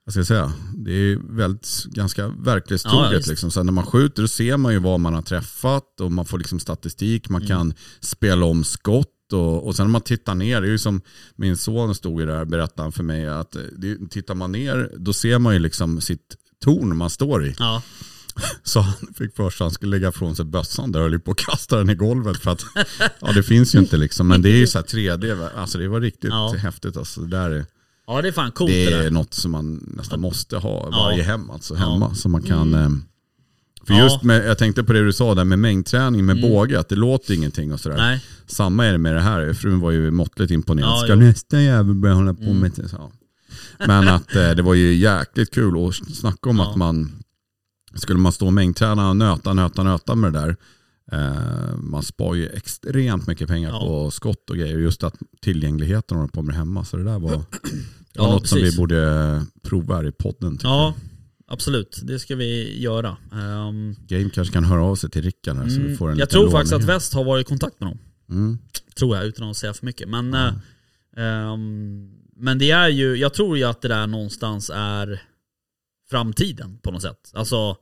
[SPEAKER 4] vad ska jag säga, det är väldigt, ganska
[SPEAKER 5] Ja, ja,
[SPEAKER 4] verklighetstroget
[SPEAKER 5] visst.
[SPEAKER 4] liksom. Sen när man skjuter då ser man ju vad man har träffat och man får liksom statistik,
[SPEAKER 5] Mm.
[SPEAKER 4] man kan spela om skott. Och, och sen när man tittar ner, det är ju som min son stod ju där och berättade för mig att eh, det, tittar man ner då ser man ju liksom sitt torn man står i.
[SPEAKER 5] ja.
[SPEAKER 4] Så han fick för sig att han skulle lägga ifrån sig bössan där och höll ju på att kasta den i golvet för att ja det finns ju inte liksom. Men det är ju så här 3D, va? alltså det var riktigt
[SPEAKER 5] Ja.
[SPEAKER 4] häftigt alltså. Det, där är,
[SPEAKER 5] ja, det är fan coolt det,
[SPEAKER 4] det är
[SPEAKER 5] där.
[SPEAKER 4] något som man nästan måste ha varje hem alltså hemma. Så man kan, eh, för
[SPEAKER 5] Mm. Ja. Mm.
[SPEAKER 4] just med, jag tänkte på det du sa där med mängdträning med båge, att det låter ingenting och sådär.
[SPEAKER 5] Nej.
[SPEAKER 4] Samma är det med det här, frun var ju måttligt imponerad.
[SPEAKER 5] Ja,
[SPEAKER 4] Ska
[SPEAKER 5] jo. Mm.
[SPEAKER 4] nästa jävel börja hålla på med det? Ja. Men att eh, det var ju jäkligt kul och snacka om
[SPEAKER 5] Ja.
[SPEAKER 4] att man, skulle man stå och mängdträna och nöta, nöta, nöta med det där. Eh, man sparar ju extremt mycket pengar
[SPEAKER 5] Ja.
[SPEAKER 4] på skott och grejer. Just att tillgängligheten håller på med hemma. Så det där var, det var
[SPEAKER 5] Ja,
[SPEAKER 4] något som vi
[SPEAKER 5] precis.
[SPEAKER 4] borde prova här i podden. tycker
[SPEAKER 5] Ja, absolut. Det ska vi göra. Ehm,
[SPEAKER 4] Game kanske kan höra av sig till Rickard här så vi får
[SPEAKER 5] Mm.
[SPEAKER 4] en
[SPEAKER 5] jag
[SPEAKER 4] liten
[SPEAKER 5] tror faktiskt att
[SPEAKER 4] låning.
[SPEAKER 5] Väst har varit i kontakt med dem.
[SPEAKER 4] Mm.
[SPEAKER 5] Tror jag, utan att säga för mycket. Men, eh, ehm, men det är ju, jag tror ju att det där någonstans är framtiden på något sätt. Alltså,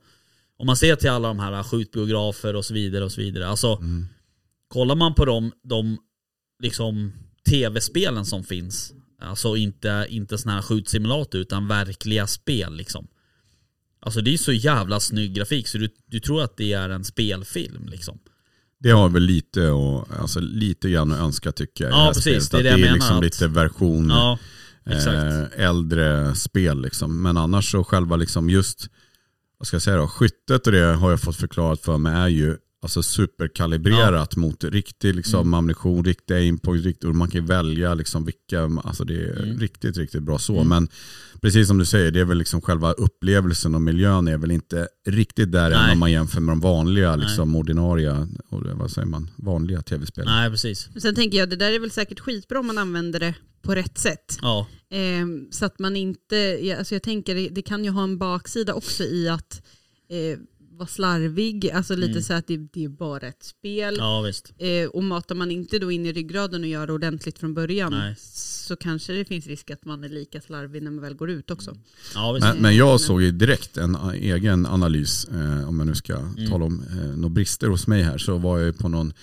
[SPEAKER 5] om man ser till alla de här skjutbiografer och så vidare och så vidare. Alltså, kollar man på de, de liksom tv-spelen som finns, alltså inte, inte såna här skjutsimulator utan verkliga spel liksom. Alltså det är så jävla snygg grafik så du, du tror att det är en spelfilm liksom.
[SPEAKER 4] Det har väl lite, och, alltså, lite grann att önska tycker jag. i
[SPEAKER 5] Ja,
[SPEAKER 4] här
[SPEAKER 5] precis.
[SPEAKER 4] spelet.
[SPEAKER 5] Det är
[SPEAKER 4] Att
[SPEAKER 5] det jag
[SPEAKER 4] det är
[SPEAKER 5] menar,
[SPEAKER 4] liksom
[SPEAKER 5] att-
[SPEAKER 4] lite version
[SPEAKER 5] Ja, exakt.
[SPEAKER 4] eh, äldre spel. Liksom. Men annars så själva liksom just vad ska jag säga då, skyttet och det har jag fått förklarat för mig är ju alltså superkalibrerat mot riktig liksom,
[SPEAKER 5] Mm.
[SPEAKER 4] ammunition, riktiga input, rikt, och man kan ju välja liksom, vilka, alltså det är
[SPEAKER 5] Mm.
[SPEAKER 4] riktigt, riktigt bra så. Men precis som du säger, det är väl liksom själva upplevelsen och miljön är väl inte riktigt där än
[SPEAKER 5] Nej.
[SPEAKER 4] om man jämför med de vanliga, liksom, ordinarie, och det- vad säger man, vanliga tv-spelen.
[SPEAKER 5] Nej, precis.
[SPEAKER 6] Men Sen tänker jag, det där är väl säkert skitbra om man använder det på rätt sätt.
[SPEAKER 5] Ja,
[SPEAKER 6] Ehm, så att man inte, ja, alltså jag tänker det, det kan ju ha en baksida också i att eh, vara slarvig, alltså lite så att det, det är bara ett spel.
[SPEAKER 5] Mm. ja visst.
[SPEAKER 6] Eh, och matar man inte då in i ryggraden och gör det ordentligt från början
[SPEAKER 5] Nej.
[SPEAKER 6] så kanske det finns risk att man är lika slarvig när man väl går ut också.
[SPEAKER 5] Ja, visst.
[SPEAKER 4] Men, men jag såg ju direkt en a- egen analys, eh, om jag nu ska
[SPEAKER 5] Mm.
[SPEAKER 4] tala om eh, några brister hos mig här, så var jag ju på någon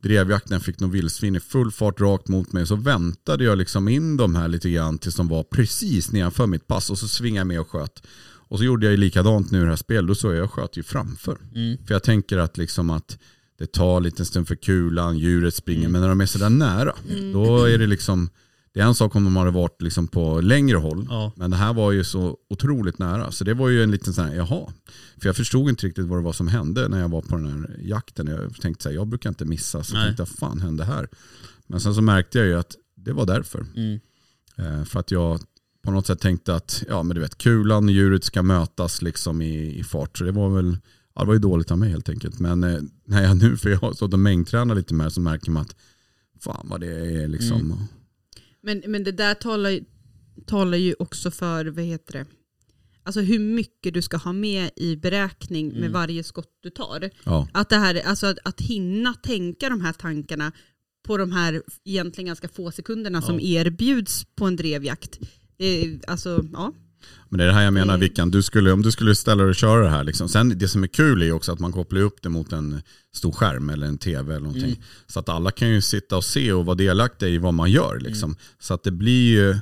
[SPEAKER 4] drevjakt när jag fick någon vildsvin i full fart rakt mot mig. Så väntade jag liksom in de här lite grann tills de var precis nedanför mitt pass och så svingade jag med och sköt. Och så gjorde jag ju likadant nu i det här spelet, då såg jag jag sköt ju framför.
[SPEAKER 5] Mm.
[SPEAKER 4] För jag tänker att liksom att det tar lite stund för kulan, djuret springer,
[SPEAKER 5] Mm.
[SPEAKER 4] men när de är sådär nära, då är det liksom det är en sak om de hade varit liksom på längre håll,
[SPEAKER 5] Ja.
[SPEAKER 4] men det här var ju så otroligt nära. Så det var ju en liten sån här, jaha. För jag förstod inte riktigt vad det var som hände när jag var på den här jakten. Jag tänkte så här, jag brukar inte missa, så
[SPEAKER 5] Nej.
[SPEAKER 4] jag tänkte vad fan hände här? Men sen så märkte jag ju att det var därför.
[SPEAKER 5] Mm.
[SPEAKER 4] Eh, för att jag på något sätt tänkte att, ja men du vet, kulan och djuret ska mötas liksom i, i fart. Så det var väl, ja, det var ju dåligt av mig helt enkelt. Men eh, när jag nu, för jag har stått och mängdtränat lite mer, så märker man att fan vad det är liksom.
[SPEAKER 6] Men, men det där talar, ju- talar ju också för, vad heter det, alltså hur mycket du ska ha med i beräkning med varje skott du tar.
[SPEAKER 4] Ja.
[SPEAKER 6] Att, det här, alltså att, att hinna tänka de här tankarna på de här egentligen ganska få sekunderna som erbjuds på en drevjakt. Eh, alltså, ja.
[SPEAKER 4] Men det är det här jag menar
[SPEAKER 6] Mm.
[SPEAKER 4] Vickan, du skulle, om du skulle ställa dig och köra det här. Liksom. Sen det som är kul är ju också att man kopplar upp det mot en stor skärm eller en tv eller någonting.
[SPEAKER 5] Mm.
[SPEAKER 4] Så att alla kan ju sitta och se och vara delaktiga i vad man gör. Liksom.
[SPEAKER 5] Mm.
[SPEAKER 4] Så att det blir ju,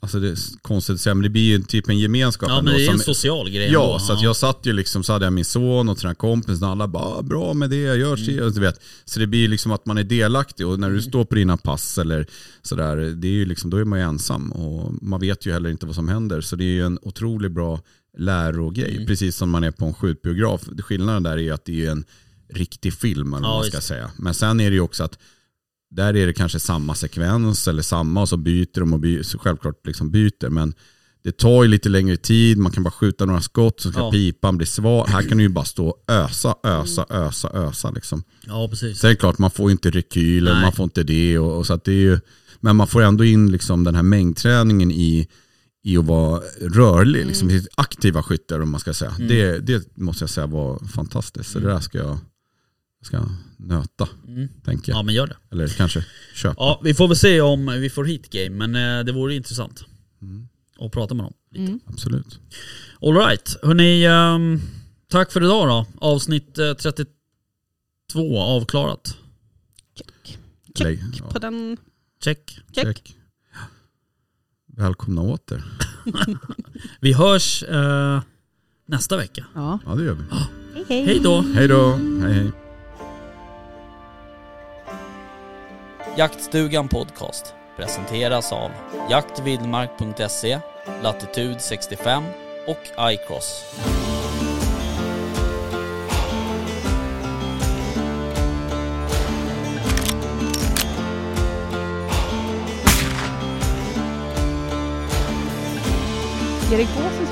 [SPEAKER 4] alltså det är konstigt att säga, men det blir ju typ en gemenskap.
[SPEAKER 5] Ja, men
[SPEAKER 4] ändå
[SPEAKER 5] det är en
[SPEAKER 4] som-
[SPEAKER 5] social grej
[SPEAKER 4] Ja,
[SPEAKER 5] ändå.
[SPEAKER 4] så att jag satt ju liksom, så hade jag min son och sina kompis och alla bara, ah, bra med det, gör så, du vet. Så det blir ju liksom att man är delaktig och när du står på dina pass eller sådär, det är ju liksom, då är man ju ensam och man vet ju heller inte vad som händer. Så det är ju en otroligt bra lärogrej, precis som man är på en skjutbiograf. Skillnaden där är ju att det är en riktig film eller vad
[SPEAKER 5] Ja,
[SPEAKER 4] man ska
[SPEAKER 5] visst.
[SPEAKER 4] säga. Men sen är det ju också att där är det kanske samma sekvens eller samma och så byter de och by, så självklart liksom byter. Men det tar ju lite längre tid, man kan bara skjuta några skott så ska
[SPEAKER 5] Ja.
[SPEAKER 4] pipan bli sval. Här kan du ju bara stå och ösa, ösa,
[SPEAKER 5] Mm.
[SPEAKER 4] ösa, ösa. Liksom.
[SPEAKER 5] Ja, precis.
[SPEAKER 4] Sen är det klart, man får ju inte rekyl och
[SPEAKER 5] Nej.
[SPEAKER 4] man får inte det. Och, och så att det är ju, men man får ändå in liksom den här mängdträningen i, i att vara rörlig, liksom,
[SPEAKER 5] Mm.
[SPEAKER 4] i aktiva skyttar om man ska säga. Det, det måste jag säga var fantastiskt. Så
[SPEAKER 5] Mm.
[SPEAKER 4] det där ska jag ska jag nöta, tänker jag.
[SPEAKER 5] Ja, men gör det.
[SPEAKER 4] Eller kanske köpa.
[SPEAKER 5] Ja, vi får väl se om vi får hit game, men eh, det vore intressant.
[SPEAKER 4] Mm.
[SPEAKER 5] Att prata med dem.
[SPEAKER 4] Absolut.
[SPEAKER 5] Alright, hörni. ehm, tack för idag då. Avsnitt eh, 32 avklarat.
[SPEAKER 6] Check
[SPEAKER 4] Eller- ja,
[SPEAKER 6] på den.
[SPEAKER 5] Check.
[SPEAKER 6] Check.
[SPEAKER 4] check. Välkomna åter.
[SPEAKER 5] Vi hörs eh, nästa vecka.
[SPEAKER 6] Ja.
[SPEAKER 4] Ja, det gör vi.
[SPEAKER 5] Hej då!
[SPEAKER 4] Hej då. Hej, hej.
[SPEAKER 7] Jaktstugan Podcast presenteras av jaktvildmark.se, Latitude 65 och iCross.
[SPEAKER 8] Erik Gåsens